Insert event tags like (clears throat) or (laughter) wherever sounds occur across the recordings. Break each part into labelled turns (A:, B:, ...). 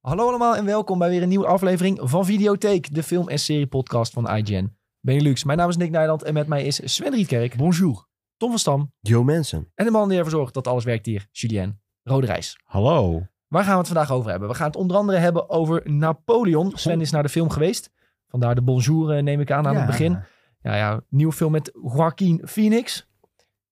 A: Hallo allemaal en welkom bij weer een nieuwe aflevering van Videotheek, de film- en serie-podcast van IGN. Benelux, mijn naam is Nick Nijland en met mij is Sven Rietkerk,
B: Bonjour.
A: Tom van Stam
B: Joe Mensen.
A: en de man die ervoor zorgt dat alles werkt hier, Julien Roderijs.
B: Hallo.
A: Waar gaan we het vandaag over hebben? We gaan het onder andere hebben over Napoleon. Sven is naar de film geweest, vandaar de bonjour eh, neem ik aan aan het begin. Ja, ja, nieuwe film met Joaquin Phoenix.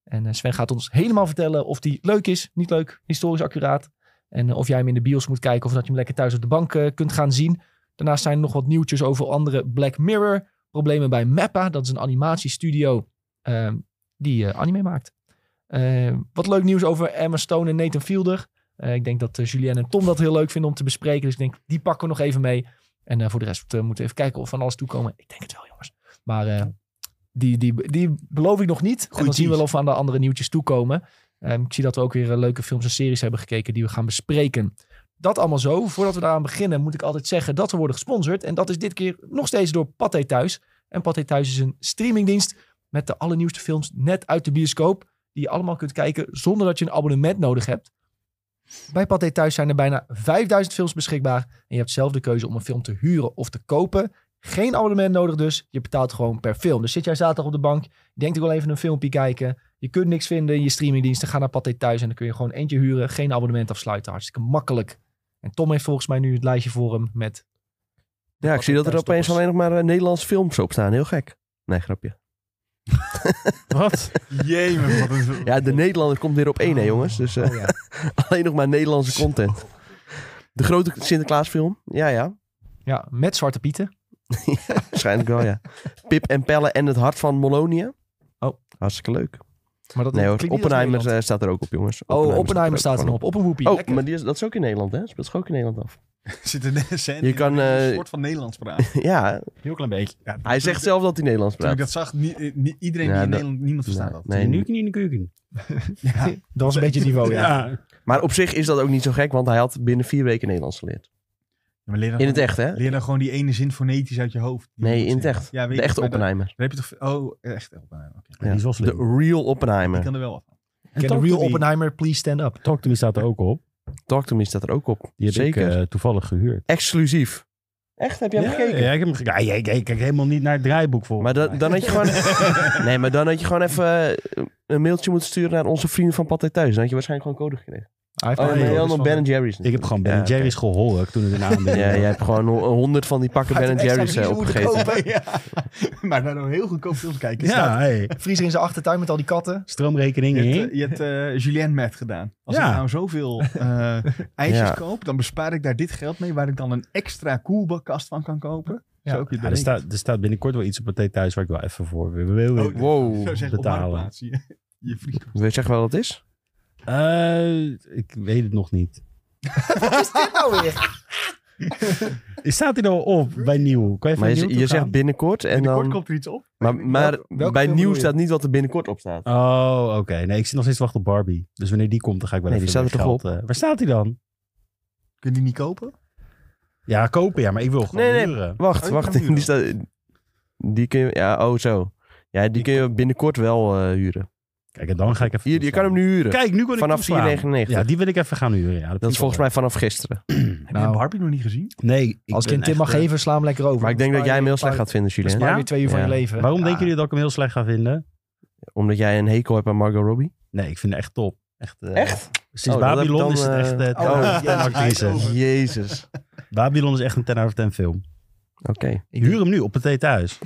A: En eh, Sven gaat ons helemaal vertellen of die leuk is, niet leuk, historisch accuraat. En eh, of jij hem in de bios moet kijken of dat je hem lekker thuis op de bank eh, kunt gaan zien. Daarnaast zijn er nog wat nieuwtjes over andere Black Mirror. Problemen bij Mappa, dat is een animatiestudio ehm, die eh, anime maakt. Eh, wat leuk nieuws over Emma Stone en Nathan Fielder. Eh, ik denk dat eh, Julien en Tom dat heel leuk vinden om te bespreken. Dus ik denk, die pakken we nog even mee. En eh, voor de rest eh, moeten we even kijken of van alles toekomen. Ik denk het wel, jongens. Maar eh, die, die, die beloof ik nog niet. en dan
B: tease.
A: zien we wel of we aan de andere nieuwtjes toekomen. Ehm, ik zie dat we ook weer eh, leuke films en series hebben gekeken die we gaan bespreken. Dat allemaal zo. Voordat we daaraan beginnen moet ik altijd zeggen dat we worden gesponsord. En dat is dit keer nog steeds door Pathé Thuis. En Pathé Thuis is een streamingdienst met de allernieuwste films net uit de bioscoop. Die je allemaal kunt kijken zonder dat je een abonnement nodig hebt. Bij Pathé Thuis zijn er bijna 5000 films beschikbaar. En je hebt zelf de keuze om een film te huren of te kopen. Geen abonnement nodig dus. Je betaalt gewoon per film. Dus zit jij zaterdag op de bank. Je denkt ik wil even een filmpje kijken. Je kunt niks vinden in je streamingdiensten. Ga naar Pathé Thuis en dan kun je gewoon eentje huren. Geen abonnement afsluiten. Hartstikke makkelijk. En Tom heeft volgens mij nu het lijstje voor hem met...
B: Ja, ik zie dat er
A: Thuis
B: opeens
A: toppers.
B: alleen nog maar eh, Nederlandse films op staan. Heel gek. Nee, grapje.
C: Wat? Jemig, wat een...
B: Ja, de Nederlander komt weer op één, hè jongens. Dus eh, (laughs)
A: Oh ja.
B: alleen nog maar Nederlandse content. De grote Sinterklaasfilm. Ja, ja.
A: ja, met Zwarte Pieten.
B: Waarschijnlijk wel,
A: (laughs)
B: ja. Pip en Pelle en het hart van Molonia.
A: Oh.
B: Hartstikke leuk.
A: Maar dat
B: Nee hoor,
A: klinkt niet als
B: Oppenheimer
A: Nederland.
B: eh, staat er ook op, jongens.
A: Oh, Oppenheimer staat er nog op. Op een hoepie.
B: Oh,
A: Lekker.
B: maar die is, dat is ook in Nederland, hè? Speelt zich ook in Nederland af. (laughs)
C: (laughs) Zit er net
B: Je kan, eh,
C: een soort van Nederlands
B: (laughs)
C: praten.
B: ja,
C: Heel klein beetje. Ja, toen
B: hij
C: ik-
B: zegt zelf dat hij Nederlands
C: Toen ik
B: praat.
C: dat zag, nie- eh, nie- iedereen
B: Ja,
C: die
B: dat-
C: in Nederland, niemand verstaat dat.
B: Nee, Oh, nu
D: niet in de
C: (laughs)
D: keuken.
C: Ja.
A: Dat was een beetje het niveau, (laughs) ja.
B: Maar op zich is dat ook niet zo gek, want hij had binnen vier weken Nederlands geleerd.
C: Ja, maar leer dan
B: In het
C: gewoon-
B: echt, hè?
C: Leer dan gewoon die ene zin fonetisch uit je hoofd. Die
B: Nee,
C: moet
B: in het
C: zijn.
B: echt.
C: Ja, weet
B: De
C: ik,
B: echte
C: maar dat-
B: Oppenheimer.
C: dan heb je toch... Oh, echt Oppenheimer. oké.
B: Ja.
D: Die is wel
B: De
D: slim.
B: real
C: Ik
B: Oppenheimer.
C: kan er wel wat van.
D: En
A: Can
D: Talk
A: a real
D: to Me-
A: Oppenheimer please stand up?
D: Talk to Me staat er ook op.
B: Talk to Me staat er ook op.
D: Die heb
B: Zeker.
D: ik eh, toevallig gehuurd.
B: Exclusief. Echt? Heb jij hem gekeken?
D: Ja, ik heb hem gekeken. Ja, ik, ik kijk helemaal niet naar het draaiboek voor.
B: Maar dan,
D: (laughs)
B: dan had je gewoon... nee, maar dan had je gewoon even eh, een mailtje moeten sturen naar onze vrienden van Pathé Thuis. Dan had je waarschijnlijk gewoon code gekregen.
A: Hij heeft
B: Oh,
A: nog
B: nee,
A: een-
B: helemaal
C: dat is
B: nog
C: wel-
B: Ben Jerry's.
D: ik heb gewoon Ben
B: Ja, oké. Nou,
D: Jerry's gehoord toen ik de naam
B: Ja, jij hebt gewoon ho- honderd van die pakken
A: Hij
B: Ben
A: heeft extra
B: Jerry's eh,
A: vriezen moeten
B: opgegeten.
C: (laughs) Ja. Maar naar een heel goedkoop film kijken.
D: Ja,
C: staat-
D: hey.
A: Vriezer in zijn achtertuin met al die katten.
D: stroomrekening
C: Je
D: heen.
C: hebt, eh, je hebt eh, Julien met gedaan. Als
D: Ja.
C: ik nou zoveel eh, ijsjes
B: Ja.
C: koop, dan bespaar ik daar dit geld mee, waar ik dan een extra koelbakkast van kan kopen.
A: Ja.
C: Zo ook je
D: Ja, er, staat, er staat binnenkort wel iets op Pathé Thuis waar ik wel even voor wil. wil- wil-
C: Oh, dit-
B: Wow.
C: (laughs) Zo zeg op
D: betalen.
C: Marktplaats, je, (laughs) je vrienden.
B: Weet je echt wel wat het is?
D: Eh, ik weet het nog
B: (laughs)
D: niet.
A: Wat is dit nou weer?
D: (laughs) Staat hij nou op bij Nieuw? Kan je even
B: Maar
D: naar
B: je,
D: Nieuw
B: je
D: toe
B: zegt
D: gaan?
B: binnenkort en
C: Binnenkort
B: dan...
C: komt er iets op.
B: Maar, maar
A: Welke- welke
B: bij
A: film
B: nieuw
A: bedoel je?
B: staat niet wat er binnenkort op staat.
D: Oh, oké. Nee, ik zit nog steeds te wachten op Barbie. Dus wanneer die komt, dan ga ik wel
B: Nee, die
D: even
B: staat er
D: mijn
B: toch
D: geld, eh, waar staat hij dan?
C: Kun je die niet kopen?
D: Ja, kopen ja, maar ik wil gewoon
B: Nee, nee.
D: huren.
B: Wacht,
C: Oh,
B: wacht.
C: die
B: (laughs)
C: kan
B: Die, staat, die kun je... Ja, oh zo. Ja, die,
D: Die
B: kun je binnenkort wel eh, huren.
D: Kijk, en dan ga ik even...
B: Je, je kan hem nu huren.
D: Kijk, nu kon ik
B: Vanaf
D: toeslaan.
B: 4,99.
D: Ja, die wil ik even gaan huren. Ja,
B: Dat is volgens mij vanaf gisteren.
C: Heb
A: Nou.
C: je Barbie nog niet gezien?
D: Nee,
A: Als ik een tip
D: eh,
A: mag geven, sla hem lekker over.
B: eh, Maar ik denk dat jij hem heel slecht gaat vinden,
A: Dan
B: Julien.
A: spaar je
D: Ja?
A: weer twee uur van je
B: Ja.
A: leven.
D: Waarom
A: Ja.
D: denken jullie dat ik hem heel slecht ga vinden?
B: Omdat jij een hekel hebt aan Margot Robbie.
D: Nee, ik vind hem echt top. Echt? eh,
B: Echt?
D: Sinds
B: Oh, dat heb ik
D: Babylon
B: dan,
D: is het
B: eh,
D: echt... eh,
B: oh,
D: ten-
C: ja,
D: ten
C: ja,
D: actrice.
C: hij is over.
B: Jezus.
D: Babylon is echt een 10 out of 10 film.
B: Oké.
A: Ik-
D: Huur hem nu op het thee thuis.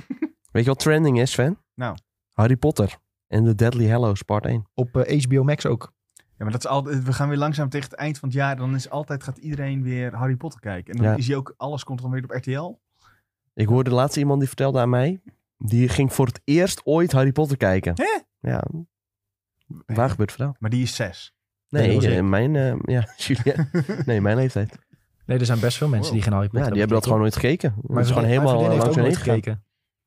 B: Weet je wat trending is, Sven?
C: Nou.
B: Harry Potter en de Deadly Hallows part 1.
A: Op eh, HBO Max ook.
C: Ja, maar dat is altijd, we gaan weer langzaam tegen het eind van het jaar. Dan is altijd, gaat iedereen weer Harry Potter kijken. En dan
B: Ja.
C: is hij ook, alles komt dan weer op RTL.
B: Ik hoorde laatst iemand die vertelde aan mij... Die ging voor het eerst ooit Harry Potter kijken.
C: Hè?
B: Ja. Waar gebeurt het verhaal?
C: Maar die is zes. (laughs)
B: Nee,
D: dat was
B: eh,
D: ik.
B: mijn... eh, ja, (laughs) Julien. Nee, mijn leeftijd.
A: Nee, er zijn best veel mensen
C: Wow.
A: die geen Harry
B: Ja,
A: Potter
B: die hebben dat gewoon nooit gekeken. Maar het is gewoon
A: mijn
B: helemaal
A: Oh. vriendin
B: eh,
A: heeft
B: langs hun
A: ook
B: heen
A: nooit
B: gegaan.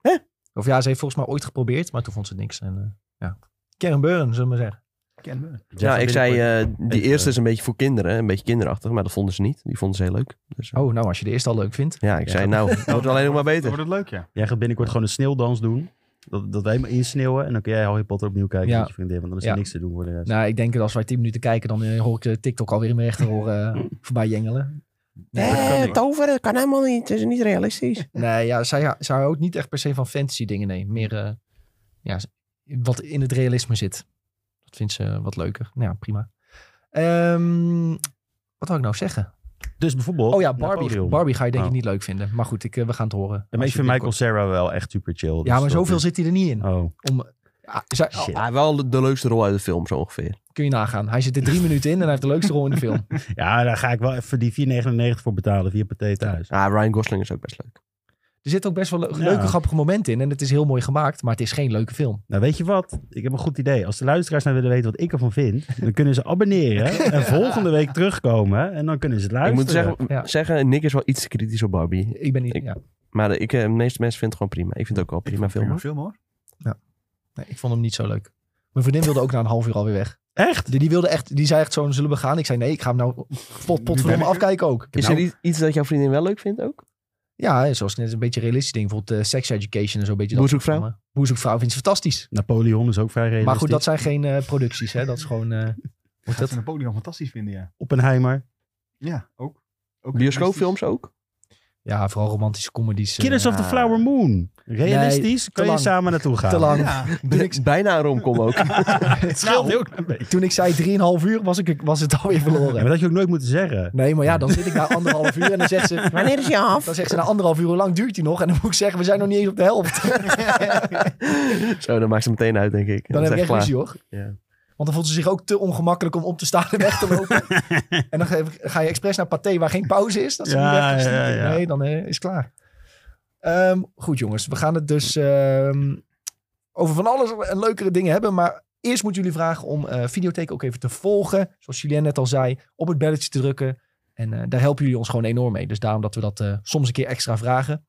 A: gekeken.
B: Hè?
A: Of ja, ze heeft volgens mij ooit geprobeerd, maar toen vond ze niks. En, eh, ja. Karen Beuren, zullen we maar zeggen.
C: Ken me.
B: Ja, ik zei, eh, die
D: Even-
B: eerste is een beetje voor kinderen. Een beetje kinderachtig, maar dat vonden ze niet. Die vonden ze heel leuk. Dus, eh,
A: Oh, nou, als je de eerste al leuk vindt.
B: Ja, ik
D: Ja,
B: zei,
D: dat-
B: nou, wordt het alleen nog maar
C: Dan
B: beter.
C: wordt het leuk, ja.
D: Jij gaat binnenkort gewoon een sneeuwdans doen. Dat, dat wij hem insneeuwen. En dan kun jij Harry Potter opnieuw kijken
A: Ja.
D: met je vriendin. Want dan is er
A: Ja.
D: niks te doen voor de rest.
A: (laughs) Nou, ik denk dat als wij tien minuten kijken, dan eh, hoor ik eh, TikTok alweer in mijn rechterhoor eh voorbij jengelen.
C: Nee, dat kan
B: Eh,
C: niet.
B: toveren kan helemaal niet. Het is niet realistisch.
A: Nee, ja, zij, zij houdt niet echt per se van fantasy dingen. Nee, meer eh, ja, wat in het realisme zit. Dat vindt ze wat leuker. Nou ja, prima. Ehm, wat wou ik nou zeggen?
D: Dus bijvoorbeeld
A: Oh ja, Barbie,
D: Napoleon.
A: Barbie ga je denk
D: Oh.
A: ik niet leuk vinden. Maar goed, ik, eh, we gaan het horen.
D: En ik
A: Als je
D: vind Michael
A: binnenkort-
D: Sarah wel echt super chill.
A: Ja,
D: dus
A: maar
D: dat
A: zoveel
D: is-
A: zit hij er niet in.
D: Oh.
A: Om, ja, zij-
D: Shit.
A: (laughs) oh,
B: Ja, Ah, wel de, de leukste rol uit de film, zo ongeveer.
A: kun je nagaan. Hij zit er drie minuten in en hij heeft de leukste rol in de film.
D: (laughs) Ja, daar ga ik wel even die 4,99 voor betalen via Pathé thuis.
B: Ja, Ah, Ryan Gosling is ook best leuk.
A: Er zitten ook best wel le-
D: Ja.
A: leuke, grappige momenten in. En het is heel mooi gemaakt, maar het is geen leuke film.
D: Nou, weet je wat? Ik heb een goed idee. Als de luisteraars nou willen weten wat ik ervan vind, dan kunnen ze abonneren en volgende week terugkomen en dan kunnen ze het
B: Ik
D: luisteren.
B: moet zeggen,
A: Ja.
B: zeggen, Nick is wel iets te kritisch op Barbie.
A: Ik ben niet...
B: Ik-
A: ja.
B: Maar eh, ik, eh, de meeste mensen vinden het gewoon prima. Ik vind het ook wel prima film.
C: Prima
B: hoor.
C: film hoor.
A: Nee, ik vond hem niet zo leuk. Mijn vriendin wilde ook na een half uur alweer weg.
D: Echt?
A: Die, die wilde echt, die zei echt zo, zullen we gaan? Ik zei nee, ik ga hem nou pot, pot
C: ben
A: me
C: ik er.
A: afkijken ook. Nou,
B: Is er iets- iets dat jouw vriendin wel leuk vindt ook?
A: Ja, hè, zoals net een beetje realistisch ding. Bijvoorbeeld eh, sex education en zo'n beetje. dat
B: Boerzoekvrouw?
A: soort dingen. Boerzoekvrouw vindt ze fantastisch.
D: Napoleon is ook vrij realistisch.
A: Maar goed, dat zijn geen eh, producties hè. Dat is gewoon... eh, wordt
C: Dat
A: dat?
C: ze Napoleon fantastisch vinden, ja.
D: Oppenheimer.
C: Ja, ook. ook
B: Bioscoopfilms ook?
A: Ja, vooral romantische comedies. eh,
D: Killers of the Flower Moon. Realistisch,
A: te
D: kan je
A: lang.
D: samen naartoe gaan. Nou,
A: Te
D: (laughs)
A: lang.
C: Ja,
B: Niks. Bijna een
A: (laughs)
B: romcom ook.
C: het scheelt
D: (laughs) heel klein beetje.
A: Toen ik zei 3,5 uur, was, ik, was het alweer
D: Ja,
A: verloren.
D: maar dat had je ook nooit moeten zeggen.
A: Nee, maar ja, dan zit ik daar anderhalf uur en dan zegt ze...
B: Wanneer is je af?
A: Dan zegt ze na anderhalf uur, hoe lang duurt die nog? En dan moet ik zeggen, we zijn nog niet eens op de helft.
B: (laughs) Zo, dan maakt ze meteen uit, denk ik.
A: Dan
B: Dat
A: heb
B: is
A: ik echt
B: klaar.
A: ruzie, hoor.
B: Ja.
A: Want dan voelt ze zich ook te ongemakkelijk om op te staan en weg te lopen. en dan ge- ga je expres naar Pathé waar geen pauze is. Dat ze
D: Ja,
A: niet weg kan sneaken.
D: ja, ja.
A: Nee, dan eh, is het klaar. Ehm, goed jongens, we gaan het dus ehm, over van alles en leukere dingen hebben. Maar eerst moeten jullie vragen om eh Videotheek ook even te volgen. Zoals Julien net al zei, op het belletje te drukken. En eh, daar helpen jullie ons gewoon enorm mee. Dus daarom dat we dat eh, soms een keer extra vragen.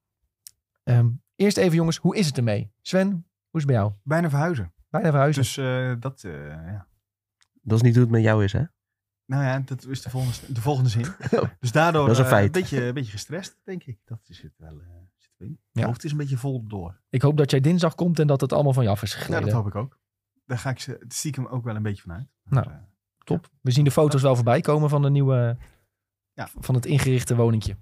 A: Ehm, eerst even jongens, hoe is het ermee? Sven, hoe is het bij jou?
C: bijna verhuizen.
A: Bijna verhuizen.
C: Dus eh, dat, eh, ja.
B: Dat is niet hoe het met jou is, hè?
C: Nou ja, dat is de volgende, de volgende
B: (laughs)
C: zin. Dus daardoor
B: Oh, Dat is een
C: eh,
B: feit.
C: een, beetje, een beetje gestrest, denk ik. Dat zit wel... eh zit erin.
A: Ja.
C: Mijn hoofd is een beetje vol door.
A: Ik hoop dat jij dinsdag komt en dat het allemaal van je af is
C: Ja,
A: gegleden.
C: dat hoop ik ook. Daar ga ik ze, stiekem ook wel een beetje van uit. Maar,
A: Nou.
C: eh,
A: Top. We zien de foto's wel voorbij komen van de nieuwe,
C: Ja.
A: van het ingerichte woningje.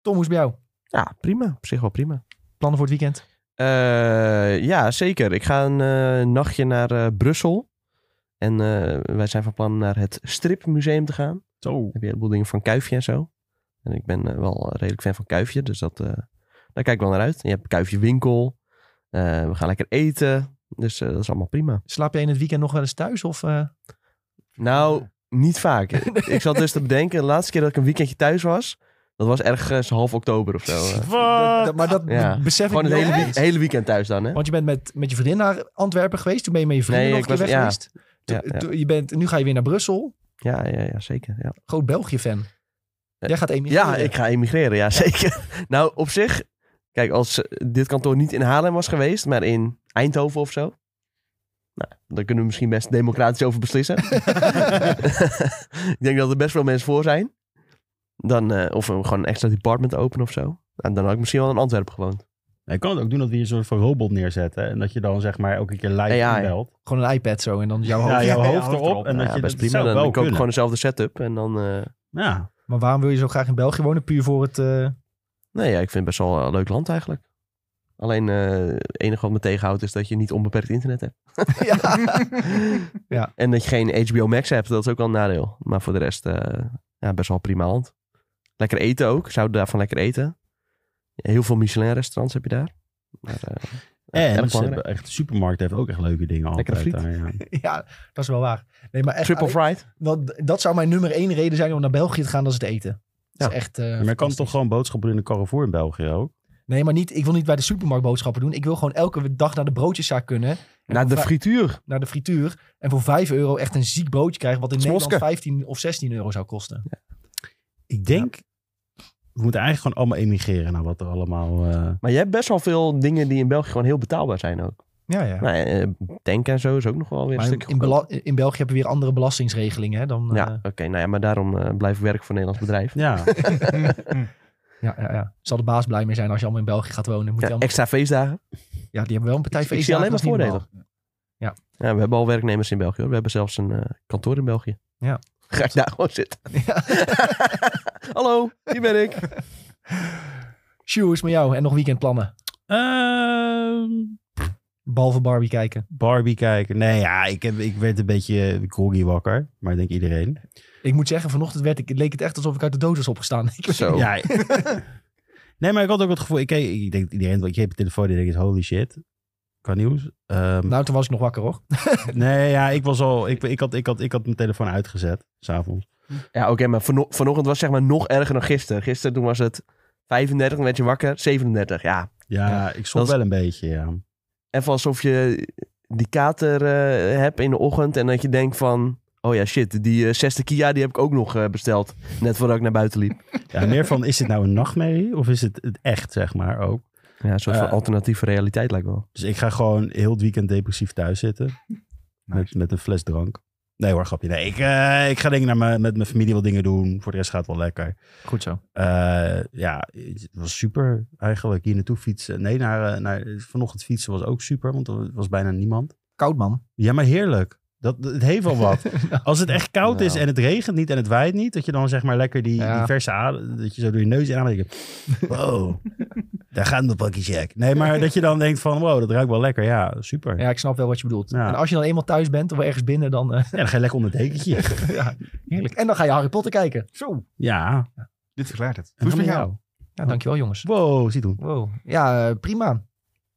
A: Tom, hoe is het bij jou?
B: Ja, prima. Op zich wel prima.
A: Plannen voor het weekend?
B: Eh, ja, zeker. Ik ga een eh, nachtje naar eh, Brussel. En eh, wij zijn van plan naar het Stripmuseum te gaan.
D: Zo.
B: heb je een heleboel dingen van Kuifje en zo. En ik ben eh, wel redelijk fan van Kuifje, dus dat, eh, daar kijk ik wel naar uit. En je hebt Kuifje Winkel, eh, we gaan lekker eten, dus eh, dat is allemaal prima.
A: Slaap jij in het weekend nog wel eens thuis? Of, eh,
B: Nou, niet vaak. ik zat dus te bedenken, de laatste keer dat ik een weekendje thuis was, dat was ergens half oktober of zo. eh.
A: dat- dat- maar dat
B: Ja.
A: besef ik nou Oh.
B: Gewoon het
A: nu
B: hele,
A: ook
B: week-
A: niet.
B: hele weekend thuis dan, hè?
A: Want je bent met, met je vriendin naar Antwerpen geweest. Toen ben je met je vriendin
B: Nee,
A: nog
B: ik
A: een keer
B: was-
A: weg
B: ja.
A: geweest.
B: Ja,
A: Toen-
B: ja.
A: toen- je bent, nu ga je weer naar Brussel.
B: Ja, ja, ja zeker. Ja.
A: Groot België-fan.
B: Ja.
A: Jij gaat emigreren.
B: Eh, Ja, ik ga emigreren, ja (laughs) zeker. Nou, op zich, kijk, als eh, dit kantoor niet in Haarlem was geweest, maar in Eindhoven of zo. Nou, daar kunnen we misschien best democratisch over beslissen. ik denk dat er best wel mensen voor zijn. Dan, eh, of we gewoon een extra department openen of zo. Nou, dan had ik misschien wel in Antwerpen gewoond.
D: Je kan het ook doen dat we hier een soort van robot neerzetten. hè, En dat je dan zeg maar elke keer live
B: Ja, ja.
D: inbelt.
A: Gewoon een iPad zo en dan jouw Oh, hoofd.
D: Ja, jouw
C: Ja,
D: hoofd erop. En
B: Nou
D: dat
B: ja,
D: je
B: best
D: dat
B: prima.
D: zou
B: Dan, dan
D: wel
B: koop ik
D: kunnen.
B: gewoon dezelfde setup. En dan, eh,
D: Ja.
A: Maar waarom wil je zo graag in België wonen? Puur voor het...
B: (laughs)
A: eh,
B: nee, ja, ik vind het best wel een leuk land eigenlijk. Alleen eh, het enige wat me tegenhoudt is dat je niet onbeperkt internet hebt.
A: ja. (laughs)
B: En dat je geen HBO Max hebt, dat is ook wel een nadeel. Maar voor de rest, eh, ja, best wel prima land. Lekker eten ook. Zouden daarvan lekker eten. Heel veel Michelin-restaurants heb je daar. Maar, eh, erg
D: En ze
B: belangrijk.
D: hebben echt, de supermarkt heeft ook echt leuke dingen altijd.
B: Lekkere
D: daar, ja.
A: (laughs) ja, dat is wel waar. Nee, maar echt,
B: Triple fried.
A: Dat, dat zou mijn nummer één reden zijn om naar België te gaan, dat is het eten. Dat is echt, eh,
D: Maar je kan
A: fantastisch.
D: toch gewoon boodschappen doen in de Carrefour in België ook?
A: Nee, maar niet, ik wil niet bij de supermarkt boodschappen doen. Ik wil gewoon elke dag naar de broodjeszaak kunnen,
B: Naar de
A: va-
B: frituur.
A: naar de frituur. En voor 5 euro echt een ziek broodje krijgen, wat in
B: Smoske.
A: Nederland 15 of 16 euro zou kosten.
D: Ik denk, we moeten eigenlijk gewoon allemaal emigreren naar wat er allemaal... eh,
B: Maar je hebt best wel veel dingen die in België gewoon heel betaalbaar zijn ook.
A: Ja, ja.
B: Nou, eh, tank en zo is ook nog wel weer een
A: Maar in,
B: stukje
A: in,
B: goedkoop.
A: Bela- in België hebben we weer andere belastingsregelingen. Hè, dan,
B: Ja,
A: eh,
B: oké. nou ja, maar daarom eh, blijf ik werken voor een Nederlands bedrijf.
D: ja,
C: eh, (laughs) mm,
A: ja, ja, ja. Zal de baas blij mee zijn als je allemaal in België gaat wonen. Moet
B: Ja,
A: je allemaal-
B: extra feestdagen.
A: ja, die hebben wel een partij
B: Ik- ik
A: feestdagen,
B: zie alleen
A: dat is
B: maar
A: niet
B: voordelen.
A: normaal.
B: Ja, we hebben al werknemers in België. Hoor. We hebben zelfs een eh, kantoor in België. Ga ik daar gewoon zitten. (laughs) Hallo, hier ben ik.
A: Sjoe, hoe is het met jou? En nog weekendplannen?
D: (laughs) Ehm,
A: Behalve Barbie kijken.
D: Barbie kijken. Nee, ja, ik, heb, ik werd een beetje groggy wakker. Maar ik denk iedereen.
A: Ik moet zeggen, vanochtend werd ik, leek het echt alsof ik uit de dood was opgestaan. (laughs) Ik weet-
B: Zo.
D: Ja.
B: (laughs)
D: nee, maar ik had ook het gevoel... Ik, keek- ik denk iedereen... Want je hebt de telefoon die denkt, holy shit. Kan nieuws. Ehm,
A: Nou, toen was ik nog wakker hoor.
D: nee, ja, ik was al... Ik, ik, had, ik, had, ik had mijn telefoon uitgezet. S'avonds.
B: Ja, oké, maar vano- vanochtend was zeg maar nog erger dan gisteren. Gisteren toen was het 35, dan werd je wakker, 37. Ja,
D: Ja,
B: Ja,
D: ik
B: dat
D: schrok
B: is-
D: wel een beetje, ja.
B: even alsof je die kater eh, hebt in de ochtend en dat je denkt van... Oh ja, shit, die eh, 60 Kia die heb ik ook nog eh, besteld. Net voordat ik naar buiten liep.
D: ja. Meer van, is dit nou een nachtmerrie? Of is het het echt, zeg maar, ook?
B: Ja, een soort van
D: Eh.
B: alternatieve realiteit lijkt wel.
D: Dus ik ga gewoon heel het weekend depressief thuis zitten.
C: Nou,
D: Met, met een fles drank. Nee hoor, grapje. Nee, ik, eh, ik ga dingen naar mijn, met mijn familie wat dingen doen. Voor de rest gaat het wel lekker.
A: Goed zo.
D: Eh, ja, het was super eigenlijk. Hier naartoe fietsen. Nee, naar, eh, naar, vanochtend fietsen was ook super, want er was bijna niemand.
A: Koud man.
D: Ja, maar heerlijk. Dat, dat- het heeft wel wat. Als het echt koud is
B: Nou.
D: en het regent niet en het waait niet, dat je dan zeg maar lekker die,
A: Ja.
D: die verse adem, dat je zo door je neus aan Wow, daar gaat mijn pakje check. Nee, maar dat je dan denkt van, wow, dat ruikt wel lekker. Ja, super. Ja,
A: Ja, ik snap wel wat je bedoelt.
D: Ja.
A: En als je dan eenmaal thuis bent of ergens binnen, dan... eh,
D: dan ga je lekker onder het dekentje.
A: ja, heerlijk. En dan ga je Harry Potter kijken. Zo.
D: Ja.
C: Dit verklaart het.
D: En
C: Hoe is het
D: dan
C: met jou?
A: Ja, dankjewel jongens.
D: Wow, zie doen.
A: Wow. Ja, eh, prima.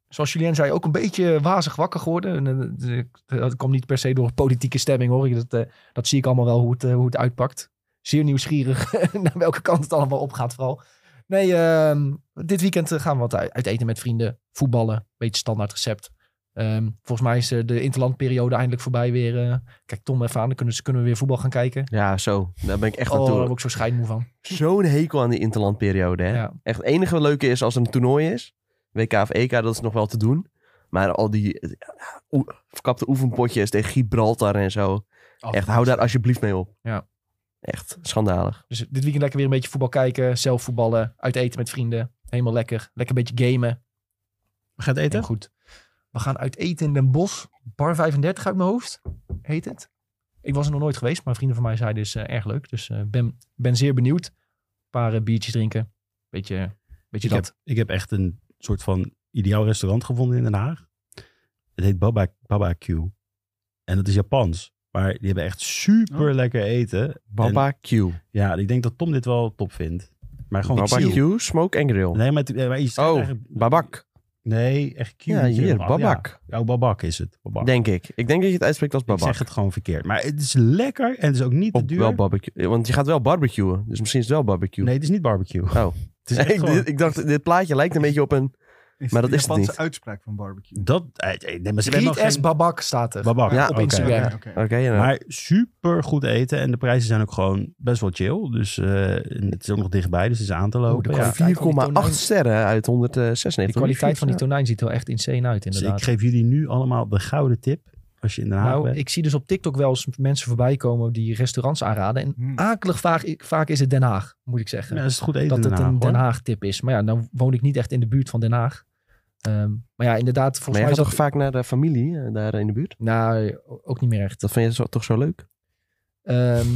A: Zoals Julien zei, ook een beetje wazig wakker geworden. En, eh, eh, Dat komt niet per se door politieke stemming hoor. Dat, eh, dat zie ik allemaal wel hoe het, eh, hoe het uitpakt. Zeer nieuwsgierig (laughs) naar welke kant het allemaal opgaat vooral. Nee, ehm, dit weekend eh, gaan we wat uit uit eten met vrienden. Voetballen, beetje standaard recept. Ehm, volgens mij is eh, de interlandperiode eindelijk voorbij weer. eh. kijk Tom even aan, dan kunnen, ze- kunnen we weer voetbal gaan kijken.
B: Ja, zo. Daar ben ik echt
A: oh,
B: naartoe.
A: daar word ik zo scheidmoe van.
B: Zo'n hekel aan die interlandperiode, hè?
A: Ja.
B: Echt het enige leuke is als er een toernooi is. WK of EK, dat is nog wel te doen. Maar al die eh, oe- verkapte oefenpotjes tegen Gibraltar en zo. Echt, hou daar alsjeblieft mee op.
A: Ja.
B: Echt, schandalig.
A: Dus dit weekend lekker weer een beetje voetbal kijken. Zelf voetballen. Uit eten met vrienden. Helemaal lekker. Lekker een beetje gamen.
D: We gaan het
A: Heel
D: eten?
A: goed. We gaan uit eten in Den Bosch. Bar 35 uit mijn hoofd. Heet het. Ik was er nog nooit geweest. Maar vrienden van mij zeiden dus eh, erg leuk. Dus eh, ben, ben zeer benieuwd. Een paar eh, biertjes drinken. Beetje, beetje
D: Ik
A: dat.
D: heb, ik heb echt een soort van ideaal restaurant gevonden in Den Haag. Het heet Baba, Baba Q. En dat is Japans. Maar die hebben echt super lekker eten. En,
B: Baba Q.
D: ja, ik denk dat Tom dit wel top vindt. Maar gewoon
B: Baba
D: Q.
B: Q, Smoke en Grill.
D: Nee, maar, het- eh, maar je schrijft
B: Oh,
D: eigenlijk-
B: Babak.
D: Nee, echt Q.
B: Ja, hier,
D: Ja.
B: Babak.
D: Ja, Babak is het. Babak.
B: Denk ik. Ik denk dat je het uitspreekt als
D: Ik
B: Babak.
D: zeg het gewoon verkeerd. Maar het is lekker en het is ook niet te
B: Of
D: duur.
B: wel barbecue. Want je gaat wel barbecuen. Dus misschien is het wel barbecue.
D: nee, het is niet barbecue.
B: Oh.
D: (laughs) Het is
B: (laughs)
D: echt
B: ik,
D: gewoon-
B: ik dacht, dit plaatje lijkt een beetje op een... maar dat is het
C: Japanse
B: niet.
C: uitspraak van barbecue.
D: dat, eh, eh, nee, maar ze hebben
A: Street
D: nog
A: S
D: geen-
A: Babak staat er.
D: Babak.
B: Ja,
A: op
D: oké.
A: Instagram.
C: Oké, oké.
B: Oké, ja, nou.
D: Maar super goed eten en de prijzen zijn ook gewoon best wel chill. Dus eh, en het is ook nog dichtbij, dus het is aan te lopen.
A: de
D: ja.
A: kwaliteit van die
B: 4,8
A: tonijn-
B: sterren uit 196.
A: De kwaliteit van die
B: Ja.
A: tonijn ziet er wel echt insane uit
D: Dus
A: inderdaad.
D: ik geef jullie nu allemaal de gouden tip als je in Den Haag
A: Nou,
D: bent.
A: ik zie dus op TikTok wel eens mensen voorbij komen die restaurants aanraden. En
C: Hmm.
A: akelig vaak, vaak is het Den Haag, moet ik zeggen.
D: Ja, dat is goed eten
A: dat
D: in
A: het
D: Den Haag,
A: een Den
D: hoor.
A: Haag tip is. Maar ja, dan woon ik niet echt in de buurt van Den Haag. Ehm, maar ja, inderdaad, volgens
B: Maar jij
A: mij
B: gaat
A: is
B: toch
A: dat...
B: vaak naar de familie eh, daar in de buurt?
A: Nou, ook niet meer echt.
B: Dat vind je zo- toch zo leuk?
A: Ehm,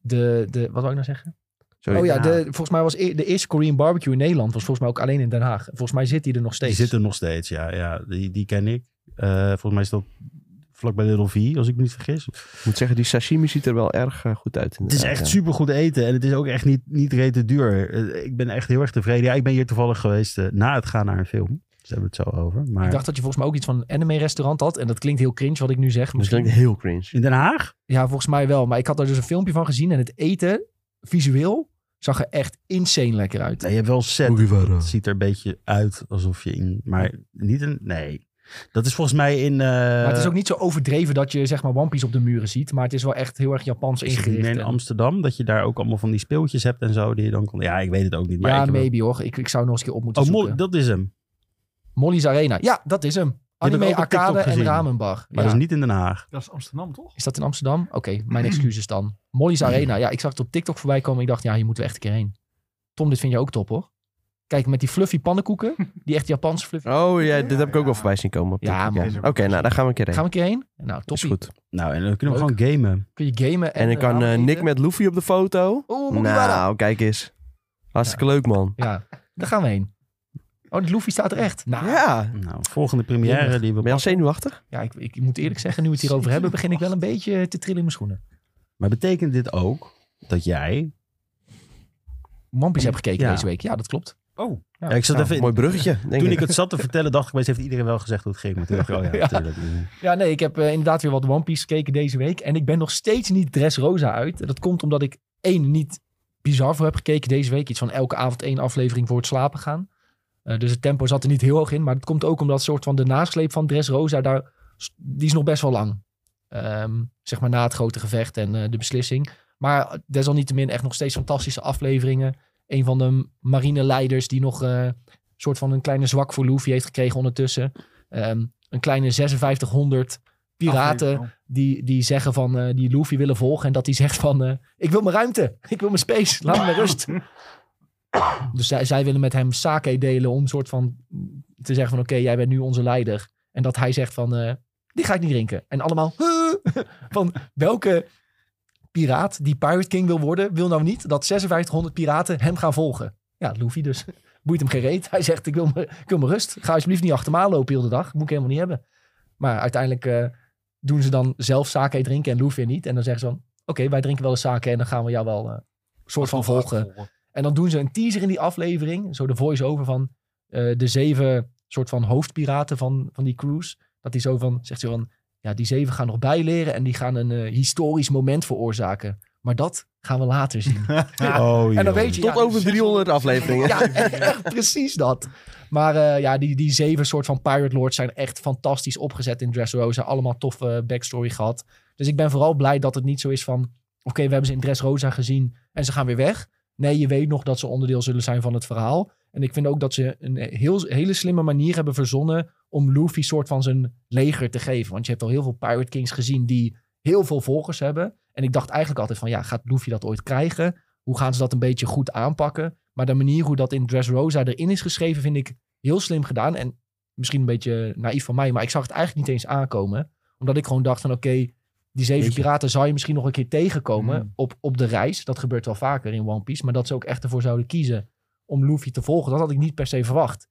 A: de, de, wat wil ik nou zeggen?
B: Sorry.
A: oh ja,
D: Den
A: de,
D: Haag.
A: volgens mij was e- de eerste Korean barbecue in Nederland was volgens mij ook alleen in Den Haag. Volgens mij zit die er nog
D: Die
A: steeds.
D: zit er nog steeds, ja. ja die, die ken ik. Eh, volgens mij is dat vlakbij Little V, als ik me niet vergis.
B: Ik moet zeggen, die sashimi ziet er wel erg eh, goed uit.
D: Het is echt super goed eten en het is ook echt niet, niet rete duur. Eh, ik ben echt heel erg tevreden. Ja, ik ben hier toevallig geweest eh, na het gaan naar een film. Dus daar hebben we het zo over. Maar
A: Ik dacht dat je volgens mij ook iets van een anime-restaurant had. En dat klinkt heel cringe wat ik nu zeg.
B: Dat
A: Misschien-
B: klinkt heel cringe.
D: in Den Haag?
A: Ja, volgens mij wel. Maar ik had daar dus een filmpje van gezien. En het eten, visueel, zag er echt insane lekker uit.
D: Nee, je hebt wel set Het ziet er een beetje uit alsof je in... Maar niet een... Nee. Dat is volgens mij in... eh
A: maar het is ook niet zo overdreven dat je zeg maar One Piece op de muren ziet. Maar het is wel echt heel erg Japans
D: is het niet
A: ingericht.
D: meer in
A: en-
D: Amsterdam. Dat je daar ook allemaal van die speeltjes hebt en zo. Die je dan kon... Ja, ik weet het ook niet. Maar
A: ja,
D: ik heb-
A: maybe hoor. Ik, ik zou nog eens een keer op moeten
D: Oh, Mol-
A: zoeken.
D: dat is hem.
A: Molly's Arena. Ja, dat is hem.
D: heb ik ook
A: Anime,
D: op TikTok
A: arcade en
D: gezien.
A: ramenbar.
D: Maar
A: Ja.
D: dat is niet in Den Haag.
C: Dat is Amsterdam, toch?
A: Is dat in Amsterdam? Oké, mijn excuses dan. Molly's Arena. Ja, ik zag het op TikTok voorbij komen. Ik dacht, ja, hier moeten we echt een keer heen. Tom, dit vind je ook top hoor. Kijk, met die fluffy pannenkoeken, die echt Japanse fluffy.
B: Oh ja, dit
C: Ja,
B: heb ik ook
C: ja.
B: wel voorbij zien komen. op
A: Ja,
B: TikTok,
A: man.
C: Is ook
B: Oké, nou daar gaan we een keer heen.
A: Gaan we een keer heen? Nou,
B: Is
A: toppie.
B: goed.
D: Nou, en dan kunnen we
A: Leuk.
D: gewoon gamen.
A: Kun je gamen. En,
B: En dan
A: eh,
B: kan
A: ramen
B: eh, Nick
A: eten.
B: met Luffy op de foto.
A: Oeh, Mugiwara.
B: Nou, kijk eens. Hartstikke leuk, man.
A: Ja, daar gaan we heen. Oh, die Luffy staat er echt. Nou, ja,
B: Ja.
D: Nou. Nou, volgende première die we
B: Ben je al
D: pakken.
B: zenuwachtig?
A: ik, ik moet eerlijk zeggen, nu we het hierover hebben, begin ik wel een beetje te trillen in mijn schoenen.
D: Maar betekent dit ook dat jij...
A: One Piece heb gekeken
D: Ja.
A: deze week. Ja, dat klopt.
D: Oh,
A: Ja.
D: ik zat
B: Nou,
D: even...
B: Mooi
A: (laughs)
B: bruggetje, denk
D: Toen
B: ik.
D: ik het zat te vertellen, dacht ik, maar eens heeft iedereen wel gezegd hoe het ging. Maar toen dacht ik, oh ja,
A: Ja.
D: natuurlijk.
A: Ja, nee, ik heb eh, inderdaad weer wat One Piece gekeken deze week. En ik ben nog steeds niet Dressrosa uit. En Dat komt omdat ik één niet bizar voor heb gekeken deze week. Iets van elke avond één aflevering voor het slapen gaan. Eh, dus het tempo zat er niet heel hoog in. Maar dat komt ook omdat soort van de nasleep van Dressrosa, daar, die is nog best wel lang. Ehm, zeg maar na het grote gevecht en eh, de beslissing. Maar desalniettemin echt nog steeds fantastische afleveringen. Een van de marineleiders die nog eh soort van een kleine zwak voor Luffy heeft gekregen ondertussen. Ehm, een kleine 5600 piraten
C: Aflevering.
A: die, die zeggen van eh, die Luffy willen volgen. En dat hij zegt van eh, ik wil mijn ruimte, ik wil mijn space, laat me met rust. Dus zij, zij willen met hem sake delen om soort van te zeggen van oké, jij bent nu onze leider. En dat hij zegt van eh, die ga ik niet drinken. En allemaal "Huh?" (laughs) van welke piraat die Pirate King wil worden, wil nou niet dat 5600 piraten hem gaan volgen. Ja, Luffy dus. (laughs) Boeit hem geen reet. Hij zegt ik wil me, ik wil me rust. Ga alsjeblieft niet achter me aanlopen heel de dag. Moet ik helemaal niet hebben. Maar uiteindelijk eh, doen ze dan zelf sake drinken en Luffy niet. En dan zeggen ze van oké, wij drinken wel eens sake en dan gaan we jou wel eh, soort van volgen. En dan doen ze een teaser in die aflevering. Zo de voice-over van eh, de zeven soort van hoofdpiraten van, van die cruise. Dat die zo van, zegt ze van, ja, die zeven gaan nog bijleren en die gaan een eh, historisch moment veroorzaken. Maar dat gaan we later zien.
D: Oh,
A: en dan
D: joh.
A: weet je,
B: Tot
A: ja,
B: over 300 afleveringen.
A: ja, echt precies dat. Maar eh, ja, die, die zeven soort van Pirate Lords zijn echt fantastisch opgezet in Dressrosa. Allemaal toffe eh, backstory gehad. Dus ik ben vooral blij dat het niet zo is van... Oké, we hebben ze in Dressrosa gezien en ze gaan weer weg. Nee, je weet nog dat ze onderdeel zullen zijn van het verhaal. En ik vind ook dat ze een heel, hele slimme manier hebben verzonnen... om Luffy soort van zijn leger te geven. Want je hebt al heel veel Pirate Kings gezien die heel veel volgers hebben. En ik dacht eigenlijk altijd van... Ja, gaat Luffy dat ooit krijgen? Hoe gaan ze dat een beetje goed aanpakken? Maar de manier hoe dat in Dressrosa erin is geschreven, vind ik heel slim gedaan. En misschien een beetje naïef van mij, maar ik zag het eigenlijk niet eens aankomen. Omdat ik gewoon dacht van oké, die zeven
D: Jeetje.
A: piraten zal je misschien nog een keer tegenkomen
C: Mm.
A: op, op de reis. Dat gebeurt wel vaker in One Piece. Maar dat ze ook echt ervoor zouden kiezen om Luffy te volgen, dat had ik niet per se verwacht.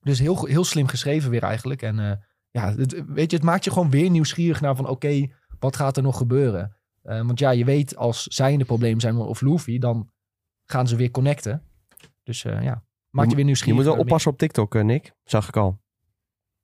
A: Dus heel, go- heel slim geschreven weer eigenlijk. En eh, ja, het, weet je, het maakt je gewoon weer nieuwsgierig naar van oké, wat gaat er nog gebeuren? Eh, want ja, je weet als zij in de problemen zijn of Luffy, dan gaan ze weer connecten. Dus eh, ja, maak je weer
B: Je
A: nieuwsgierig.
B: moet wel
A: naar meer.
B: oppassen op TikTok, eh, Nick. Zag ik al.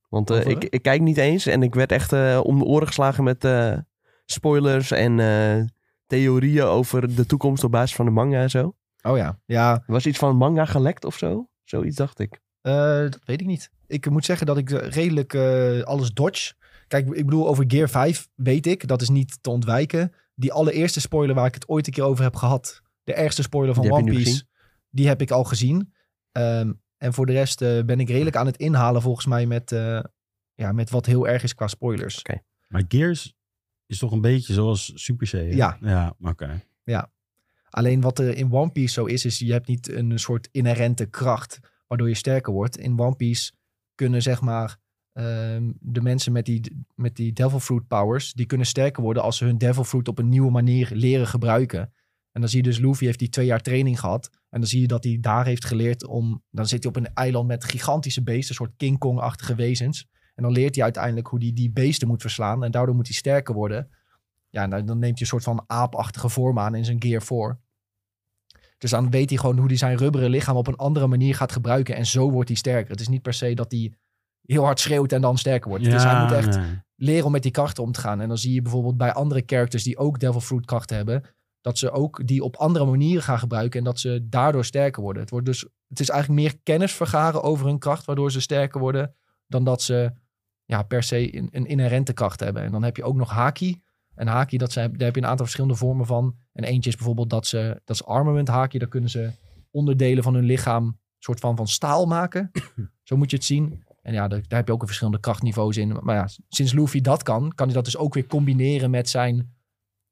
B: Want eh,
A: Waarvoor,
B: ik, ik kijk niet eens en ik werd echt eh, om de oren geslagen met eh, spoilers en eh, theorieën over de toekomst op basis van de manga en zo.
A: Oh ja, ja
B: Er was iets van manga gelekt of zo. Zoiets dacht ik.
A: eh, dat weet ik niet. Ik moet zeggen dat ik eh, redelijk eh, alles dodge. Kijk, ik bedoel, over Gear 5 weet ik, dat is niet te ontwijken. Die allereerste spoiler waar ik het ooit een keer over heb gehad, de ergste spoiler van
B: Die heb
A: One
B: je nu
A: Piece,
B: gezien?
A: die heb ik al gezien. Ehm, en voor de rest eh, ben ik redelijk aan het inhalen volgens mij met, eh, ja, met wat heel erg is qua spoilers.
D: Maar Gears is toch een beetje zoals Super C, hè?
A: Ja.
D: Ja, maar oké.
A: Alleen wat er in One Piece zo is, is je hebt niet een soort inherente kracht waardoor je sterker wordt. In One Piece kunnen zeg maar ehm, de mensen met die, met die Devil Fruit powers, die kunnen sterker worden als ze hun Devil Fruit op een nieuwe manier leren gebruiken. En dan zie je dus Luffy heeft die twee jaar training gehad. En dan zie je dat hij daar heeft geleerd om, dan zit hij op een eiland met gigantische beesten, een soort King Kong-achtige wezens. En dan leert hij uiteindelijk hoe hij die beesten moet verslaan. En daardoor moet hij sterker worden. Ja, nou, dan neemt hij een soort van aapachtige vorm aan in zijn Gear 4. Dus dan weet hij gewoon hoe hij zijn rubberen lichaam op een andere manier gaat gebruiken. En zo wordt hij sterker. Het is niet per se dat hij heel hard schreeuwt en dan sterker wordt. dus hij moet echt
D: nee.
A: leren om met die krachten om te gaan. En dan zie je bijvoorbeeld bij andere characters die ook Devil Fruit krachten hebben, dat ze ook die op andere manieren gaan gebruiken en dat ze daardoor sterker worden. Het, wordt dus, het is eigenlijk meer kennis vergaren over hun kracht, waardoor ze sterker worden, dan dat ze ja, per se een, een inherente kracht hebben. En dan heb je ook nog Haki. En Haki, dat zijn, daar heb je een aantal verschillende vormen van. En eentje is bijvoorbeeld dat ze, dat is Armament Haki, daar kunnen ze onderdelen van hun lichaam soort van van staal maken. Zo moet je het zien. En ja, daar, daar heb je ook een verschillende krachtniveaus in. Maar ja, sinds Luffy dat kan, kan hij dat dus ook weer combineren met zijn,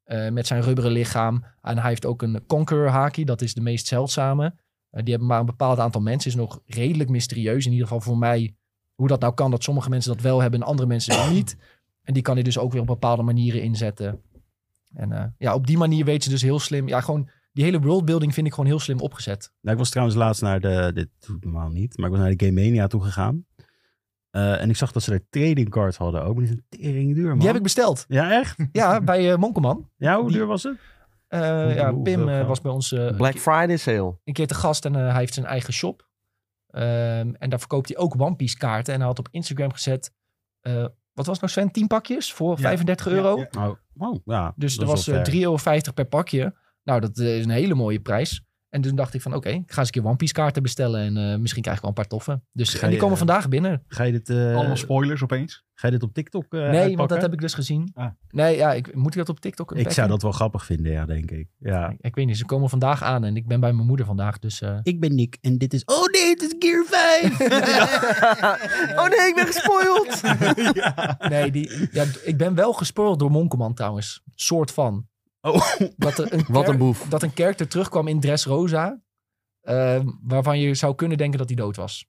A: eh, met zijn rubberen lichaam. En hij heeft ook een Conqueror Haki, dat is de meest zeldzame. Eh, die hebben maar een bepaald aantal mensen. Is nog redelijk mysterieus. In ieder geval voor mij hoe dat nou kan. Dat sommige mensen dat wel hebben en andere mensen dat niet. En die kan hij dus ook weer op bepaalde manieren inzetten. En eh, ja, op die manier weet ze dus heel slim. Ja, gewoon die hele worldbuilding vind ik gewoon heel slim opgezet.
D: Nou, ik was trouwens laatst naar de. Dit doe ik normaal niet. Maar ik was naar de Game Mania toe gegaan. Eh, en ik zag dat ze er trading cards hadden ook. Maar die zijn tering duur, man.
A: Die heb ik besteld.
D: Ja, echt?
A: Ja, bij eh Monkelman.
D: Ja, hoe
A: Die-
D: duur was het?
A: Eh,
D: Hoe-
A: ja,
D: hoeveel
A: Pim eh,
D: geld?
A: was bij ons eh, een,
B: Black
A: keer,
B: Friday sale.
A: een keer te gast en eh, hij heeft zijn eigen shop. Ehm, en daar verkoopt hij ook One Piece kaarten. En hij had op Instagram gezet, eh, wat was het nou Sven, 10 pakjes voor
C: Ja.
A: 35 euro.
C: Ja, ja.
D: Oh, wow, ja.
A: Dus
D: dat
A: er
D: is
A: was
D: wel
A: eh,
D: fair.
A: 3,50 euro per pakje. Nou, dat eh, is een hele mooie prijs. En toen dacht ik van, oké, ik ga eens een keer One Piece kaarten bestellen. En eh, misschien krijg ik wel een paar toffe. Dus,
D: Ga
A: en die
D: je-
A: komen vandaag binnen.
D: Ga je dit, eh,
C: Allemaal spoilers opeens.
D: ga je dit op TikTok eh,
A: nee, want
D: uitpakken?
A: dat heb ik dus gezien.
C: Ah.
A: Nee, ja, ik, moet ik dat op TikTok
D: Ik zou
A: bekken?
D: dat wel grappig vinden, ja, denk ik. Ja.
A: Ik, ik weet niet, ze komen vandaag aan en ik ben bij mijn moeder vandaag. Dus eh,
D: Ik ben Nick en dit is... Oh nee, het is Gear 5!
B: oh nee, ik ben gespoild.
A: Nee, die, ja, d- ik ben wel gespoord door Monkeman trouwens. Soort van.
D: Oh.
A: Dat
B: (laughs)
A: er een
B: Wat een
A: char-
B: boef.
A: Dat een character terugkwam in Dressrosa. eh, waarvan je zou kunnen denken dat hij dood was.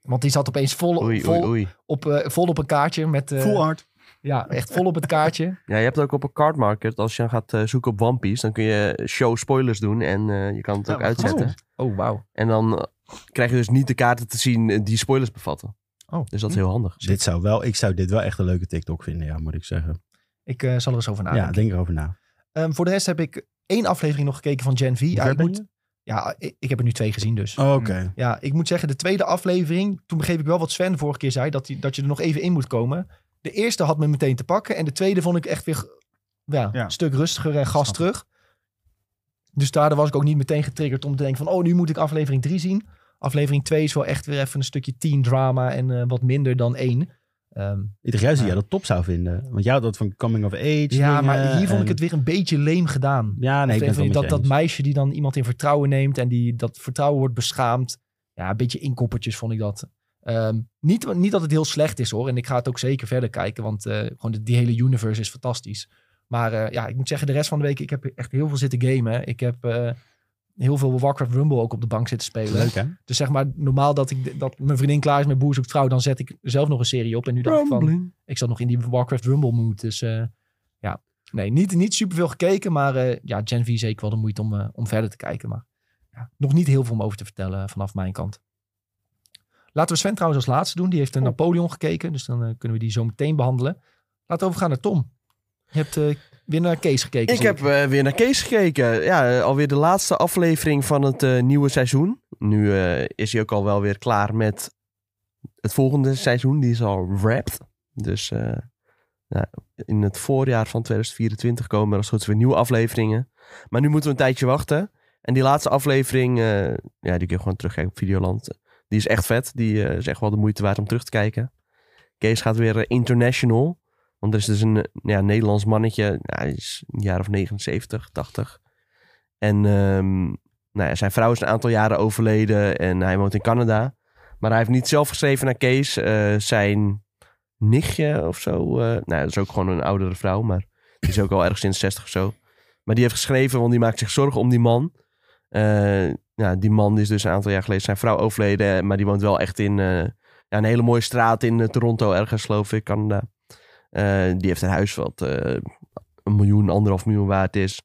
A: Want die zat opeens vol,
B: Oei,
A: vol,
B: oei, oei.
A: Op, eh, vol op een kaartje. Met, eh,
C: Full art.
A: ja, echt vol op het kaartje.
B: Ja, je hebt ook op een card market, als je dan gaat eh, zoeken op One Piece, dan kun je show spoilers doen en eh, je kan het
C: Ja,
B: ook
C: wat
B: uitzetten.
C: goed.
A: (laughs) Oh, wauw.
B: En dan eh, krijg je dus niet de kaarten te zien eh, die spoilers bevatten.
A: Oh.
B: Dus dat is heel handig.
D: (laughs) dit zou wel, ik zou dit wel echt een leuke TikTok vinden, ja, moet ik zeggen.
A: Ik eh, zal er eens over
D: Ja,
A: nadenken.
D: denk erover na.
A: Ehm, voor de rest heb ik één aflevering nog gekeken van Gen V. Ja,
D: ver
A: ik,
D: ben
A: moet,
D: je?
A: ja ik, ik heb er nu twee gezien
B: Oh,
A: dus.
D: Oké.
A: Ja, ik moet zeggen, de tweede aflevering, toen begreep ik wel wat Sven vorige keer zei, dat, die, dat je er nog even in moet komen. De eerste had me meteen te pakken en de tweede vond ik echt weer ja,
C: Ja.
A: een stuk rustiger en gas
C: Snap ik.
A: terug. Dus daardoor was ik ook niet meteen getriggerd om te denken van, oh, nu moet ik aflevering 3 zien. Aflevering 2 is wel echt weer even een stukje teen drama en eh, wat minder dan één. Ehm,
D: Ik dacht juist dat jij dat top zou vinden. Want jij had dat van coming of age.
A: ja, maar
D: dingen
A: dus, eh, hier vond ik
C: eh,
D: en-
A: het weer een beetje leem gedaan.
D: Ja, nee,
A: Of
D: ik ben het wel
A: even
D: met
A: dat,
D: je
A: dat
D: eens.
A: meisje die dan iemand in vertrouwen neemt en die dat vertrouwen wordt beschaamd. Ja, een beetje inkoppertjes vond ik dat. Ehm, niet, niet dat het heel slecht is hoor. En ik ga het ook zeker verder kijken, want eh, gewoon de- die hele universe is fantastisch. Maar eh, ja, ik moet zeggen, de rest van de week, ik heb echt heel veel zitten gamen. Ik heb eh, heel veel Warcraft Rumble ook op de bank zitten spelen.
D: Leuk, hè?
A: Dus zeg maar, normaal dat, ik, dat mijn vriendin klaar is met Boer zoekt vrouw, dan zet ik zelf nog een serie op. En nu dacht ik van, ik zat nog in die Warcraft Rumble mood. Dus eh, ja, nee, niet, niet superveel gekeken. Maar eh, ja, Gen V is zeker wel de moeite om, eh, om verder te kijken. Maar ja, nog niet heel veel om over te vertellen eh, vanaf mijn kant. Laten we Sven trouwens als laatste doen. Die heeft een
B: Oh.
A: Napoleon gekeken. Dus dan eh, kunnen we die zo meteen behandelen. Laten we overgaan naar Tom. Je hebt eh, weer naar Kees gekeken.
B: Ik
A: zie
B: heb eh, weer naar Kees gekeken. Ja, eh, alweer de laatste aflevering van het eh, nieuwe seizoen. Nu eh, is hij ook al wel weer klaar met het volgende seizoen. Die is al wrapped. Dus eh, ja, in het voorjaar van 2024 komen er als het goed is weer nieuwe afleveringen. Maar nu moeten we een tijdje wachten. En die laatste aflevering, eh, ja, die kun je gewoon terugkijken op Videoland. Die is echt vet. Die eh, is echt wel de moeite waard om terug te kijken. Kees gaat weer eh, international. Want er is dus een eh, ja, Nederlands mannetje, nou, hij is een jaar of 79, 80. En ehm, nou ja, zijn vrouw is een aantal jaren overleden en hij woont in Canada. Maar hij heeft niet zelf geschreven naar Kees. eh, zijn nichtje of zo, eh, nou, dat is ook gewoon een oudere vrouw, maar die is ook al ergens in de 60 of zo. Maar die heeft geschreven, want die maakt zich zorgen om die man. Eh, nou, die man die is dus een aantal jaar geleden zijn vrouw overleden, maar die woont wel echt in eh, ja, een hele mooie straat in eh, Toronto ergens, geloof ik, Canada. Eh, die heeft een huis wat eh, een miljoen, anderhalf miljoen waard is.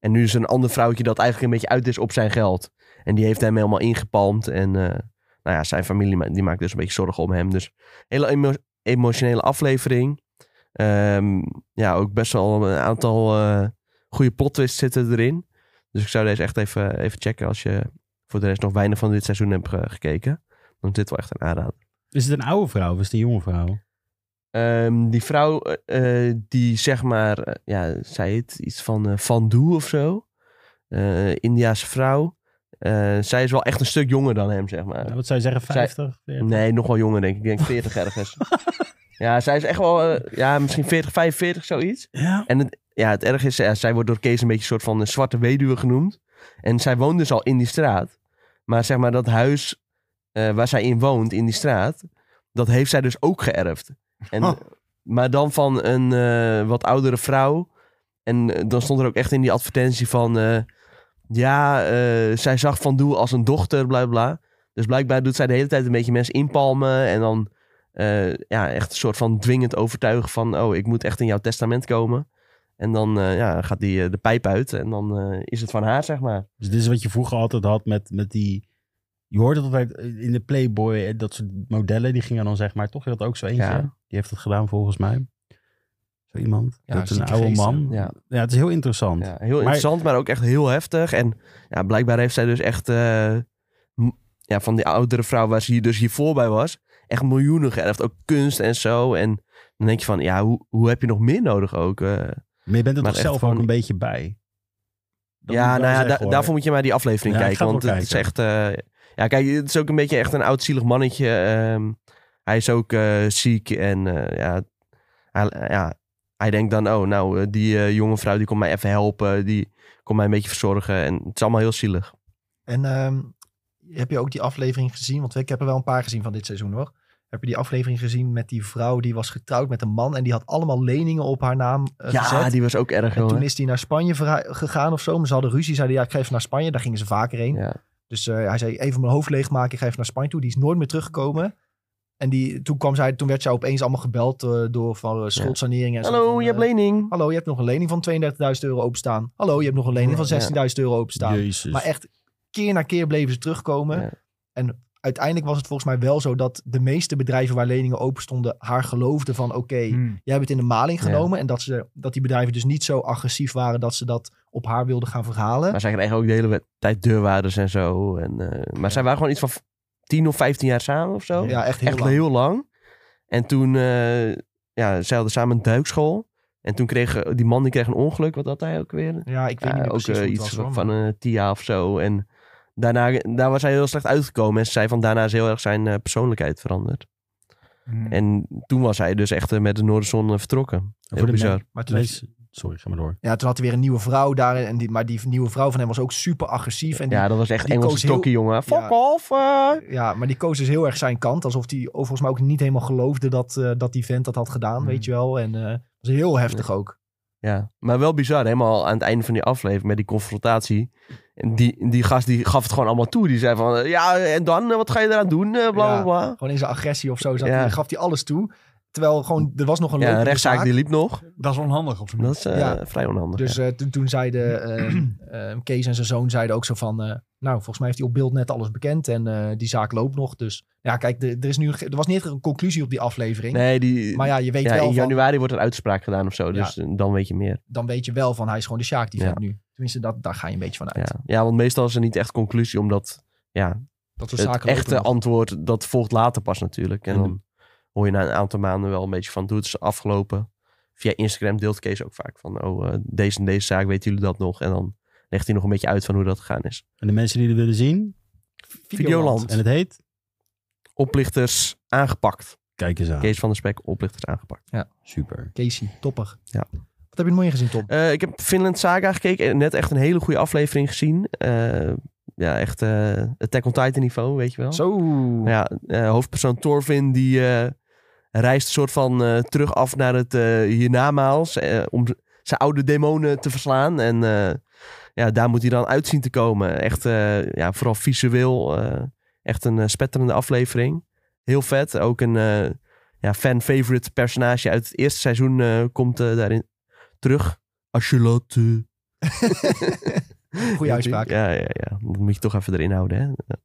B: En nu is er een ander vrouwtje dat eigenlijk een beetje uit is op zijn geld. En die heeft hem helemaal ingepalmd. En eh, nou ja, zijn familie ma- die maakt dus een beetje zorgen om hem. Dus hele emo- emotionele aflevering. Ehm, ja, ook best wel een aantal eh, goede plottwists zitten erin. Dus ik zou deze echt even, even checken als je voor de rest nog weinig van dit seizoen hebt eh, gekeken. Dan is dit wel echt een aanrader.
D: Is het een oude vrouw of is het een jonge vrouw?
B: Ehm, die vrouw, eh, eh, die zeg maar, eh, ja, zei het iets van eh, Van Doe of zo. Eh Indiaanse vrouw. Eh, zij is wel echt een stuk jonger dan hem, zeg maar.
D: Nou, wat zou je zeggen, 50? 40?
B: Nee, nog wel jonger, denk ik. Ik denk 40 ergens. ja, zij is echt wel, eh, ja, misschien 40, 45, zoiets.
D: Ja.
B: En het, ja, het erg is, ja, zij wordt door Kees een beetje een soort van eh, zwarte weduwe genoemd. En zij woont dus al in die straat. Maar zeg maar, dat huis eh, waar zij in woont, in die straat, dat heeft zij dus ook geërfd. En,
C: Oh.
B: Maar dan van een eh, wat oudere vrouw. En eh, dan stond er ook echt in die advertentie van... eh, Ja, eh, zij zag Van Doe als een dochter, bla bla. Dus blijkbaar doet zij de hele tijd een beetje mensen inpalmen. En dan eh, ja, echt een soort van dwingend overtuigen van... oh, ik moet echt in jouw testament komen. En dan eh, ja, gaat die eh, de pijp uit en dan eh, is het van haar, zeg maar.
D: Dus dit is wat je vroeger altijd had met, met die... Je hoorde het altijd in de Playboy, eh, dat soort modellen, die gingen dan zeg maar... Toch, je had ook zo eentje.
B: Ja.
D: Die heeft het gedaan volgens mij. Zo iemand.
A: Ja,
D: dat is een
A: zieke
D: oude
A: geesten.
D: man.
B: Ja.
D: Ja, het is heel interessant.
B: Ja, heel interessant, maar ook echt heel heftig. En ja, blijkbaar heeft zij dus echt... eh, m- ja, van die oudere vrouw waar ze hier dus hiervoor bij was... echt miljoenen geërfd. Ook kunst en zo. En dan denk je van, ja, hoe, hoe heb je nog meer nodig ook? eh?
D: Maar je bent
B: Maar
D: er toch
B: echt
D: zelf ook
B: gewoon-
D: een beetje bij. Dat
B: ja,
D: moet ik wel
B: nou ja,
D: zeggen,
B: da-
D: hoor.
B: daarvoor moet je maar die aflevering
D: Ja, ik
B: kijken.
D: ga
B: Want
D: het wel
B: het is echt... eh, ja, kijk, het is ook een beetje echt een oud-zielig mannetje. ehm. hij is ook eh, ziek en eh, ja, hij, ja... Hij denkt dan, oh, nou, eh, die eh, jonge vrouw die komt mij even helpen. Die komt mij een beetje verzorgen. En het is allemaal heel zielig.
A: En ehm, heb je ook die aflevering gezien? Want ik heb er wel een paar gezien van dit seizoen hoor. Heb je die aflevering gezien met die vrouw die was getrouwd met een man en die had allemaal leningen op haar naam eh,
B: Ja,
A: gezet?
B: die was ook erg
A: En
B: hoor.
A: toen is die naar Spanje verha- gegaan of zo. Maar ze hadden ruzie, zeiden ja, ik ga even naar Spanje. Daar gingen ze vaker heen.
B: Ja.
A: Dus eh, hij zei, even mijn hoofd leegmaken, ik ga even naar Spanje toe. Die is nooit meer teruggekomen. En die, toen, kwam zij, toen werd zij opeens allemaal gebeld eh, door van eh, schuldsanering. En zo
B: Hallo,
A: van,
B: je hebt
A: eh,
B: lening.
A: Hallo, je hebt nog een lening van 32.000 euro openstaan. Hallo, je hebt nog een lening van
B: Ja.
A: 16.000 euro openstaan.
D: Jezus.
A: Maar echt keer na keer bleven ze terugkomen.
B: Dus- Ja.
A: En uiteindelijk was het volgens mij wel zo dat de meeste bedrijven waar leningen open stonden, haar geloofden van oké,
B: mm.
C: Hmm.
A: jij hebt het in de maling
B: Ja.
A: genomen. En dat, ze, dat die bedrijven dus niet zo agressief waren dat ze dat op haar wilden gaan verhalen.
B: Maar zij kregen ook de hele we- tijd deurwaarders en zo. En, eh, maar zij waren gewoon iets van v- 10 of 15 jaar samen of zo.
A: ja, echt heel
B: Echt
A: lang.
B: heel lang. En toen, eh, ja, zij hadden samen een duikschool. En toen kreeg eh, die man die kreeg een ongeluk. Wat had hij ook weer?
A: Ja, ik weet
B: Ja,
A: niet meer
B: ook
A: precies
B: eh,
A: hoe het
B: iets
A: was, hoor,
B: van
A: maar-
B: een TIA of zo. En daarna, daar was hij heel slecht uitgekomen. En ze zei van daarna is heel erg zijn eh, persoonlijkheid veranderd.
C: Hmm.
B: En toen was hij dus echt eh, met de Noorderzon eh, vertrokken.
D: En
B: Heel
D: de
B: bizar.
D: men-
A: maar toen,
D: mensen- Sorry, ga maar door.
A: ja, toen had hij weer een nieuwe vrouw daar. En die, maar die nieuwe vrouw van hem was ook super agressief. En die,
B: Ja,
A: ja.
B: dat was echt
A: die
B: Engelse
A: koos heel-
B: tokkie, jongen. Fuck
A: Ja.
B: off! eh.
A: maar die koos dus heel erg zijn kant. Alsof hij volgens mij ook niet helemaal geloofde dat, eh, dat die vent dat had gedaan,
C: Mm.
A: weet je wel. En eh dat was heel heftig ook.
B: Hm. Ja, maar wel bizar. Helemaal aan het einde van die aflevering met die confrontatie. En die, die gast die gaf het gewoon allemaal toe. Die zei van, eh, ja, en dan? eh, Wat ga je eraan doen? eh, Bla,
A: Ja.
B: bla, bla.
A: Gewoon in zijn agressie of zo zat
B: Ja.
A: hij- gaf hij alles toe. Terwijl gewoon, er was nog een
B: Ja, een
A: lopende
B: rechtszaak
A: zaak.
B: die liep nog.
C: Dat is onhandig op zijn
B: Dat is eh,
A: Ja.
B: vrij onhandig.
A: Dus
B: ja.
A: eh, toen, toen zeiden eh, eh, Kees en zijn zoon zeiden ook zo van... eh, nou, volgens mij heeft hij op beeld net alles bekend en eh, die zaak loopt nog. Dus ja, kijk, de- er, is nu, ge- er was niet echt een conclusie op die aflevering.
B: nee, die,
A: Maar ja, je weet
B: ja,
A: wel van,
B: in januari wordt er uitspraak gedaan of zo. Dus eh, dan weet je meer.
A: dan weet je wel van hij is gewoon de Sjaak die
B: Ja.
A: vent nu. Tenminste, dat, daar ga je een beetje van
B: Ja.
A: uit.
B: ja, want meestal is er niet echt conclusie. Omdat ja,
A: Dat soort
B: het
A: zaken lopen
B: echte
A: nog.
B: antwoord, dat volgt later pas natuurlijk. En
D: En de-
B: dan hoor je na een aantal maanden wel een beetje van, hoe het is afgelopen. Via Instagram deelt Kees ook vaak van, oh, eh, deze en deze zaak, weten jullie dat nog? En dan legt hij nog een beetje uit van hoe dat gegaan is.
D: En de mensen die het willen zien.
B: Videoland.
D: En het heet?
B: Oplichters aangepakt.
D: Kijk eens aan.
B: Kees van der Spek, oplichters aangepakt.
D: Super.
A: Casey, topper.
B: Ja.
A: Wat heb je mooi gezien, Tom?
B: Eh, ik heb Finland Saga gekeken en net echt een hele goede aflevering gezien. Eh, ja, echt eh Attack on Titan niveau, weet je wel.
A: Zo.
B: Ja, eh, hoofdpersoon Thorfinn die eh, reist een soort van eh, terug af naar het eh hiernamaals eh, om z- zijn oude demonen te verslaan. En eh, ja, daar moet hij dan uit zien te komen. Echt, eh, ja, vooral visueel, eh, echt een eh, spetterende aflevering. Heel vet. Ook een eh, ja, fan-favorite personage uit het eerste seizoen eh, komt eh, daarin terug. Ashelotte.
A: Goeie uitspraak.
B: Ja, ja, ja. Dat moet je toch even erin houden, hè? Ja.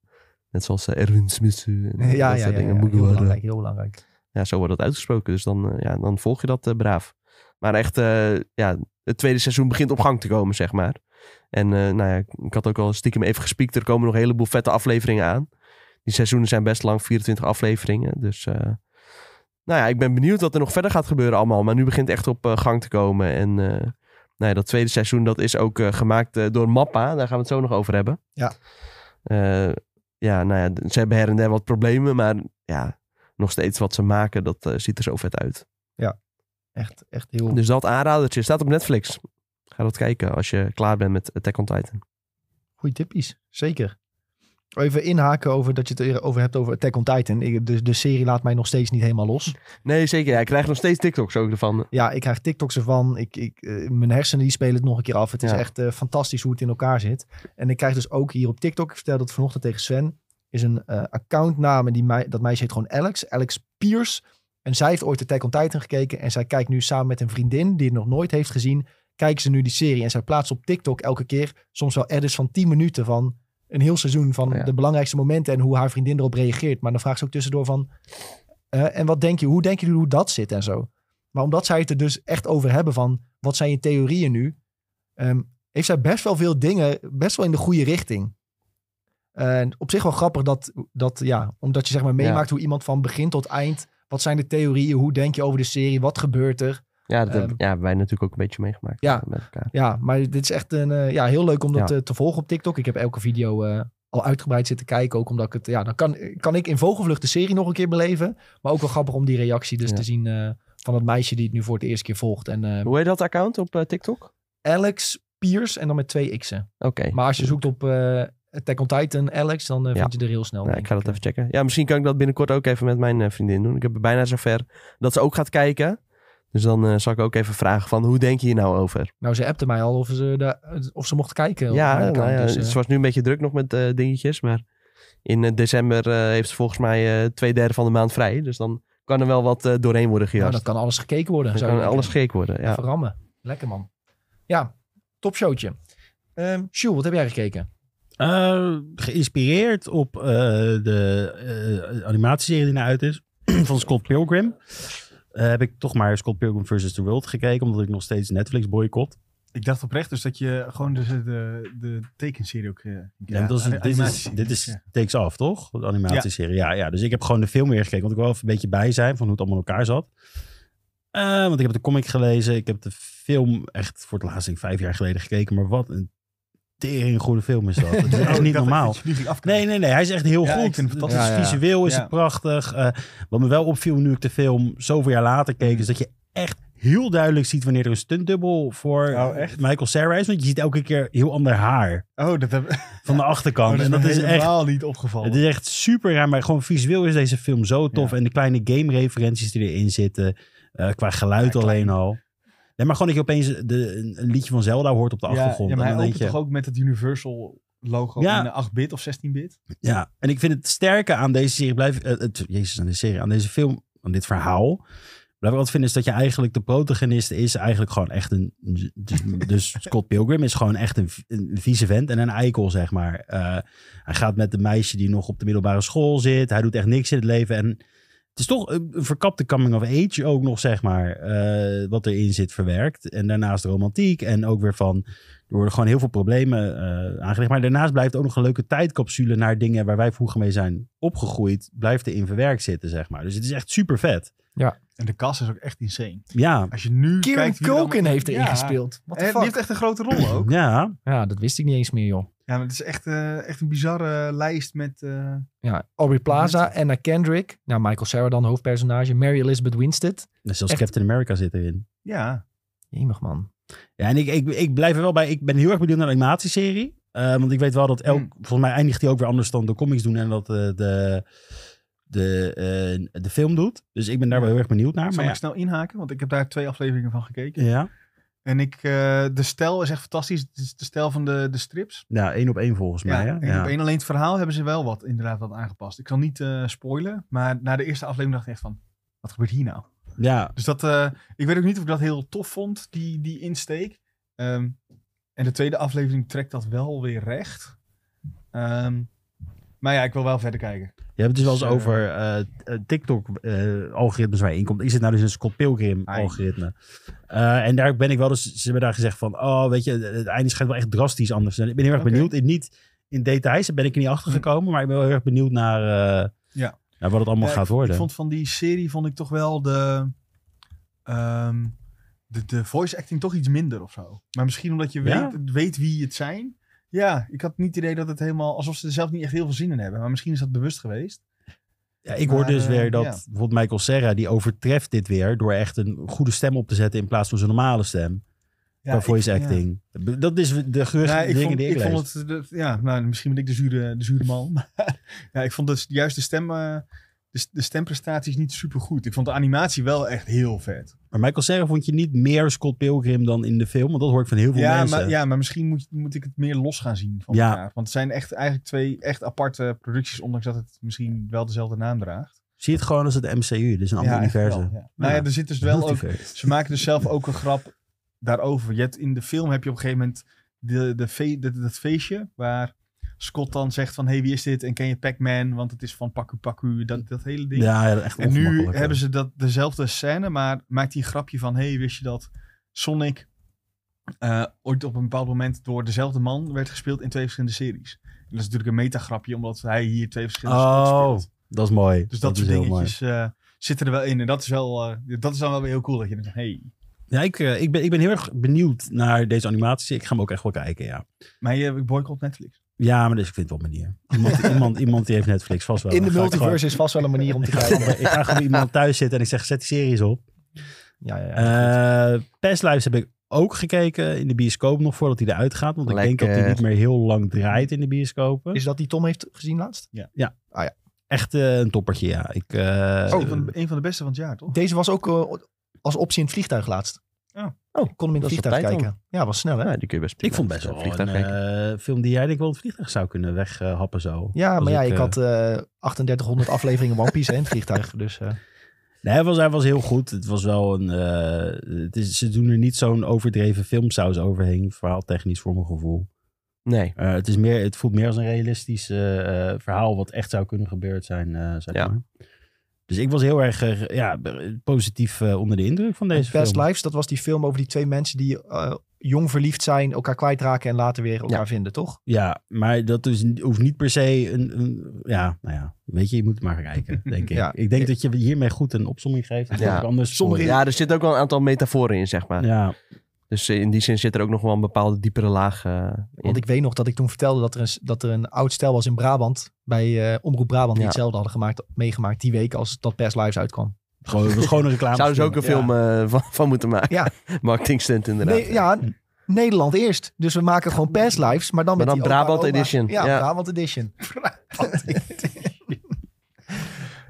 B: Net zoals eh, Erwin Smith. eh, en
A: Ja,
B: dat
A: ja,
B: soort
A: ja, ja,
B: dingen.
A: ja. Heel
B: Mugwort, eh.
A: belangrijk, heel belangrijk.
B: Ja, zo wordt dat uitgesproken. Dus dan, eh, ja, dan volg je dat eh, braaf. Maar echt, eh, ja, het tweede seizoen begint op gang te komen, zeg maar. En eh, nou ja, ik- ik had ook al stiekem even gespiekt. Er komen nog een heleboel vette afleveringen aan. Die seizoenen zijn best lang, 24 afleveringen. Dus eh, nou ja, ik ben benieuwd wat er nog verder gaat gebeuren allemaal. Maar nu begint het echt op eh, gang te komen. En eh, nou ja, dat tweede seizoen dat is ook eh, gemaakt eh, door Mappa. Daar gaan we het zo nog over hebben.
A: Ja.
B: Eh, ja, nou ja, d- ze hebben her en der wat problemen. Maar ja, nog steeds wat ze maken, dat eh, ziet er zo vet uit.
A: Echt, echt heel...
B: Dus dat aanradertje staat op Netflix. Ga dat kijken als je klaar bent met Attack on Titan.
A: Goeie tippies, zeker. Even inhaken over dat je het er over hebt over Attack on Titan. Ik, de, de serie laat mij nog steeds niet helemaal los.
B: Nee, zeker. Hij krijgt nog steeds TikToks ook ervan.
A: Ja, ik krijg TikToks ervan. Ik, ik, eh, mijn hersenen die spelen het nog een keer af. Het is
B: Ja.
A: echt eh, fantastisch hoe het in elkaar zit. En ik krijg dus ook hier op TikTok, ik vertelde dat vanochtend tegen Sven, is een eh, accountnaam. en Die mei, dat meisje heet gewoon Alex, Alex Piers. En zij heeft ooit Attack on Titan gekeken. En zij kijkt nu samen met een vriendin die het nog nooit heeft gezien. Kijken ze nu die serie. En zij plaatst op TikTok elke keer soms wel edits van 10 minuten van een heel seizoen. Van
B: Ja.
A: de belangrijkste momenten en hoe haar vriendin erop reageert. Maar dan vraagt ze ook tussendoor van... eh, en wat denk je? Hoe denken jullie hoe dat zit en zo? Maar omdat zij het er dus echt over hebben van wat zijn je theorieën nu, ehm, heeft zij best wel veel dingen, best wel in de goede richting. En op zich wel grappig dat, dat ja, omdat je zeg maar meemaakt hoe iemand van begin tot eind, wat zijn de theorieën, hoe denk je over de serie, wat gebeurt er?
B: Ja, dat
A: Ehm.
B: hebben ja, wij natuurlijk ook een beetje meegemaakt
A: Ja.
B: met elkaar.
A: Ja, maar dit is echt een, eh, ja, heel leuk om dat
B: Ja.
A: eh, te volgen op TikTok. Ik heb elke video eh, al uitgebreid zitten kijken, ook omdat ik het, ja, dan kan, kan ik in vogelvlucht de serie nog een keer beleven. Maar ook wel grappig om die reactie dus
B: Ja.
A: te zien eh, van dat meisje die het nu voor het eerste keer volgt. En eh,
B: Hoe heet dat account op eh, TikTok? Oké.
A: Alex Piers en dan met twee x'en. Maar als je zoekt op eh Attack on Titan, Alex, dan eh,
B: Ja.
A: vind je er heel snel.
B: Nou,
A: denk
B: ik ga dat even checken. Ja, misschien kan ik dat binnenkort ook even met mijn eh, vriendin doen. Ik heb het bijna zover dat ze ook gaat kijken. Dus dan eh, zal ik ook even vragen van hoe denk je hier nou over?
A: Nou, ze appte mij al of ze, daar- of ze mocht kijken. op
B: ja,
A: mijn
B: nou
A: account,
B: ja,
A: dus, eh,
B: ze was nu een beetje druk nog met eh, dingetjes. Maar in eh, december eh, heeft ze volgens mij eh, twee derde van de maand vrij. Dus dan kan er wel wat eh, doorheen worden
A: nou,
B: gejast.
A: dat kan alles gekeken worden.
B: dan
A: zou
B: kan
A: je
B: alles
A: denken.
B: gek worden. Ja.
A: Even rammen. Lekker man. Ja, top showtje. Ehm Sjoel, wat heb jij gekeken?
D: Eh, geïnspireerd op eh, de eh, animatieserie die naar uit is (clears throat) van Scott Pilgrim. eh, heb ik toch maar Scott Pilgrim vs. The World gekeken, omdat ik nog steeds Netflix boycott.
C: Ik dacht oprecht dus dat je gewoon dus de, de tekenserie ook... eh,
D: En dat is,
C: an-
D: dit is,
C: animatieserie.
D: dit is
C: Ja.
D: Takes Off, toch? De animatieserie. Ja. Ja, dus ik heb gewoon de film weer gekeken, want ik wil even een beetje bij zijn van hoe het allemaal in elkaar zat. Eh, want ik heb de comic gelezen, ik heb de film echt voor het laatst denk ik, vijf jaar geleden gekeken, maar wat een tering goede film is dat. Het
C: (laughs) Oh, ik
D: is echt
C: dacht
D: niet
C: echt
D: normaal.
C: dat je die ging afkijken.
D: Nee, nee, nee. Hij is echt heel
C: Ja,
D: goed.
C: ik vind hem fantastisch.
D: Het is
C: Ja, ja, ja.
D: Visueel is
C: Ja.
D: het prachtig. Eh, wat me wel opviel nu ik de film zoveel jaar later
C: Mm.
D: keek, is dat je echt heel duidelijk ziet wanneer er een stuntdubbel voor
C: Oh, echt?
D: Michael Cera is. Want je ziet elke keer heel ander haar
C: Oh, dat heb
D: van de
C: oh,
D: achterkant.
C: dat is
D: en dat
C: me
D: is echt,
C: helemaal niet opgevallen.
D: het is echt super raar. Maar gewoon visueel is deze film zo tof.
C: Ja.
D: En de kleine game-referenties die erin zitten, eh, qua geluid
C: Ja,
D: alleen al. Nee, maar gewoon dat je opeens de, een een liedje van Zelda hoort op de achtergrond.
C: Ja, maar hij
D: en dan denk
C: opent
D: je,
C: toch ook met het Universal logo
D: Ja.
C: in de 8-bit of 16-bit?
D: Ja, en ik vind het sterke aan deze serie blijf, eh, het, jezus, aan deze serie, aan deze film, aan dit verhaal, blijf ik altijd vinden is dat je eigenlijk de protagonist is eigenlijk gewoon echt een, dus, dus Scott Pilgrim is gewoon echt een, v- een vieze vent en een eikel zeg maar. Eh, hij gaat met een meisje die nog op de middelbare school zit, hij doet echt niks in het leven en het is toch een een verkapte coming of age ook nog zeg maar, eh, wat erin zit verwerkt en daarnaast romantiek en ook weer van er worden gewoon heel veel problemen eh aangelegd. Maar daarnaast blijft ook nog een leuke tijdcapsule naar dingen waar wij vroeger mee zijn opgegroeid. Blijft erin verwerkt zitten, zeg maar. Dus het is echt super vet.
C: En de kast is ook echt insane.
D: Ja,
C: Als je nu
A: Kieran
C: kijkt... wie er allemaal-
A: Culkin heeft erin
C: Hm, Ja.
A: gespeeld. What the
C: En
A: fuck?
C: die heeft echt een grote
D: (clears throat)
C: rol ook.
D: ja.
A: Ja, dat wist ik niet eens meer, joh.
C: Ja, maar het is echt, eh, echt een bizarre lijst met... eh,
A: Ja, Aubrey Plaza, Anna Kendrick. Nou, Michael Cera dan, hoofdpersonage. Mary Elizabeth Winstead.
D: En zelfs
A: Echt.
D: Captain America zit erin.
C: ja,
A: Jemig, man.
D: Ja, en ik, ik, ik blijf er wel bij. Ik ben heel erg benieuwd naar de animatieserie. Eh, want ik weet wel dat elk...
C: Hmm.
D: Volgens mij eindigt die ook weer anders dan de comics doen en dat eh, de, de, eh, de film doet. Dus ik ben daar wel heel erg benieuwd naar.
C: zal
D: Maar
C: ik
D: ja.
C: snel inhaken? Want ik heb daar twee afleveringen van gekeken.
D: Ja.
C: En ik, eh, de stijl is echt fantastisch. Het is de stijl van de, de strips.
D: ja, één op één volgens mij.
C: Ja,
D: hè?
C: en
D: Ja.
C: op één alleen het verhaal hebben ze wel wat inderdaad wat aangepast. Ik zal niet eh, spoilen, maar na de eerste aflevering dacht ik echt van, wat gebeurt hier nou?
D: ja,
C: Dus dat, eh, ik weet ook niet of ik dat heel tof vond, die, die insteek. Ehm, en de tweede aflevering trekt dat wel weer recht. Ehm, maar ja, ik wil wel verder kijken.
D: Je hebt het dus wel eens
C: Dus, eh,
D: over TikTok-algoritmes eh, waar je in komt. Is het nou dus een Scott Pilgrim-algoritme? Eh, en daar ben ik wel dus, ze hebben daar gezegd van, oh weet je, het einde schijnt wel echt drastisch anders. te zijn. Ik ben heel erg
C: Oké. Hm.
D: benieuwd, in, niet in details, daar ben ik er niet achter gekomen, maar ik ben wel heel erg benieuwd naar, eh,
C: Ja.
D: naar wat het allemaal
C: Ja,
D: gaat worden.
C: Ik vond van die serie vond ik toch wel de, ehm, de, de voice acting toch iets minder of zo. Maar misschien omdat je
D: Ja?
C: weet, weet wie het zijn. Ja, ik had niet het idee dat het helemaal... Alsof ze er zelf niet echt heel veel zin in hebben. Maar misschien is dat bewust geweest.
D: ja, ik hoor
C: maar,
D: dus
C: eh,
D: weer dat
C: ja.
D: bijvoorbeeld Michael Serra, die overtreft dit weer door echt een goede stem op te zetten in plaats van zijn normale stem.
C: Ja,
D: qua
C: ik-
D: voice
C: ja.
D: acting. Dat is de geurige
C: Nee, ik
D: dingen
C: vond,
D: die ik,
C: ik
D: lees.
C: vond het, dat- ja, nou, misschien ben ik de zure, de zure man. (laughs) Maar ja, ik vond dus juist de stem, eh, de, de stemprestaties niet super goed. Ik vond de animatie wel echt heel vet.
D: Maar Michael Cera vond je niet meer Scott Pilgrim dan in de film? Want dat hoor ik van heel veel
C: Ja
D: mensen.
C: maar, ja, maar misschien moet, moet ik het meer los gaan zien van
D: Ja.
C: elkaar. Want het zijn echt eigenlijk twee echt aparte producties, ondanks dat het misschien wel dezelfde naam draagt.
D: Zie je het gewoon als het MCU, dus een ander
C: ja, echt
D: universum.
C: wel, ja. Nou ja,
D: Ja.
C: er zit dus wel ook
D: Multiverse.
C: Ze maken dus zelf ook een grap daarover. Je hebt, in de film heb je op een gegeven moment de, de fe- dat- dat feestje waar Scott dan zegt van... hey, wie is dit? En ken je Pac-Man? Want het is van Paku Paku, dat, dat hele ding.
D: Ja, ja, echt
C: en nu
D: ongemakkelijk,
C: hebben
D: ja.
C: ze dat, dezelfde scène, maar maakt hij een grapje van... hey, wist je dat Sonic eh, ooit op een bepaald moment door dezelfde man werd gespeeld in twee verschillende series? En dat is natuurlijk een metagrapje, omdat hij hier twee verschillende Scots
D: Oh,
C: speelt.
D: dat is mooi.
C: Dus dat,
D: is
C: soort
D: heel mooi.
C: dingetjes eh, zitten er wel in. En dat is, wel, eh, dat is dan wel weer heel cool dat je denkt, hey,
D: Ja, ik, eh, ik, ben, ik ben heel erg benieuwd naar deze animaties. Ik ga hem ook echt wel kijken, ja.
C: Maar je boycott Netflix.
D: Ja, maar dus ik vind het wel een manier. Iemand,
C: (laughs)
D: iemand, iemand die heeft Netflix vast wel.
A: In de
D: Dan ga ik
A: multiverse is vast wel een manier om te
D: gewoon-
A: kijken.
D: (laughs) Ik ga gewoon bij iemand thuis zitten en ik zeg, zet die series op.
A: (laughs) Ja, ja, ja.
D: Eh Past Lives heb ik ook gekeken in de bioscoop nog voordat hij eruit gaat. Want ik denk dat hij
B: Lekker.
D: niet meer heel lang draait in de bioscopen.
A: Eh, Is dat die Tom heeft gezien laatst?
D: echt eh, een toppertje, ja. Ik, eh,
C: Oh, een, van de, een van de beste van het jaar, toch?
A: Deze was ook eh, als optie in het vliegtuig laatst.
C: Oh.
A: ik kon hem in het
B: Dat is op
A: vliegtuig
B: tijd dan.
A: kijken. Ja, was snel hè?
B: Ja, die kun je best
D: ik
B: prima
D: vond best
B: met,
D: wel
B: eh,
D: een
B: vliegtuig kijken.
D: eh, film die jij denk ik wel in het vliegtuig zou kunnen weghappen zo.
A: Ja,
D: Als
A: maar ja,
D: ik,
A: ik
D: eh,
A: had eh 3800 afleveringen One Piece hè, in het vliegtuig. Dus eh,
D: Nee, hij was, hij was heel goed. Het was wel een. eh, het is, ze doen er niet zo'n overdreven filmsaus overheen. Verhaal technisch voor mijn gevoel.
B: Nee.
D: Eh, het, is meer, het voelt meer als een realistisch eh, eh, verhaal. wat echt zou kunnen gebeurd zijn. eh, zeg
B: Ja.
D: maar. Dus ik was heel erg eh, ja, b- positief eh, onder de indruk van deze
A: Past
D: film.
A: Lives, dat was die film over die twee mensen die eh, jong verliefd zijn, elkaar kwijtraken en later weer elkaar vinden, toch?
D: Ja, maar dat is, hoeft niet per se een, een- Ja, nou ja, weet je, je moet het maar gaan
B: (laughs)
D: kijken, denk ik.
A: Ja.
D: Ik denk dat je hiermee goed een opzomming geeft. Dat
B: Ja.
D: heb ik anders
A: Sommige-
D: voor-
B: Ja, er zitten ook wel een aantal metaforen in, zeg maar.
D: Ja,
B: Dus in die zin zit er ook nog wel een bepaalde diepere laag eh, in.
A: Want ik weet nog dat ik toen vertelde dat er een, dat er een oud stel was in Brabant, bij eh, Omroep Brabant, die
B: Ja.
A: hetzelfde hadden gemaakt, meegemaakt die week als dat Past Lives uitkwam.
D: gewoon, het was gewoon een reclame.
B: Zouden ze ook een
A: Ja.
B: film eh, van, van moeten maken? (laughs)
A: Ja.
B: Marketing stunt inderdaad.
A: Nee, ja, Nederland eerst. Dus we maken gewoon Past Lives, maar dan
B: Maar
A: met die
B: dan
A: opa en
B: Brabant
A: oma.
B: edition.
A: Ja,
B: Ja.
A: Brabant Edition.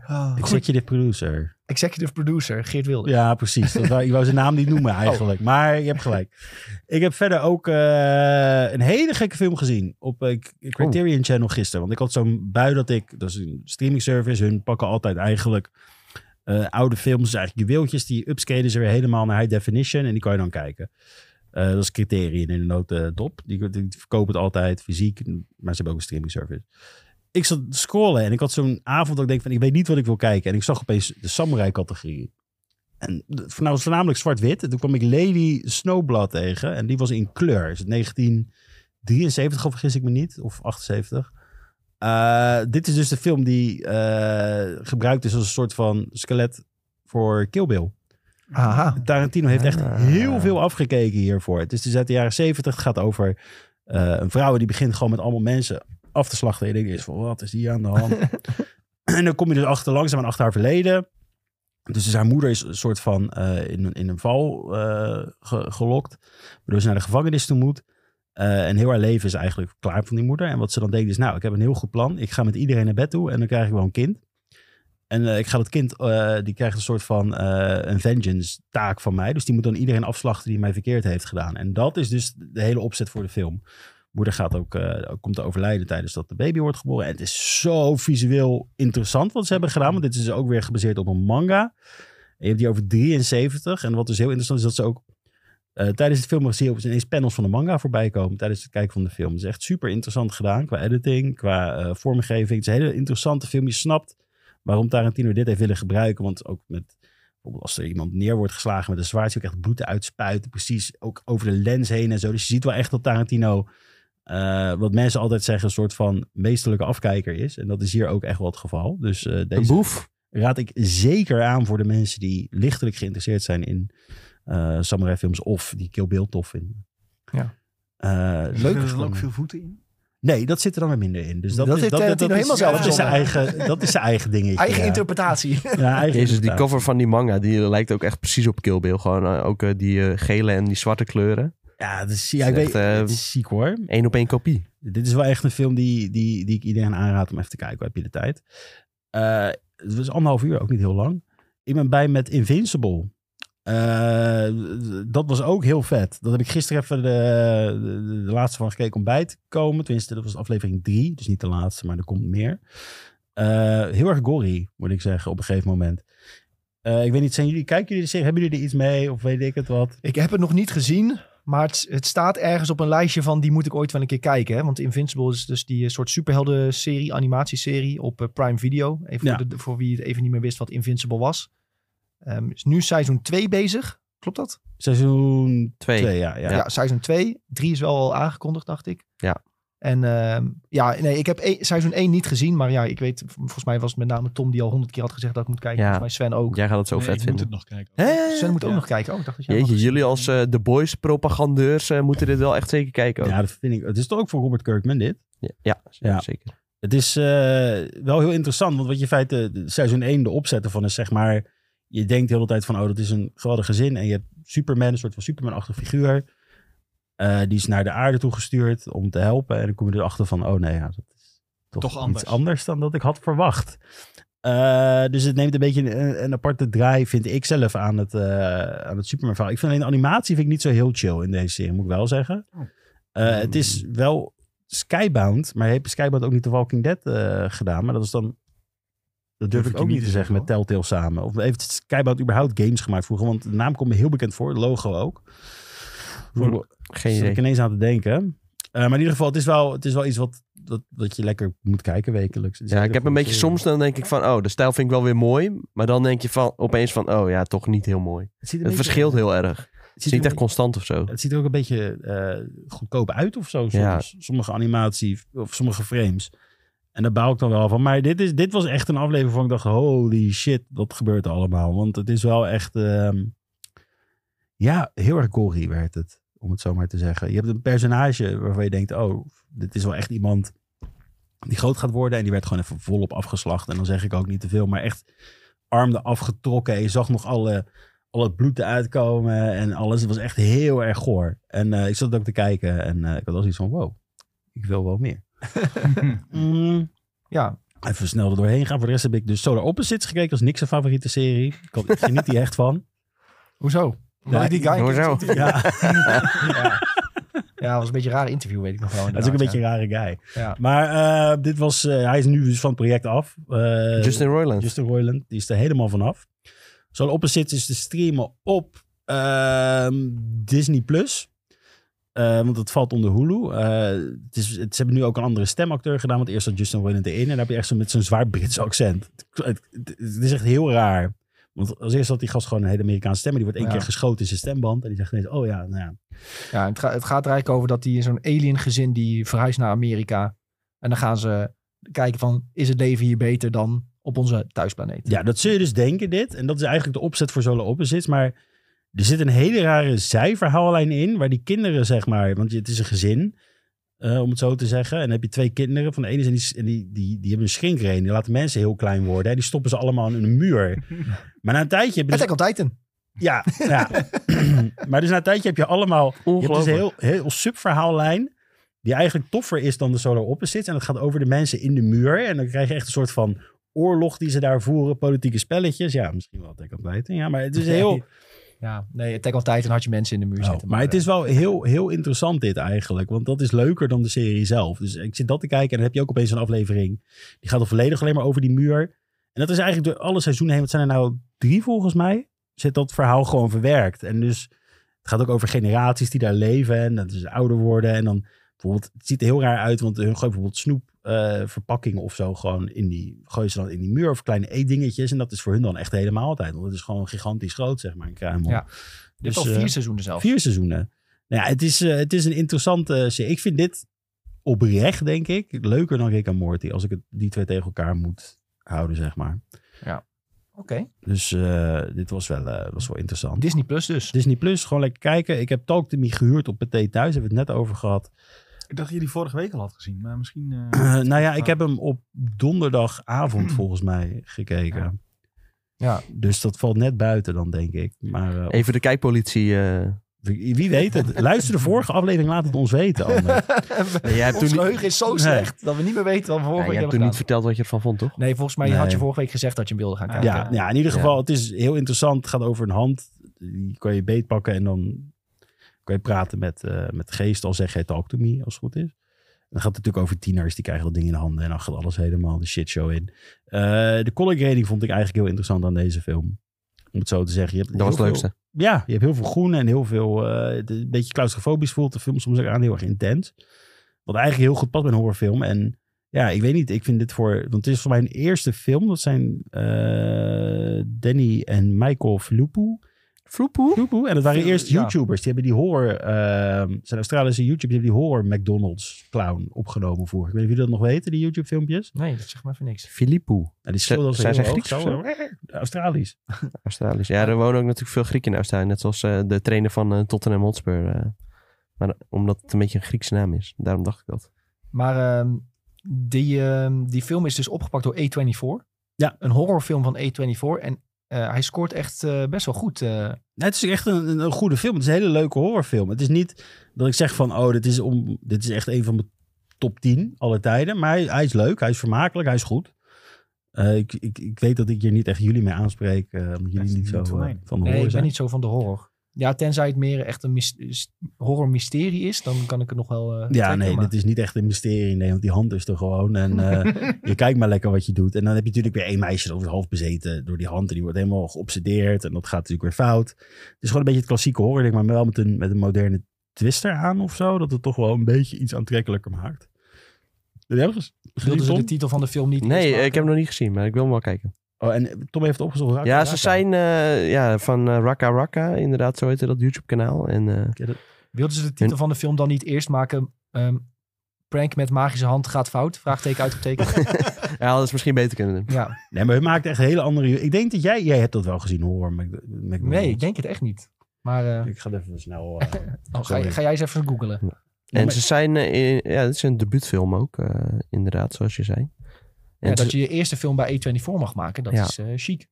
B: eh,
D: Ik zet je de producer.
A: Executive producer Geert Wilders.
D: Ja, precies. Dat wou- ik wou zijn naam niet noemen eigenlijk. Maar je hebt gelijk. Ik heb verder ook eh, een hele gekke film gezien op eh, Criterion Channel gisteren. Want ik had zo'n bui dat ik... Dat is een streaming service. Hun pakken altijd eigenlijk eh, oude films. Eigenlijk juweeltjes. Die upscalen ze weer helemaal naar high definition. En die kan je dan kijken. Eh, dat is Criterion in de notendop. Die, die verkopen het altijd fysiek. Maar ze hebben ook een streaming service. Ik zat te scrollen en ik had zo'n avond dat ik denk van... Ik weet niet wat ik wil kijken. En ik zag opeens de samurai categorie. En de- nou, het is voornamelijk zwart-wit. En toen kwam ik Lady Snowblood tegen. En die was in kleur. Is het 1973 of vergis ik me niet? Of 78? Eh, dit is dus de film die eh, gebruikt is als een soort van skelet voor Kill Bill.
A: Aha.
D: Tarantino heeft echt
B: Ah.
D: heel veel afgekeken hiervoor. Het is dus uit de jaren 70. Het gaat over eh, een vrouw en die begint gewoon met allemaal mensen af te slachten. En je denkt eerst van, wat is hier aan de hand? en dan kom je dus achter, langzaam aan achter haar verleden. Dus, dus haar moeder is een soort van eh, in, een- in een val eh, ge- gelokt. Waardoor ze naar de gevangenis toe moet. Eh, en heel haar leven is eigenlijk klaar van die moeder. En wat ze dan denkt is, nou, ik heb een heel goed plan. Ik ga met iedereen naar bed toe en dan krijg ik wel een kind. En eh, ik ga dat kind, eh, die krijgt een soort van eh, een vengeance taak van mij. Dus die moet dan iedereen afslachten die mij verkeerd heeft gedaan. En dat is dus de hele opzet voor de film. Moeder gaat ook, eh, komt te overlijden tijdens dat de baby wordt geboren. En het is zo visueel interessant wat ze hebben gedaan. Want dit is ook weer gebaseerd op een manga. En je hebt die over 73. En wat dus heel interessant is, dat ze ook eh, tijdens het filmen zie je ook ineens panels van de manga voorbij komen tijdens het kijken van de film. Het is echt super interessant gedaan qua editing, qua eh, vormgeving. Het is een hele interessante film. Je snapt waarom Tarantino dit heeft willen gebruiken. Want ook met, bijvoorbeeld als er iemand neer wordt geslagen met een zwaard, zie je ook echt bloed uitspuiten. Precies, ook over de lens heen en zo. Dus je ziet wel echt dat Tarantino, eh, wat mensen altijd zeggen, een soort van meesterlijke afkijker is. En dat is hier ook echt wel het geval. Dus eh,
B: Een
D: deze
B: boef.
D: raad ik zeker aan voor de mensen die lichtelijk geïnteresseerd zijn in eh samurai films of die Kill Bill tof vinden.
A: Ja.
D: Eh,
C: Leuk. Er
D: leuk is
C: zitten ook
D: gewoon-
C: veel voeten in.
D: Nee, dat zit er dan weer minder in. Dus dat,
A: Dat
D: is,
A: heeft
D: dat, dat,
A: Tarantino
D: is-
A: helemaal zelf
D: dat is zijn
A: verzonnen.
D: eigen, dat is zijn eigen dingetje.
A: Eigen
D: ja.
A: interpretatie.
D: Ja, eigen
B: Jezus, die
D: interpretatie.
B: cover van die manga, die lijkt ook echt precies op Kill Bill. Gewoon eh, ook eh, die eh, gele en die zwarte kleuren.
D: Ja, dat is, ja ik
B: Het is
D: weet,
B: echt, eh,
D: het is ziek hoor.
B: Eén op één kopie.
D: Dit is wel echt een film die, die, die ik iedereen aanraad om even te kijken. Heb je de tijd? Eh, het was anderhalf uur, ook niet heel lang. Ik ben bij met Invincible. Eh, dat was ook heel vet. Dat heb ik gisteren even de, de, de laatste van gekeken om bij te komen. Tenminste, dat was aflevering drie. Dus niet de laatste, maar er komt meer. Eh, heel erg gory, moet ik zeggen, op een gegeven moment. Eh, ik weet niet, zijn jullie, kijken jullie de serie? Hebben jullie er iets mee? Of weet ik het wat?
A: Ik heb het nog niet gezien, maar het, het staat ergens op een lijstje van die moet ik ooit wel een keer kijken. Hè? Want Invincible is dus die eh, soort superhelden-serie, animatieserie op eh, Prime Video. Even
D: Ja.
A: voor, de- voor wie het even niet meer wist wat Invincible was. Ehm, is nu seizoen 2 bezig, klopt dat?
D: Seizoen
B: Twee.
D: 2, ja, ja.
A: Ja, seizoen 2. 3 is wel al aangekondigd, dacht ik.
B: Ja.
A: En ehm, ja, nee, ik heb e- seizoen 1 niet gezien, maar ja, ik weet, v- volgens mij was het met name Tom die al honderd keer had gezegd dat ik moet kijken.
B: Ja.
A: Volgens mij Sven ook.
B: Jij gaat het zo
C: Nee, ik
B: vet
C: moet
B: vinden.
C: het nog kijken.
B: Hè?
A: Sven moet ook
C: Ja.
A: nog kijken. Oh, ik dacht dat jij hem
B: Jeetje,
A: had gezien.
B: jullie als eh The Boys propagandeurs eh, moeten dit wel echt zeker kijken. ook.
D: Ja, dat vind ik. Het is toch ook voor Robert Kirkman, dit?
B: Ja, ja,
D: Ja.
B: zeker.
D: Het is eh, wel heel interessant, want wat je in feite eh, de- seizoen 1 de opzetten van is, zeg maar, je denkt de hele tijd van, oh, dat is een geweldig gezin. En je hebt Superman, een soort van Superman-achtig figuur. Eh, die is naar de aarde toe gestuurd om te helpen. En dan kom je erachter van, oh nee, ja, dat is toch,
C: Toch anders.
D: iets anders dan dat ik had verwacht. Eh, dus het neemt een beetje een, een aparte draai, vind ik zelf, aan het, eh, aan het Superman verhaal. Ik vind alleen de animatie vind ik niet zo heel chill in deze serie, moet ik wel zeggen.
C: Oh.
D: Eh, het is wel Skybound, maar heeft Skybound ook niet de Walking Dead eh, gedaan? Maar dat is dan... Dat durf
C: ik
D: ik
C: je
D: ook
C: niet
D: niet te
C: te
D: zeggen met Telltale samen. Of heeft Skybound überhaupt games gemaakt vroeger? Want de naam komt me heel bekend voor, het logo ook.
B: Oeh,
D: Voor-
B: Geen
D: zat
B: idee.
D: ik ineens aan te denken. Eh, maar in ieder geval, het is wel, het is wel iets wat, dat, dat je lekker moet kijken wekelijks. Het is
B: Ja,
D: hele
B: ik heb een
D: goede
B: beetje
D: serie.
B: soms, dan denk ik van, oh, de stijl vind ik wel weer mooi. Maar dan denk je van, opeens van, oh ja, toch niet heel mooi.
D: Het, ziet er
B: Het verschilt heel erg. Het
D: Het
B: is
D: ziet,
B: niet
D: er,
B: echt constant of zo.
D: het ziet er ook een beetje eh, goedkoop uit of zo. Soms.
B: Ja.
D: Sommige animatie of sommige frames. En daar bouw ik dan wel van. Maar dit, is, dit was echt een aflevering van ik dacht, holy shit, wat gebeurt er allemaal? Want het is wel echt, ehm, ja, heel erg gory werd het. Om het zo maar te zeggen. Je hebt een personage waarvan je denkt, oh, dit is wel echt iemand die groot gaat worden. En die werd gewoon even volop afgeslacht. En dan zeg ik ook niet te veel, maar echt armen afgetrokken. En je zag nog alle, al het bloed eruit komen en alles. Het was echt heel erg goor. En eh, ik zat ook te kijken en eh, ik had al zoiets van, wow, ik wil wel meer. Mm.
A: Ja,
D: Even snel er doorheen gaan. Voor de rest heb ik dus Solar Opposites gekeken. Dat is niks een favoriete serie. Ik had- ik geniet die echt
A: (laughs)
D: van.
A: Hoezo?
D: Ja,
A: Omdat ik die guy
B: hoezo?
A: kende.
D: Ja,
A: Ja, dat was een beetje een raar interview, weet ik nog wel.
D: dat is ook een beetje een rare guy.
A: Ja.
D: Maar eh, dit was, eh, hij is nu dus van het project af. Eh,
B: Justin Roiland.
D: Justin Roiland, die is er helemaal vanaf. Zo'n opposite is dus te streamen op ehm, Disney+. Plus. Eh, want het valt onder Hulu. Eh, het is, het, ze hebben nu ook een andere stemacteur gedaan. Want eerst had Justin Roiland erin. En dan heb je echt zo met zo'n zwaar Brits accent. Het, het- het is echt heel raar. Want als eerst had die gast gewoon een hele Amerikaanse stem. Maar die wordt één
A: Ja.
D: keer geschoten in zijn stemband. En die zegt ineens, oh ja, nou ja.
A: Ja, het, ga- het gaat er eigenlijk over dat die in zo'n alien gezin die verhuist naar Amerika. En dan gaan ze kijken van, is het leven hier beter dan op onze thuisplaneet?
D: Ja, dat zul je dus denken dit. En dat is eigenlijk de opzet voor Solar Opposites. Maar er zit een hele rare zijverhaallijn in. Waar die kinderen zeg maar... Want het is een gezin, eh, om het zo te zeggen. En dan heb je twee kinderen. Van de ene zijn die, en die, die, die hebben een schinkreen. Die laten mensen heel klein worden. Hè. Die stoppen ze allemaal in een muur. Maar na een tijdje... Heb je dus-
A: Attack on Titan.
D: ja, ja. (clears throat) maar dus na een tijdje heb je allemaal... Je hebt dus een
B: Ongelooflijk.
D: heel, heel subverhaallijn. Die eigenlijk toffer is dan de Solar Opposites. En dat gaat over de mensen in de muur. En dan krijg je echt een soort van oorlog die ze daar voeren. Politieke spelletjes. Ja, misschien wel Attack on Titan. Ja, maar het is dus heel...
A: (laughs) Ja, nee, Attack on Titan had je mensen in de muur
D: Oh,
A: zitten.
D: maar het
A: eh,
D: is wel heel, heel interessant dit eigenlijk. Want dat is leuker dan de serie zelf. Dus ik zit dat te kijken en dan heb je ook opeens een aflevering. Die gaat al volledig alleen maar over die muur. En dat is eigenlijk door alle seizoenen heen. Wat zijn er nou drie volgens mij? Zit dat verhaal gewoon verwerkt. En dus het gaat ook over generaties die daar leven. En dat is ouder worden. En dan bijvoorbeeld, het ziet er heel raar uit. Want hun gooien bijvoorbeeld snoep. eh, verpakkingen of zo gewoon in die gooien ze dan in die muur of kleine eetdingetjes en dat is voor hun dan echt de hele maaltijd want het is gewoon gigantisch groot zeg maar een kruimel
A: Ja. dit is
D: Dus,
A: al
D: eh,
A: vier seizoenen zelf.
D: Vier seizoenen. Nou ja, het is, eh, het is een interessante serie. Ik vind dit oprecht, denk ik, leuker dan Rick en Morty. Als ik het, die twee tegen elkaar moet houden, zeg maar.
A: Oké,
D: Dus eh, dit was wel, eh, was wel interessant.
A: Disney Plus dus.
D: Disney Plus, gewoon lekker kijken. Ik heb Talk to Me gehuurd op PT Thuis, hebben we het net over gehad.
C: Ik dacht dat je die vorige week al had gezien, maar misschien... eh,
D: (clears throat) Eh, nou ja, ik heb hem op donderdagavond volgens mij gekeken.
A: Ja.
D: Dus dat valt net buiten dan, denk ik. Maar eh,
B: Even de kijkpolitie eh,
D: Wie weet het. Luister de vorige aflevering, laat het ons
A: (laughs)
D: weten. Ander.
B: Nee, jij hebt
A: Ons
B: toen, niet,
A: geheugen is zo slecht dat we niet meer weten wat we vorige
B: Ja, jij
A: week
B: hebt
A: hebben
B: toen niet
A: gedaan.
B: verteld wat je ervan vond, toch?
A: Nee, volgens mij
D: Nee.
A: had je vorige week gezegd dat je hem wilde gaan kijken.
D: Ja, ja, in ieder
B: Ja.
D: geval, het is heel interessant. Het gaat over een hand. Die kan je beetpakken en dan kan je praten met, eh met geest. Al zeg je talk to me, als het goed is. Dan gaat het natuurlijk over tieners. Die krijgen dat ding in de handen. En dan gaat alles helemaal de shitshow in. Eh, de color grading vond ik eigenlijk heel interessant aan deze film. Om het zo te zeggen. Je hebt
B: Dat was
D: heel
B: het
D: veel-
B: leukste.
D: ja, je hebt heel veel groen en heel veel... eh, het is een beetje claustrofobisch voelt de film soms ook aan. Heel erg intens. Wat eigenlijk heel goed past bij een horrorfilm. En ja, ik weet niet. Ik vind dit voor... Want het is voor mij een eerste film. Dat zijn eh, Danny en Michael Flupu.
B: Vloepoe.
D: Flupu. En dat waren
A: Flu-
D: eerst
A: ja.
D: YouTubers. Die hebben die horror... eh, zijn Australische YouTubers. Die hebben die horror McDonald's clown opgenomen voor. Ik weet niet of jullie dat nog weten, die YouTube filmpjes.
A: Nee, dat zegt me even niks.
B: Filippo.
D: Nou, die
B: Zijn-
D: schilderen
B: zijn
D: heel
B: zij
D: hoog,
B: Grieks
D: zo, eh,
B: of
D: Australisch.
B: Australisch. Ja, er wonen ook natuurlijk veel Grieken in Australië. Net zoals eh, de trainer van eh, Tottenham Hotspur. eh. maar omdat het een beetje een Griekse naam is. Daarom dacht ik dat.
A: Maar ehm, die, ehm, die film is dus opgepakt door A24.
D: Ja.
A: Een horrorfilm van A24. En eh, hij scoort echt eh, best wel goed. eh.
D: Nou, het is echt een, een, een goede film. Het is een hele leuke horrorfilm. Het is niet dat ik zeg van, oh, dit is, om, dit is echt een van mijn top 10 alle tijden. Maar hij, hij is leuk, hij is vermakelijk, hij is goed. Eh, ik, ik, ik weet dat ik hier niet echt jullie mee aanspreek, eh, omdat
C: is
D: jullie niet
C: niet
D: zo
C: van
D: eh,
C: mij.
D: van
A: nee,
D: de horror
A: ik ben
D: zijn.
A: niet zo van de horror. Ja, tenzij het meer echt een mys- s- horror mysterie is, dan kan ik het nog wel. eh,
D: Ja,
A: trekken,
D: nee,
A: maar-
D: dit is niet echt een mysterie. Nee, want die hand is er gewoon. En
A: (laughs)
D: eh, je kijkt maar lekker wat je doet. En dan heb je natuurlijk weer één meisje dat is half bezeten door die hand. En die wordt helemaal geobsedeerd. En dat gaat natuurlijk weer fout. Het is gewoon een beetje het klassieke horror, denk ik, maar wel met een, met een moderne twister aan of zo. Dat het toch wel een beetje iets aantrekkelijker maakt. Heb je hem ges- gezien,
A: Wilden ze de
D: Tom?
A: titel van de film niet.
B: Nee,
A: eerst
B: eh, ik heb hem nog niet gezien, maar ik wil hem wel kijken.
D: Oh, en Tom heeft het opgezocht. Raka
B: ja,
D: Raka.
B: ze zijn eh, ja, van eh, Raka Raka, inderdaad, zo heette dat YouTube-kanaal. En eh,
A: maken? Wilden ze de titel van de film dan niet eerst maken? ehm, prank met magische hand gaat fout? Vraagteken
D: (laughs)
A: uitgetekend.
B: ja, dat is misschien beter kunnen doen.
A: ja.
D: Nee, maar hun maakt echt hele andere... Ik denk dat jij... Jij hebt dat wel gezien, horror. Mc- McDonald's.
A: Nee, ik denk het echt niet. Maar eh,
D: Ik ga het even snel... eh, (laughs)
A: oh, ga,
D: sorry.
A: ga jij eens even googelen.
D: Ja,
B: En
D: maar-
B: ze zijn, eh, in- ja, het is een debuutfilm ook, eh, inderdaad, zoals je zei. En
A: Ja,
B: het
A: dat
B: is-
A: je je eerste film bij A24 mag maken, dat
B: Ja.
A: is eh chic.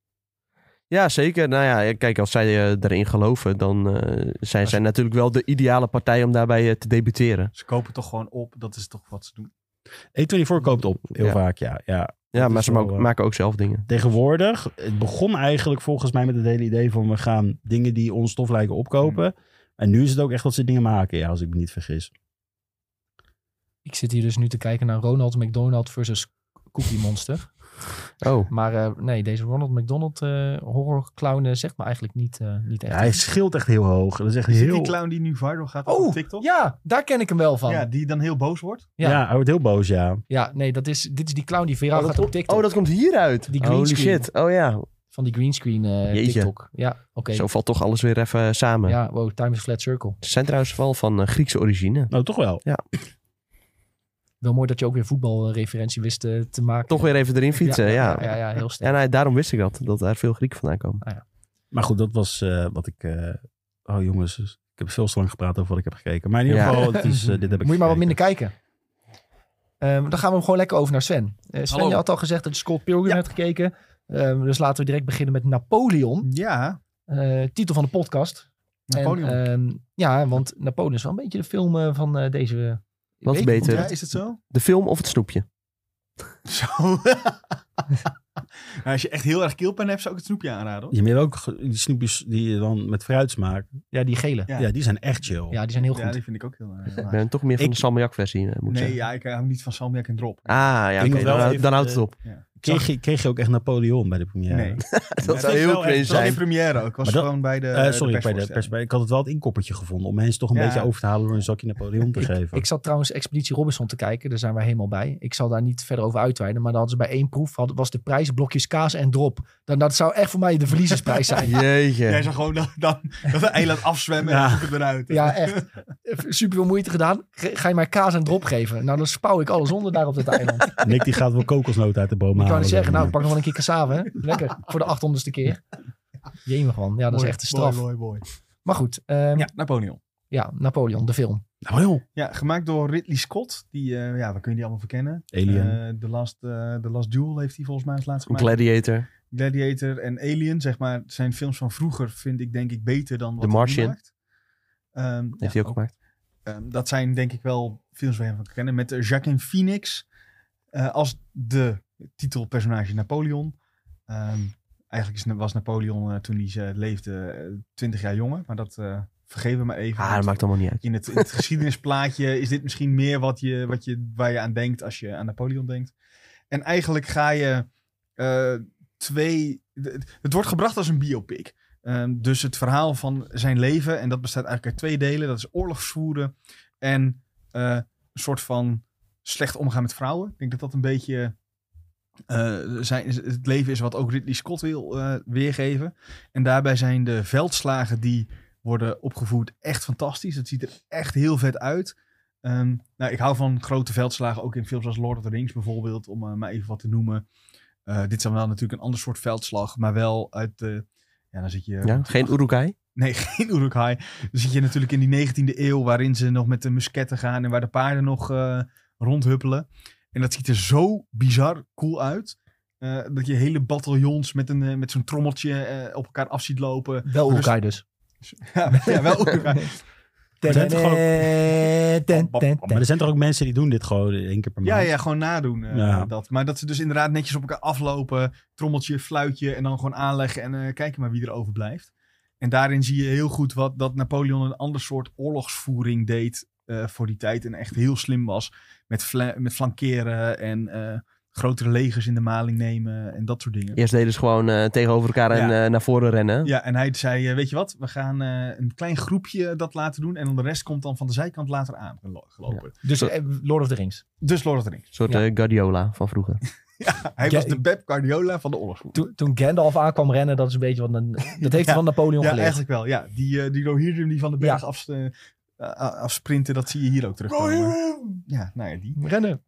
B: ja, zeker. Nou ja, kijk, als zij eh, daarin geloven, dan eh, zijn zij natuurlijk wel de ideale partij om daarbij eh, te debuteren.
C: Ze kopen toch gewoon op. Dat is toch wat ze doen.
D: A24 koopt op, heel
B: Ja.
D: vaak, ja. ja.
B: Ja,
D: Dat
B: maar
D: is
B: ze
D: wel,
B: ma-
D: eh,
B: maken ook zelf dingen.
D: tegenwoordig, het begon eigenlijk volgens mij met het hele idee van we gaan dingen die ons tof lijken opkopen. En nu is het ook echt dat ze dingen maken, ja, als ik me niet vergis.
A: Ik zit hier dus nu te kijken naar Ronald McDonald versus Cookie Monster.
B: Oh,
A: Maar eh, nee, deze Ronald McDonald eh horror clown eh, zegt me eigenlijk niet, eh, niet echt.
D: Ja, hij scheelt echt heel hoog. Dat is echt
C: Is dit
D: heel...
C: die clown die nu viral gaat
A: Oh,
C: op TikTok?
A: Ja, daar ken ik hem wel van.
C: Ja,
A: Ja,
C: die dan heel boos wordt.
D: ja.
A: ja.
D: hij wordt heel boos, ja.
A: nee, dat is, dit is die clown die viraal
B: oh,
A: gaat
B: dat,
A: op
B: komt-
A: TikTok.
B: oh, dat komt hieruit.
A: Die green
B: Holy
A: screen.
B: shit. Oh ja,
A: Van die greenscreen eh,
B: Jeetje.
A: TikTok. Ja, oké.
B: zo valt toch alles weer even samen.
A: Ja, wow, time is a flat circle.
B: Ze zijn trouwens wel van eh, Griekse origine.
D: Nou, toch wel.
A: Wel mooi dat je ook weer voetbalreferentie wist eh, te maken.
B: Toch weer even erin fietsen, ja.
A: Ja, ja, ja, heel sterk.
B: En hij- daarom wist ik dat, dat daar veel Grieken vandaan komen.
D: Maar goed, dat was eh, wat ik... eh, Oh jongens, dus ik heb veel te lang gepraat over wat ik heb gekeken. Maar in ieder
B: Ja.
D: geval, het is, eh, dit heb ik
A: (laughs) Moet je maar wat
D: gekeken.
A: minder kijken. Ehm, dan gaan we hem gewoon lekker over naar Sven. Eh, Sven,
C: Hallo.
A: je had al gezegd dat je Scott Pilgrim hebt gekeken. Ehm, dus laten we direct beginnen met Napoleon.
C: Ja,
A: eh, titel van de podcast.
C: Napoleon.
A: En, ehm, ja, want Napoleon is wel een beetje de film eh, van eh, deze...
B: Wat
A: week.
B: beter?
C: ja, is het zo?
B: De film of het snoepje?
C: (laughs) Zo. (laughs) Nou, als je echt heel erg keelpijn hebt, zou ik het snoepje aanraden. hoor.
D: Ja, maar je hebt ook ge- die snoepjes die je dan met fruit smaakt.
A: Ja, die gele. Ja,
C: Ja.
D: Ja. die zijn echt chill.
A: die zijn heel goed.
C: Ja, die vind ik ook heel erg.
B: Ik ben toch meer van
D: Ik-
B: de salmiakversie, eh, moet ik
C: nee,
B: zeggen.
C: ja, ik hou niet van salmiak en drop.
B: Ah, ja,
D: Ik
B: oké,
D: moet wel
B: dan, hou-
D: even,
B: dan houdt het
D: eh,
B: op.
D: Kreeg, je, kreeg je ook echt Napoleon bij de première? (laughs)
C: Nee.
B: dat
C: Het
B: zou
C: was
B: heel
C: wel echt-
B: cringe
C: het was
B: zijn.
C: in première ook. Ik was
D: Maar dat-
C: gewoon bij de,
D: Eh, sorry, bij de pers, ik had het wel het inkoppertje gevonden om mensen toch een
C: Ja.
D: beetje over te halen door een zakje Napoleon te geven.
A: Ik zat trouwens Expeditie Robinson te kijken. Daar zijn wij helemaal bij. Ik zal daar niet verder over uitweiden. Maar dan hadden ze bij één proef hadden, was de prijs blokjes kaas en drop. Dan, dat zou echt voor mij de verliezersprijs
C: (laughs)
A: zijn.
B: Jeetje.
C: Jij zag gewoon dat, dat, (laughs) dat de eiland afzwemmen
D: Ja.
C: en zoek het eruit.
A: Ja, echt. Super veel moeite gedaan. Ge- Ga je mij kaas en drop geven? Nou, dan spouw ik alles onder daar op dat eiland.
D: Nick die gaat wel kokosnoot uit de boom
A: ik
D: halen.
A: kan het zeggen,
D: zeg
A: nou, ik pak
D: maar.
A: nog wel een keer cassave. Hè? Lekker. Voor de 800ste keer. Jemig man. Ja, dat is echt een straf.
C: Mooi, mooi, mooi.
A: Maar goed. ehm, ja.
C: Ja, Napoleon.
A: Napoleon, de film.
D: Nou joh,
C: Ja, gemaakt door Ridley Scott. Die, eh, ja, waar kun je die allemaal van kennen?
D: Alien.
C: Eh, The, Last, eh, The Last Duel heeft hij volgens mij als laatste gemaakt.
B: Gladiator.
C: Gladiator en Alien, zeg maar, zijn films van vroeger vind ik denk ik beter dan wat
B: The
C: hij nu
B: Martian.
C: maakt. Ehm,
B: Heeft hij ook gemaakt.
C: ehm, dat zijn denk ik wel films waar je hem van kennen. Met eh, Joaquin Phoenix eh, als de titelpersonage Napoleon. Ehm, eigenlijk is, was Napoleon eh, toen hij eh, leefde twintig jaar jonger. Maar dat eh vergeven we maar even.
B: Ah,
C: want-
B: dat maakt allemaal niet uit.
C: in het, in het geschiedenisplaatje is dit misschien meer wat je, wat je, waar je aan denkt als je aan Napoleon denkt. En eigenlijk ga je eh, twee. Het het wordt gebracht als een biopic. Ehm, dus het verhaal van zijn leven, en dat bestaat eigenlijk uit twee delen: dat is oorlogsvoeren en eh, een soort van slecht omgaan met vrouwen. Ik denk dat dat een beetje. eh, zijn, het leven is wat ook Ridley Scott wil eh, weergeven. En daarbij zijn de veldslagen die worden opgevoerd. Echt fantastisch. Het ziet er echt heel vet uit. Ehm, nou, ik hou van grote veldslagen, ook in films als Lord of the Rings bijvoorbeeld, om eh, maar even wat te noemen. Eh, dit is dan wel natuurlijk een ander soort veldslag, maar wel uit de. Ja, dan zit je.
B: Ja, geen Urukai.
C: Nee, geen Uruk-hai. Dan zit je natuurlijk in die 19e eeuw, waarin ze nog met de musketten gaan en waar de paarden nog eh, rondhuppelen. En dat ziet er zo bizar cool uit. eh, dat je hele bataljons met, een, eh, met zo'n trommeltje eh, op elkaar af ziet lopen. (laughs)
A: Wel
C: Dus-
A: Urkai dus.
C: Ja, ja wel Uruk-hai.
A: Ten, eh,
D: zijn toch
A: ten, ten,
D: Maar
A: ten.
D: er zijn toch ook mensen die doen dit gewoon één keer per
C: Ja,
D: maand?
C: ja, gewoon nadoen eh,
D: Ja.
C: dat. Maar dat ze dus inderdaad netjes op elkaar aflopen. Trommeltje, fluitje en dan gewoon aanleggen en eh, kijken maar wie er overblijft. En daarin zie je heel goed wat, dat Napoleon een ander soort oorlogsvoering deed eh, voor die tijd. En echt heel slim was met, fla- met flankeren en eh, grotere legers in de maling nemen en dat soort dingen.
B: Eerst deden ze gewoon eh, tegenover elkaar en eh, naar voren rennen.
C: Ja, en hij zei, eh, weet je wat, we gaan eh, een klein groepje dat laten doen. En dan de rest komt dan van de zijkant later aan gelopen.
A: Dus eh, Lord of the Rings.
C: Dus Lord of the Rings. (laughs)
B: Een soort
A: Ja.
B: eh, Guardiola van vroeger.
C: Hij
A: Ja,
C: was de
A: ik-
C: Pep Guardiola van de oorlogsvoering.
A: Toen, toen Gandalf aankwam rennen, dat is een beetje wat een, dat heeft
C: Ja.
A: hij van Napoleon
C: Ja,
A: geleerd.
C: eigenlijk wel. Ja, die, eh die Rohirrim die van de berg af, eh, a- afsprinten, dat zie je hier ook terugkomen. Ja, nou ja, die.
A: Rennen.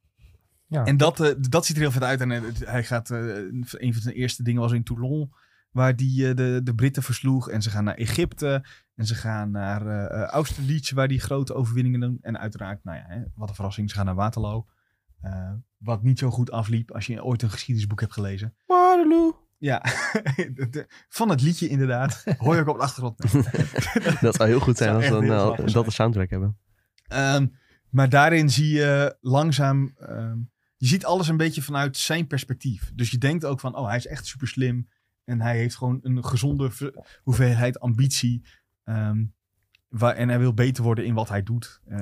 A: Ja.
C: En dat, eh, dat ziet er heel vet uit. En eh, het- hij gaat, eh, een van zijn eerste dingen was in Toulon, waar die eh, de, de Britten versloeg. En ze gaan naar Egypte. En ze gaan naar eh, eh, Austerlitz, waar die grote overwinningen doen. En uiteraard, nou ja, hè, wat een verrassing, ze gaan naar Waterloo. Eh, wat niet zo goed afliep als je ooit een geschiedenisboek hebt gelezen.
B: Waterloo.
C: Ja, (laughs) van het liedje inderdaad. Hoor je ook op de achtergrond.
B: (laughs) Dat zou heel goed zijn
C: Zou
B: als we
C: echt
B: dan
C: heel
B: eh,
C: grappig
B: dat
C: zijn.
B: de soundtrack hebben.
C: Ehm, maar daarin zie je langzaam. ehm, je ziet alles een beetje vanuit zijn perspectief. Dus je denkt ook van: oh, hij is echt super slim. En hij heeft gewoon een gezonde ver- hoeveelheid ambitie. ehm, waar, en hij wil beter worden in wat hij doet. Eh,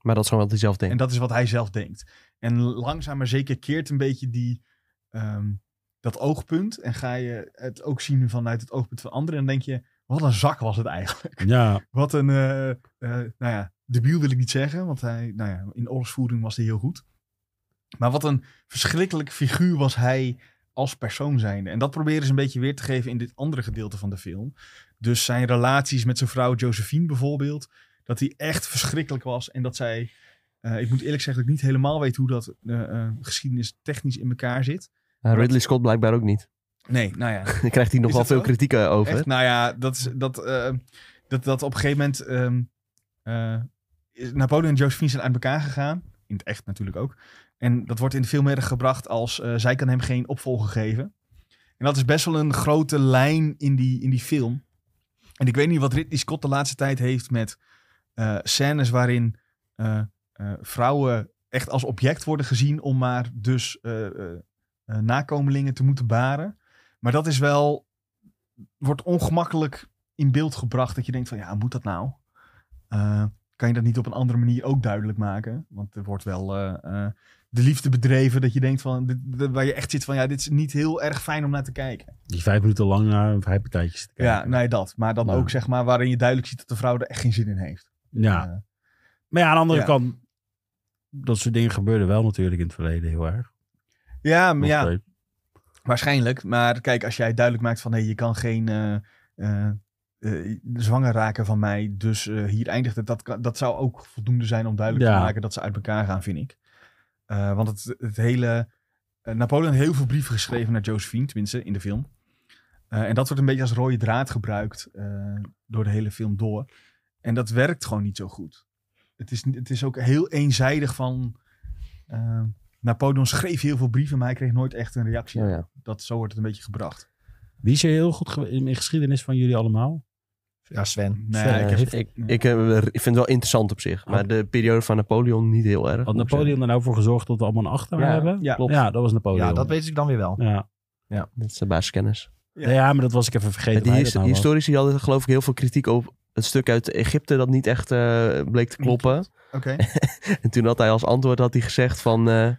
B: Maar dat is gewoon wat hij zelf denkt.
C: en dat is wat hij zelf denkt. En langzaam maar zeker keert een beetje die, ehm, dat oogpunt. En ga je het ook zien vanuit het oogpunt van anderen. En dan denk je: wat een zak was het eigenlijk.
D: Ja,
C: Wat een, eh eh, nou ja, debiel wil ik niet zeggen, want hij, nou ja, in oorlogsvoering was hij heel goed. Maar wat een verschrikkelijk figuur was hij als persoon zijnde. En dat proberen ze een beetje weer te geven in dit andere gedeelte van de film. Dus zijn relaties met zijn vrouw Josephine bijvoorbeeld, dat hij echt verschrikkelijk was en dat zij, eh, ik moet eerlijk zeggen, dat ik niet helemaal weet hoe dat eh, eh, geschiedenis technisch in elkaar zit.
B: Eh, Ridley Scott blijkbaar ook niet. (laughs)
C: Nee, nou ja,
B: Daar krijgt hij nog
C: Is
B: wel
C: dat
B: veel
C: zo?
B: kritiek eh, over.
C: Echt? Nou ja, dat, is- dat, eh, dat, dat op een gegeven moment ehm, eh, is Napoleon en Josephine zijn uit elkaar gegaan. In het echt natuurlijk ook. En dat wordt in de film erg gebracht als eh, zij kan hem geen opvolger geven. En dat is best wel een grote lijn in die, in die film. En ik weet niet wat Ridley Scott de laatste tijd heeft met eh, scènes waarin eh, eh, vrouwen echt als object worden gezien om maar dus eh, eh, eh, nakomelingen te moeten baren. Maar dat is wel wordt ongemakkelijk in beeld gebracht. Dat je denkt van, ja, moet dat nou? Eh, kan je dat niet op een andere manier ook duidelijk maken? Want er wordt wel eh, eh, de liefde bedreven. Dat je denkt van, dit, dit- waar je echt zit van, ja, dit is niet heel erg fijn om naar te kijken.
D: die vijf minuten lang naar een vrijpartijtje zitten
C: Ja,
D: kijken.
C: nee, dat. Maar dan
D: Nou.
C: ook, zeg maar, waarin je duidelijk ziet dat de vrouw er echt geen zin in heeft.
D: Ja.
C: Eh,
D: Maar ja, aan de andere
C: Ja.
D: kant, dat soort dingen gebeurden wel natuurlijk in het verleden heel erg.
C: ja, maar
D: Nog
C: ja,
D: steeds.
C: Waarschijnlijk, maar kijk, als jij duidelijk maakt van nee, je kan geen eh, eh, eh, zwanger raken van mij, dus eh, hier eindigt het. Dat, kan- dat zou ook voldoende zijn om duidelijk
D: Ja.
C: te maken dat ze uit elkaar gaan, vind ik. Eh, want het, het hele. eh, Napoleon heeft heel veel brieven geschreven naar Josephine, tenminste in de film. Eh, en dat wordt een beetje als rode draad gebruikt eh, door de hele film door. En dat werkt gewoon niet zo goed. Het is, het is ook heel eenzijdig van. eh, Napoleon schreef heel veel brieven, maar hij kreeg nooit echt een reactie
D: Oh,
B: Ja, ja.
C: dat, zo wordt het een beetje gebracht.
D: Wie is er heel goed gewe- in in geschiedenis van jullie allemaal?
A: Ja, Sven.
C: Nee,
A: Sven.
C: ik
B: Eh,
C: heb-
B: ik, ik, eh, ik vind het wel interessant op zich. Maar de periode van Napoleon niet heel erg.
D: Had
B: moet ik
D: Napoleon er nou voor gezorgd dat we allemaal een achternaam
B: Ja,
D: hebben?
C: ja.
B: klopt.
D: Ja, dat was Napoleon.
A: Ja, dat weet ik dan weer wel.
D: Ja.
B: zeggen. Dat is de basiskennis.
C: Ja.
D: Ja. maar dat was ik even vergeten.
B: Die
D: waar
B: his-
D: dat nou was.
B: historici hadden geloof ik heel veel kritiek op het stuk uit Egypte dat niet echt eh, bleek te kloppen.
C: Oké.
B: (laughs) En toen had hij als antwoord had hij gezegd van... eh,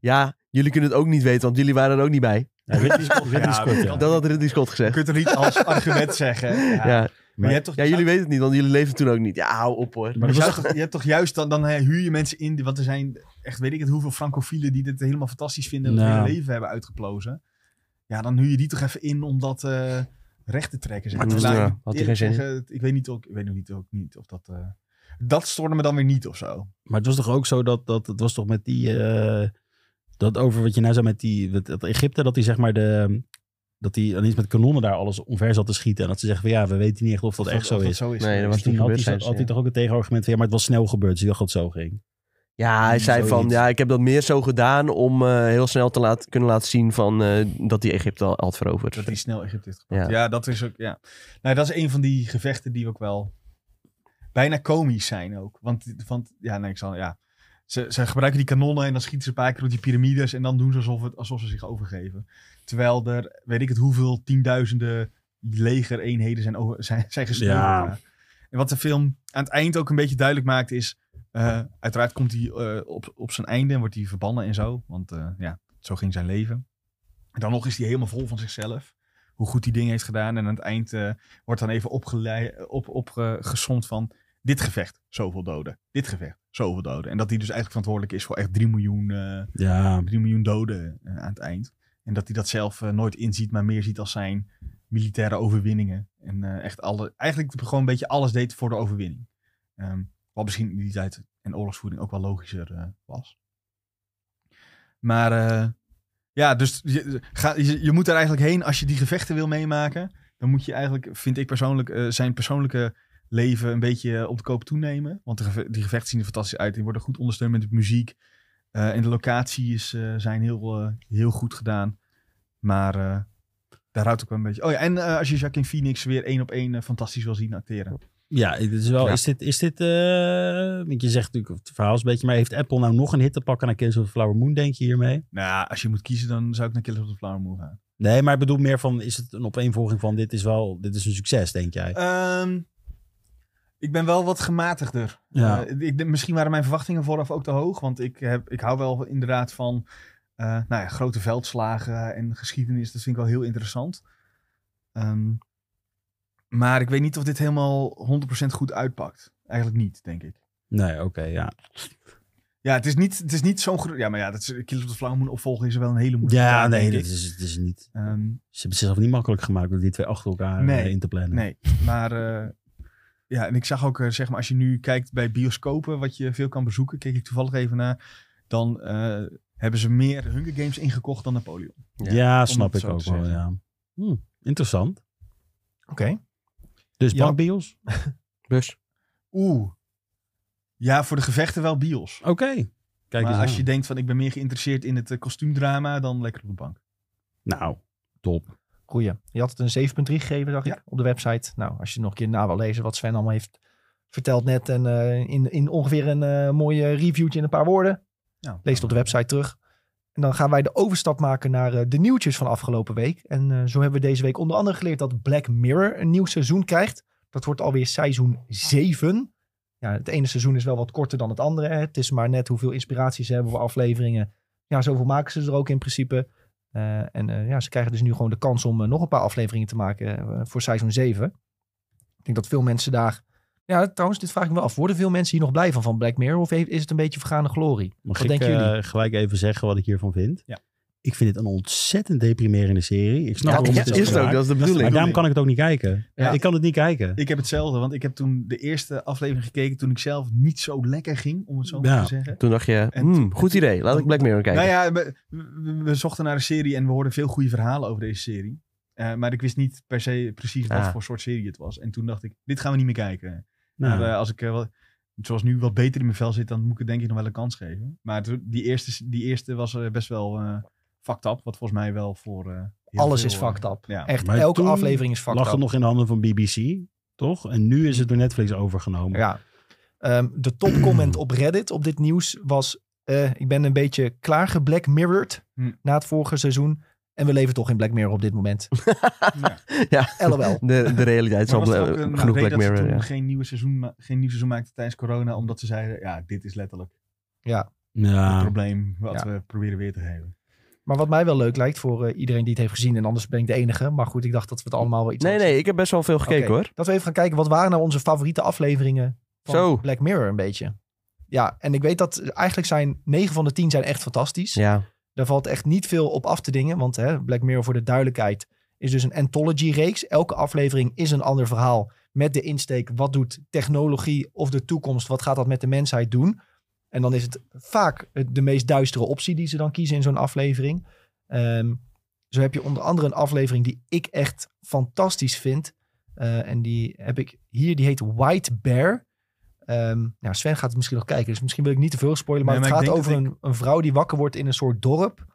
B: ja, jullie kunnen het ook niet weten, want jullie waren er ook niet bij.
D: Ja, Ridley Scott. Ridley
C: Ja,
D: Scott, ja.
C: dat-
B: Dat had Ridley Scott
C: Je
B: gezegd.
C: kunt het niet als argument zeggen. Ja.
B: Ja,
C: Maar je hebt toch,
B: ja jullie weten het niet, want jullie leefden toen ook niet. Ja, hou op hoor.
C: Maar
D: Maar
C: je,
D: dat
C: zou toch- je hebt toch juist, dan, dan hè, huur je mensen in, die- want er zijn echt, weet ik het, hoeveel francofielen die dit helemaal fantastisch vinden en het
D: Nou.
C: hele leven hebben uitgeplozen. Ja, dan huur je die toch even in om dat eh, recht te trekken. Zeg.
B: Maar het was-
C: Laat ik
B: ja,
C: het
B: had hij
C: eerlijk
B: geen zin in.
C: zeggen, Ik weet niet ook, ik weet nog niet, ook niet of dat... eh, dat stoorde me dan weer niet of zo.
D: Maar het was toch ook zo dat, dat het was toch met die, eh, dat over wat je nou zei met die, dat, dat Egypte, dat die zeg maar de, dat die aan iets met kanonnen daar alles omver zat te schieten. En dat ze zeggen van ja, we weten niet echt of dat echt
C: Of
D: zo
C: dat
D: is.
C: zo is.
B: Nee, dat was
D: Dus toen
B: niet
D: had
B: gebeurd,
D: hij, zo-
B: zei ze,
D: had hij
B: ja.
D: toch ook het tegenargument van ja, maar het was snel gebeurd, dus je dacht dat het zo ging.
B: Ja, hij zei van,
D: Zoiets.
B: ja, ik heb dat meer zo gedaan om eh, heel snel te laten, kunnen laten zien van, eh, dat hij Egypte al had veroverd.
C: Dat hij snel Egypte heeft
B: Ja.
C: gepakt. Ja. dat is ook. Ja. Nou, dat is een van die gevechten die ook wel bijna komisch zijn ook. Want, want ja, nee, ik zal, ja. Ze, ze gebruiken die kanonnen en dan schieten ze een paar keer op die piramides en dan doen ze alsof, het, alsof ze zich overgeven. Terwijl er, weet ik het, hoeveel tienduizenden legereenheden zijn, over, zijn, zijn gesneuveld.
D: Ja.
C: daar. En wat de film aan het eind ook een beetje duidelijk maakt is, eh, uiteraard komt hij eh, op, op zijn einde en wordt hij verbannen en zo. Want eh, ja, zo ging zijn leven. En dan nog is hij helemaal vol van zichzelf hoe goed die ding heeft gedaan. En aan het eind eh, wordt dan even opgesomd op, opgesomd van dit gevecht, zoveel doden. Dit gevecht, zoveel doden. En dat hij dus eigenlijk verantwoordelijk is voor echt 3 miljoen, eh,
D: Ja,
C: 3 miljoen doden eh, aan het eind. En dat hij dat zelf eh, nooit inziet, maar meer ziet als zijn militaire overwinningen. En eh, echt alle, eigenlijk gewoon een beetje alles deed voor de overwinning. Ehm, wat misschien in die tijd en oorlogsvoering ook wel logischer eh, was. Maar eh, ja, dus je, ga, je, je moet er eigenlijk heen als je die gevechten wil meemaken. Dan moet je eigenlijk, vind ik persoonlijk, eh, zijn persoonlijke leven een beetje eh, op de koop toenemen. Want de geve- die gevechten zien er fantastisch uit. Die worden goed ondersteund met de muziek. Eh, en de locaties eh, zijn heel, eh, heel goed gedaan. Maar eh, daar houdt ook wel een beetje... Oh ja, en eh, als je Jacqueline Phoenix weer één op één eh, fantastisch wil zien acteren.
D: ja, het is wel,
B: Ja.
D: is dit, is dit eh, want je zegt natuurlijk, het verhaal is een beetje, maar heeft Apple nou nog een hit te pakken naar Kids of the Flower Moon, denk je hiermee?
C: Nou, ja, als je moet kiezen, dan zou ik naar Killers of the Flower Moon gaan.
D: Nee, maar ik bedoel meer van, is het een opeenvolging van dit is wel, dit is een succes, denk jij?
C: Ehm, ik ben wel wat gematigder.
D: Ja.
C: Eh, ik, denk- misschien waren mijn verwachtingen vooraf ook te hoog. Want ik, heb, ik hou wel inderdaad van eh, nou ja, grote veldslagen en geschiedenis. Dat vind ik wel heel interessant. Ehm, maar ik weet niet of dit helemaal 100% goed uitpakt. Eigenlijk niet, denk ik.
D: Nee, oké, ja.
C: Ja, het is niet, het is niet zo'n... gro- Ja, maar ja, dat is, Killers of the Flower Moon opvolgen is wel een hele moeilijke
D: Ja,
C: taak,
D: nee,
C: denk
D: dit
C: ik.
D: is, dit is niet...
C: Ehm,
D: Ze hebben het zichzelf niet makkelijk gemaakt door die twee achter elkaar eh,
C: Nee,
D: in te plannen.
C: Nee, maar eh, ja, en ik zag ook, eh, zeg maar, als je nu kijkt bij bioscopen, wat je veel kan bezoeken, keek ik toevallig even naar, dan eh, hebben ze meer Hunger Games ingekocht dan Napoleon.
D: Ja,
C: om
D: snap
C: het
D: ik
C: zo
D: ook
C: te
D: wel,
C: zeggen.
D: ja. Hm, interessant.
A: Oké.
D: Dus
A: Ja.
D: bankbios?
B: Dus,
C: Oeh. Ja, voor de gevechten wel bios.
D: Oké. Kijk
C: maar
D: eens
C: als
D: aan.
C: je denkt van ik ben meer geïnteresseerd in het eh, kostuumdrama, dan lekker op de bank.
D: Nou, top.
A: Goeie. Je had het een 7.3 gegeven, dacht
C: Ja.
A: ik, op de website. Nou, als je nog een keer na wil lezen wat Sven allemaal heeft verteld net. En eh, in, in ongeveer een eh, mooie reviewtje in een paar woorden.
C: Ja.
A: Lees het op de website terug. En dan gaan wij de overstap maken naar eh, de nieuwtjes van afgelopen week. En eh, zo hebben we deze week onder andere geleerd dat Black Mirror een nieuw seizoen krijgt. Dat wordt alweer seizoen 7. Ja, het ene seizoen is wel wat korter dan het andere. Hè. Het is maar net hoeveel inspiraties ze hebben voor afleveringen. Ja, zoveel maken ze er ook in principe. Eh, en eh, ja, ze krijgen dus nu gewoon de kans om eh, nog een paar afleveringen te maken eh, voor seizoen 7. Ik denk dat veel mensen daar... Ja, trouwens, dit vraag ik me af. Worden veel mensen hier nog blij van, van Black Mirror? Of heeft- is het een beetje vergane glorie?
D: Mag
A: Wat
D: ik
A: denken
D: eh, gelijk even zeggen wat ik hiervan vind?
C: Ja.
D: Ik vind dit een ontzettend deprimerende serie. Ik snap
A: Ja,
D: waarom
A: ja,
D: het
B: is het ook,
D: gemaakt.
B: dat is de
D: Maar
B: bedoeling.
D: daarom kan ik het ook niet kijken.
C: Ja.
D: Ik kan het niet kijken.
C: Ik heb hetzelfde, want ik heb toen de eerste aflevering gekeken toen ik zelf niet zo lekker ging, om het zo maar
D: Ja.
C: te zeggen.
B: Toen dacht je,
C: En-
B: hmm, goed idee, laat ik Black Mirror kijken.
C: Nou ja, we, we- we zochten naar een serie en we hoorden veel goede verhalen over deze serie. Eh, maar ik wist niet per se precies wat
B: Ah.
C: voor soort serie het was. En toen dacht ik, dit gaan we niet meer kijken.
D: Nou,
C: Maar eh, als ik eh, wel, zoals nu wat beter in mijn vel zit, dan moet ik het denk ik nog wel een kans geven. Maar toen- die, eerste, die eerste was eh, best wel eh fucked up. Wat volgens mij wel voor... eh, heel
A: Alles
C: veel,
A: is
C: eh,
A: fucked up.
C: ja.
A: Echt,
D: Maar
A: elke
D: toen
A: aflevering is fucked
D: lag
A: up.
D: het nog in de handen van BBC. Toch? En nu is het door Netflix overgenomen.
A: Ja. Ehm, de topcomment op Reddit op dit nieuws was... eh, ik ben een beetje klaargeblack mirrored
C: Hm.
A: na het vorige seizoen. En we leven toch in Black Mirror op dit
D: (laughs)
A: moment.
B: (laughs)
C: Ja.
A: LOL.
B: De, de realiteit zal
C: Maar was er ook
B: eh, genoeg
C: een reden
B: Black
C: dat ze
B: Mirror.
C: toen
B: Ja.
C: geen, nieuwe seizoen, ma- geen nieuw seizoen maakten tijdens corona? Omdat ze zeiden, ja, dit is letterlijk het
D: Ah. Ja.
C: probleem wat
A: Ja.
C: we proberen weer te geven.
A: Maar wat mij wel leuk lijkt voor eh, iedereen die het heeft gezien. En anders ben ik de enige. Maar goed, ik dacht dat we het allemaal wel iets
B: Nee,
A: hadden
B: nee, ik heb best wel veel gekeken
A: Oké,
B: hoor.
A: Dat we even gaan kijken, wat waren nou onze favoriete afleveringen van
B: Zo.
A: Black Mirror een beetje? Ja, en ik weet dat eh, eigenlijk zijn 9 van de 10 zijn echt fantastisch.
B: Ja,
A: Daar valt echt niet veel op af te dingen, want hè, Black Mirror voor de duidelijkheid is dus een anthology-reeks. Elke aflevering is een ander verhaal met de insteek, wat doet technologie of de toekomst, wat gaat dat met de mensheid doen? En dan is het vaak het- de meest duistere optie die ze dan kiezen in zo'n aflevering. Ehm, zo heb je onder andere een aflevering die ik echt fantastisch vind. Eh, en die heb ik hier, die heet White Bear. Ehm, nou, Sven gaat het misschien nog kijken, dus misschien wil ik niet te veel spoilen. Maar
C: Nee,
A: het
C: maar ik
A: gaat
C: denk
A: over
C: dat
A: een, een vrouw die wakker wordt in een soort dorp.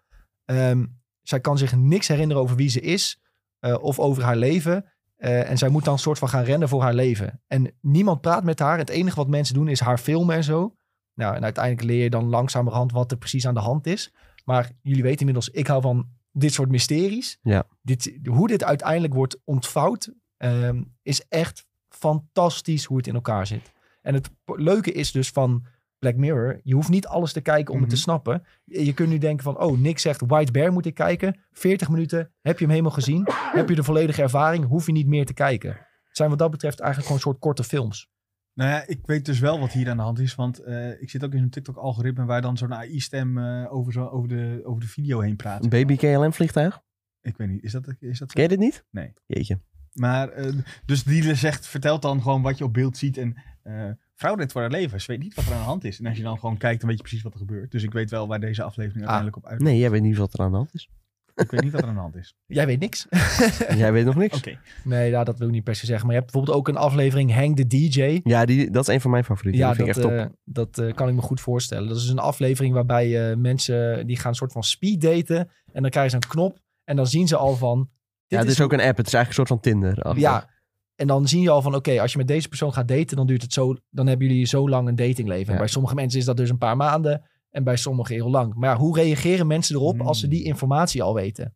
A: Ehm, zij kan zich niks herinneren over wie ze is eh, of over haar leven. Eh, en zij moet dan een soort van gaan rennen voor haar leven. En niemand praat met haar. Het enige wat mensen doen is haar filmen en zo. Nou, en uiteindelijk leer je dan langzamerhand wat er precies aan de hand is. Maar jullie weten inmiddels, ik hou van dit soort mysteries.
B: Ja.
A: Dit, hoe dit uiteindelijk wordt ontvouwd, ehm, is echt fantastisch hoe het in elkaar zit. En het po- leuke is dus van Black Mirror, je hoeft niet alles te kijken om het
C: Mhm.
A: te snappen. Je je kunt nu denken van, oh, Nick zegt White Bear moet ik kijken. 40 minuten, heb je hem helemaal gezien? heb je de volledige ervaring, hoef je niet meer te kijken. Het zijn wat dat betreft eigenlijk gewoon een soort korte films.
C: Nou ja, ik weet dus wel wat hier aan de hand is. Want eh, ik zit ook in zo'n TikTok-algoritme waar dan zo'n AI-stem eh, over, zo, over, de, over de video heen praat.
B: een baby KLM vliegtuig.
C: Ik weet niet, is dat, is dat zo?
B: Ken je dit niet?
C: Nee.
B: Jeetje.
C: Maar, eh, dus die zegt, vertelt dan gewoon wat je op beeld ziet. En eh vrouw dit voor haar leven. Ze weet niet wat er aan de hand is. En als je dan gewoon kijkt, dan weet je precies wat er gebeurt. Dus ik weet wel waar deze aflevering
A: Ah.
C: uiteindelijk op uit.
B: Nee, jij weet niet wat er aan de hand is.
C: Ik weet niet wat er aan de hand
A: (laughs)
C: is.
A: Jij weet niks.
B: jij weet nog niks.
C: Oké.
A: Nee, ja, dat wil ik niet per se zeggen. Maar je hebt bijvoorbeeld ook een aflevering Hang the DJ.
B: Ja, die, dat is een van mijn favorieten.
A: Ja,
B: die
A: dat,
B: vind ik echt top.
A: eh, dat eh, kan ik me goed voorstellen. Dat is een aflevering waarbij eh, mensen die gaan een soort van speed daten. En dan krijgen ze een knop. En dan zien ze al van. dit
B: ja, het is, ook een app. Het is eigenlijk een soort van Tinder. -achtig.
A: Ja. En dan zie je al van, oké, als je met deze persoon gaat daten, dan duurt het zo, dan hebben jullie zo lang een datingleven. En
B: Ja.
A: Bij sommige mensen is dat dus een paar maanden en bij sommigen heel lang. Maar ja, hoe reageren mensen erop
C: Hmm.
A: als ze die informatie al weten?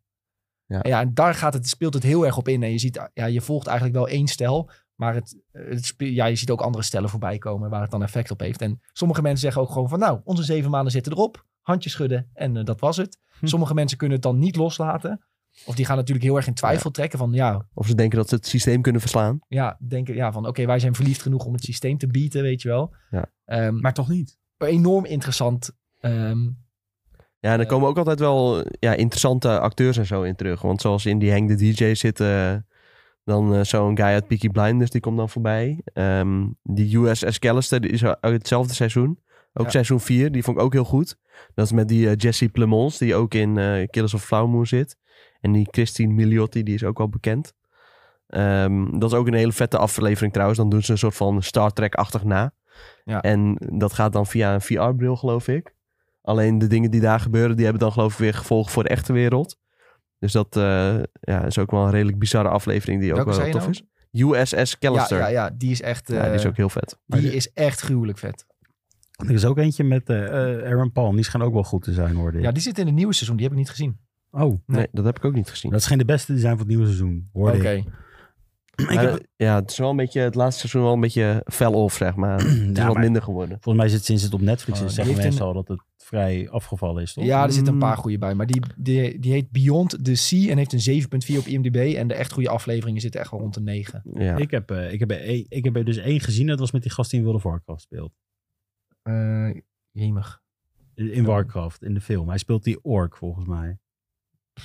B: Ja.
A: Ja, en, ja, en daar gaat het, speelt het heel erg op in. En je ziet, ja, je volgt eigenlijk wel één stijl, maar het, het spe- ja, je ziet ook andere stellen voorbij komen waar het dan effect op heeft. En sommige mensen zeggen ook gewoon van, nou, onze zeven maanden zitten erop, handjes schudden en eh, dat was het.
C: Hm.
A: Sommige mensen kunnen het dan niet loslaten. Of die gaan natuurlijk heel erg in twijfel trekken van, ja,
B: Of ze denken dat ze het systeem kunnen verslaan.
A: ja, denken ja, van oké, wij zijn verliefd genoeg om het systeem te bieden, weet je wel.
B: Ja.
A: Ehm, maar
C: Maar toch niet.
A: enorm interessant. ehm,
B: Ja, en er
A: Eh.
B: komen ook altijd wel eh, ja, interessante acteurs en zo in terug. Want zoals in die Hang the DJ zit eh, dan eh, zo'n guy uit Peaky Blinders, die komt dan voorbij. Ehm, die USS Callister, die is uit hetzelfde seizoen. Ook
A: Ja.
B: seizoen 4, die vond ik ook heel goed. Dat is met die eh, Jesse Plemons, die ook in eh, Killers of Flower Moon zit. En die Christine Miliotti, die is ook wel bekend. Ehm, dat is ook een hele vette aflevering trouwens. Dan doen ze een soort van Star Trek-achtig na.
A: Ja.
B: En dat gaat dan via een VR-bril, geloof ik. Alleen de dingen die daar gebeuren, die hebben dan geloof ik weer gevolgen voor de echte wereld. Dus dat eh, ja, is ook wel een redelijk bizarre aflevering die ook
A: welke
B: wel
A: zei je
B: tof
A: nou?
B: is. USS
A: Ja,
B: Callister.
A: ja, ja, die is echt, eh
B: Ja, die is ook heel vet.
A: echt gruwelijk vet.
D: Er is ook eentje met eh, eh, Aaron Paul. Die schijnt ook wel goed te zijn, hoorde ik.
A: Ja, die zit in het nieuwe seizoen, die heb ik niet gezien.
D: Oh,
B: Nee.
A: Nee.
B: dat heb ik ook niet gezien.
D: dat schijnt de beste te zijn van het nieuwe seizoen,
A: Oké.
D: hoorde (clears throat) ik. ik
B: Maar,
D: heb-
B: Ja, het is wel een beetje, het laatste seizoen wel een beetje fel off, zeg maar.
D: (clears throat)
B: Het is
D: Ja,
B: wat
D: maar
B: minder geworden.
D: Volgens mij is het sinds het op Netflix
A: Oh,
D: is,
A: die
D: zeggen
A: heeft
D: mensen al dat het vrij afgevallen is, toch?
A: Ja, er zitten een paar
B: Mm.
A: goede bij. Maar die, die, die heet Beyond the Sea en heeft een 7.4 op IMDb. En de echt goede afleveringen zitten echt wel rond de 9.
B: Ja.
D: Ik, heb, eh, ik, heb, er één- ik heb er dus één gezien, dat was met die gast die in World of Warcraft speelt.
A: Eh jemig.
D: In Warcraft, in de film. Hij speelt die ork, volgens mij.
C: Die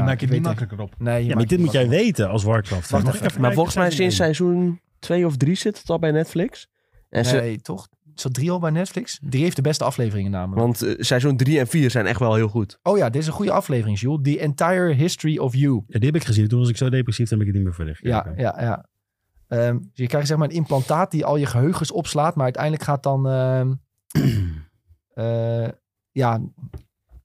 A: Ja,
C: maak je
A: ik
C: niet
A: weet
C: makkelijker op.
A: Nee, je
D: Ja, maar
A: maakt
D: dit
A: het
D: moet jij
A: makkelijk.
D: weten als Warcraft.
A: Wacht
D: Mag
A: even,
D: ik even
B: maar
D: kijken?
B: volgens mij
D: Seizoen
B: sinds
D: één.
B: seizoen 2 of 3 zit het al bij Netflix. En ze,
A: Nee, toch? Zat drie al bij Netflix? Drie heeft de beste afleveringen namelijk.
B: want eh, seizoen 3 en 4 zijn echt wel heel goed.
A: Oh ja, dit is een goede aflevering, Jules. The Entire History of You.
D: Ja, die heb ik gezien. Toen was ik zo depressief, toen heb ik het niet meer verder
A: Ja,
D: gekeken.
A: ja, ja. Ehm, dus je krijgt zeg maar een implantaat die al je geheugens opslaat, maar uiteindelijk gaat dan. ehm, eh, ja,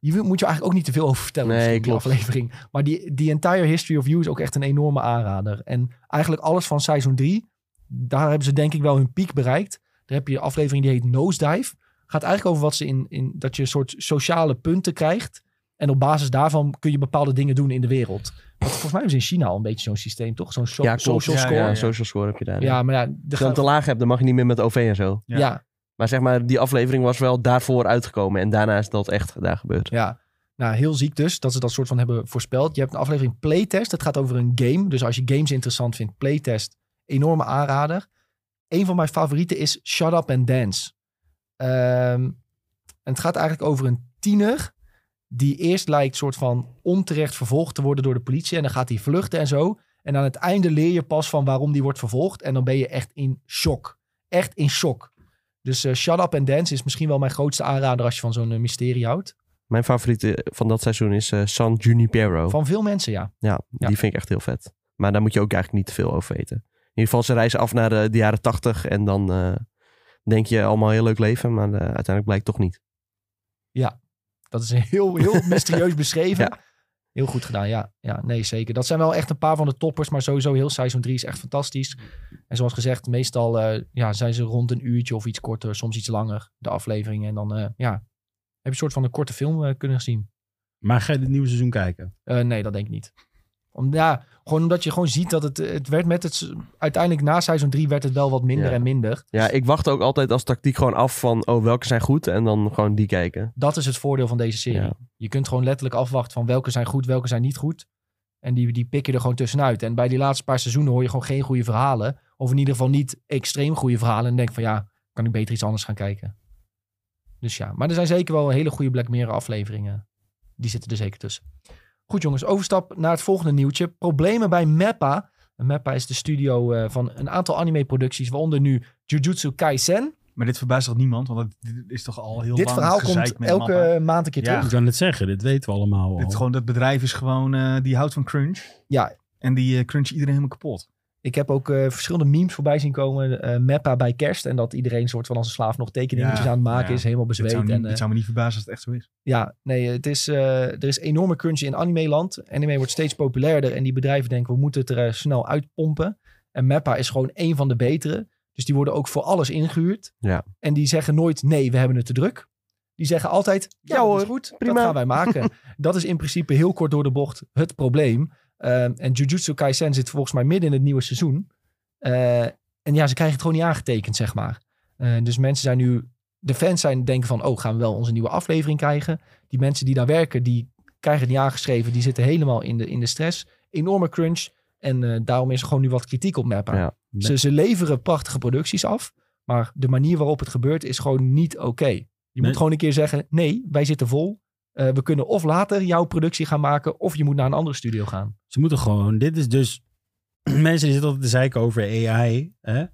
A: Die wil- moet je eigenlijk ook niet te veel over vertellen.
B: Nee,
A: misschien, die
B: klopt.
A: aflevering. Maar die, die entire history of you is ook echt een enorme aanrader. En eigenlijk alles van seizoen 3, daar hebben ze denk ik wel hun piek bereikt. Daar heb je een aflevering die heet Nosedive. Gaat eigenlijk over wat ze in, in dat je een soort sociale punten krijgt. En op basis daarvan kun je bepaalde dingen doen in de wereld. Want volgens mij hebben ze in China al een beetje zo'n systeem, toch? Zo'n so-
B: Ja, klopt.
A: social
C: Ja,
A: score. Ja,
C: ja.
B: social score heb je daar.
A: maar ja, de
B: Als je hem te laag hebt, dan mag je niet meer met OV en zo.
A: ja.
C: Ja.
A: ja,
B: Maar zeg maar, die aflevering was wel daarvoor uitgekomen. En daarna is dat echt daar gebeurd.
A: Ja, nou heel ziek dus dat ze dat soort van hebben voorspeld. Je hebt een aflevering Playtest. Dat gaat over een game. Dus als je games interessant vindt, Playtest, enorme aanrader. Een van mijn favorieten is Shut Up and Dance. Ehm, en het gaat eigenlijk over een tiener die eerst lijkt soort van onterecht vervolgd te worden door de politie. En dan gaat hij vluchten en zo. En aan het einde leer je pas van waarom die wordt vervolgd. En dan ben je echt in shock. Echt in shock. Dus eh, Shut Up and Dance is misschien wel mijn grootste aanrader als je van zo'n eh, mysterie houdt.
B: Mijn favoriete van dat seizoen is eh, San Junipero.
A: Van veel mensen, ja.
B: Ja,
A: Ja.
B: die vind ik echt heel vet. Maar daar moet je ook eigenlijk niet te veel over weten. In ieder geval, ze reizen af naar eh, de jaren tachtig. En dan eh, denk je allemaal heel leuk leven. Maar eh, uiteindelijk blijkt toch niet.
A: Dat is heel,
B: (laughs)
A: heel mysterieus beschreven.
B: Ja.
A: Heel goed gedaan, ja. ja. Nee, zeker. Dat zijn wel echt een paar van de toppers. Maar sowieso heel seizoen 3 is echt fantastisch. En zoals gezegd, meestal eh, ja, zijn ze rond een uurtje of iets korter. Soms iets langer, de afleveringen. En dan eh, ja, heb je een soort van een korte film eh, kunnen zien.
D: (clears throat) Maar ga je dit nieuwe seizoen kijken?
A: Eh, nee, dat denk ik niet. Om, ja, gewoon omdat je gewoon ziet dat het, het werd met het... s- Uiteindelijk na seizoen 3 werd het wel wat minder
B: Ja.
A: en minder.
B: Ja, ik wacht ook altijd als tactiek gewoon af van... Oh, welke zijn goed? En dan gewoon die kijken.
A: Dat is het voordeel van deze serie.
B: Ja.
A: Je kunt gewoon letterlijk afwachten van welke zijn goed, welke zijn niet goed. En die, die pik je er gewoon tussenuit. En bij die laatste paar seizoenen hoor je gewoon geen goede verhalen. Of in ieder geval niet extreem goede verhalen. En denk van ja, kan ik beter iets anders gaan kijken. Dus ja, maar er zijn zeker wel hele goede Black Mirror afleveringen. Die zitten er zeker tussen. Goed jongens, overstap naar het volgende nieuwtje. Problemen bij Meppa. En Meppa is de studio eh, van een aantal anime producties. Waaronder nu Jujutsu Kaisen.
C: Maar dit verbaast toch niemand? Want dat- dit is toch al heel
A: Dit
C: lang
A: verhaal
C: gezeik
A: komt
C: met
A: elke
C: mappen.
A: maand een keer
C: Ja.
A: terug.
D: Ik kan het zeggen, dit weten we allemaal al.
C: Dit, gewoon, dat bedrijf is gewoon... eh, die houdt van crunch.
A: Ja.
C: En die eh, crunch iedereen helemaal kapot.
A: Ik heb ook eh, verschillende memes voorbij zien komen. eh Meppa bij kerst. En dat iedereen soort van als een slaaf nog tekeningetjes
C: Ja,
A: aan het maken
C: ja.
A: is. Helemaal
C: Het
A: bezweet.
C: zou, niet-
A: en, eh,
C: het zou me niet verbazen als het echt zo is.
A: ja, nee, het is, eh, er is enorme crunch in anime-land. Anime wordt steeds populairder. En die bedrijven denken, we moeten het er eh, snel uitpompen. En Meppa is gewoon één van de betere. Dus die worden ook voor alles ingehuurd.
B: Ja.
A: En die zeggen nooit, nee, we hebben het te druk. Die zeggen altijd, ja,
B: Ja
A: dat
B: hoor,
A: is goed,
B: prima.
A: dat gaan wij maken. (laughs) dat is in principe heel kort door de bocht het probleem. Ehm, en Jujutsu Kaisen zit volgens mij midden in het nieuwe seizoen. Eh, en ja, ze krijgen het gewoon niet aangetekend, zeg maar. Eh, dus mensen zijn nu, de fans zijn denken van, oh, gaan we wel onze nieuwe aflevering krijgen? Die mensen die daar werken, die krijgen het niet aangeschreven. Die zitten helemaal in de, in de stress. Enorme crunch. En eh, daarom is er gewoon nu wat kritiek op Mappa.
B: Ja.
A: Ze, ze leveren prachtige producties af. Maar de manier waarop het gebeurt is gewoon niet oké. Je
D: Nee.
A: moet gewoon een keer zeggen: nee, wij zitten vol. Eh, we kunnen of later jouw productie gaan maken. of je moet naar een andere studio gaan.
D: Ze moeten gewoon, dit is dus... (clears throat) Mensen die zitten altijd te zeiken over AI. Hè?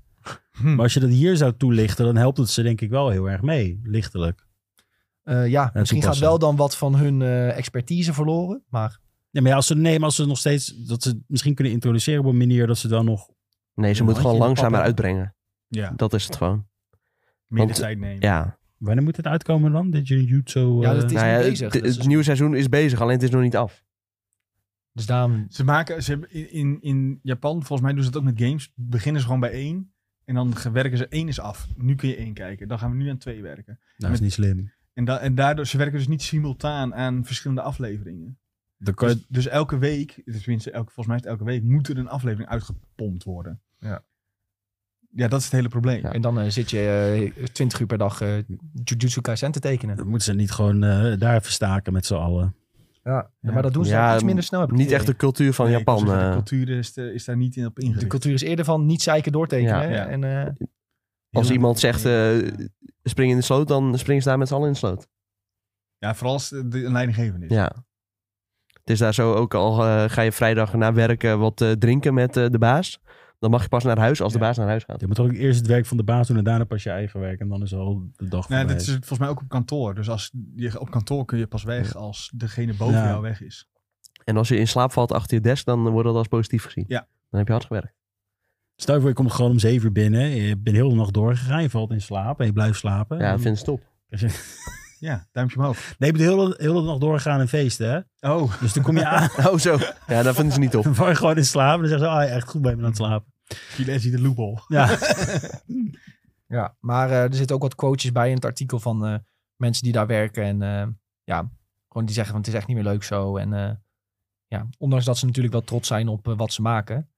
D: Maar als je dat hier zou toelichten, dan helpt het ze denk ik wel heel erg mee. Lichtelijk.
A: Eh, ja, misschien gaat
D: toepassen.
A: wel dan wat van hun eh, expertise verloren. Maar
D: Ja, maar ja, als ze nemen, als ze nog steeds... Dat ze het misschien kunnen introduceren op een manier dat ze dan nog...
B: Nee, ze
D: Ja,
B: moeten
D: had
B: gewoon
D: je in de
B: langzamer
D: pap-
B: uitbrengen.
C: Ja.
B: Dat is het gewoon.
C: Meer de
B: Want-
C: tijd nemen.
B: Ja.
D: Wanneer moet het uitkomen dan? Dit Jujutsu...
A: Ja,
D: eh,
A: dat is-
B: Nou ja,
A: nu
B: het-
A: bezig,
B: Het,
A: dat seizoen.
B: nieuwe seizoen is bezig, alleen het is nog niet af.
A: dus daarom.
C: Ze maken, ze hebben in- in, in Japan, volgens mij doen ze dat ook met games. Beginnen ze gewoon bij één. En dan ge- werken ze één is af. Nu kun je één kijken. Dan gaan we nu aan twee werken.
D: dat nou, is niet slim.
C: En, da en daardoor, ze werken dus niet simultaan aan verschillende afleveringen.
D: Dan kan je-
C: Dus, dus elke week, tenminste elke, volgens mij is het elke week, moet er een aflevering uitgepompt worden.
A: Ja.
C: Ja, dat is het hele probleem.
B: Ja.
A: En dan eh, zit je twintig uur per dag eh, Jujutsu Kaisen te tekenen.
D: Dus dan moeten ze niet gewoon eh, daar even staken met z'n allen.
A: Ja,
C: Ja.
A: maar dat doen ze
B: Ja,
A: iets minder snel. heb ik
B: Niet
A: het
B: echt de
A: idee.
B: cultuur van
C: Nee, ik wil
B: Japan.
C: zeggen,
B: eh,
C: de cultuur is, er- is daar niet in op ingericht.
A: De cultuur is eerder van niet zeiken doortekenen.
B: Ja.
A: hè,
C: Ja.
A: En, eh,
B: als
C: Heel-
B: iemand zegt eh, spring in de sloot, dan springen ze daar met z'n allen in de sloot.
C: Ja, vooral als eh, de, een leidinggevende is.
B: Ja. Het is daar zo ook al, eh, ga je vrijdag na werken wat eh, drinken met eh, de baas. Dan mag je pas naar huis als de
C: Ja.
B: baas naar huis gaat.
D: Je moet ook eerst het werk van de baas doen en daarna pas je eigen werk. En dan is al de dag
C: Nou,
D: voorbij.
C: dat is volgens mij ook op kantoor. Dus als je, op kantoor kun je pas weg als degene boven
D: Ja.
C: jou weg is.
B: En als je in slaap valt achter je desk, dan wordt dat als positief gezien.
C: Ja.
B: Dan heb je hard gewerkt.
D: Stel je voor, je komt gewoon om zeven uur binnen. Je bent heel de nacht doorgegaan. Je valt in slaap en je blijft slapen.
B: Ja,
D: En
B: dat vinden ze top.
C: Ja, duimpje omhoog.
D: Nee, ik bedoel, heel, de- heel de nacht doorgaan en feesten, hè?
C: Oh,
D: Dus dan
C: (laughs)
D: kom je aan,
B: Oh, zo. Ja, daar vinden ze niet op.
D: dan (laughs) val je gewoon in slaap. En dan zeggen ze, ah, ja, echt goed bij me aan het slapen.
C: Gilles ziet de loophole.
D: (laughs) Ja,
A: Ja, maar eh, er zitten ook wat quotes bij in het artikel van eh, mensen die daar werken. En eh, ja, gewoon die zeggen van het is echt niet meer leuk zo. En eh, ja, ondanks dat ze natuurlijk wel trots zijn op eh, wat ze maken.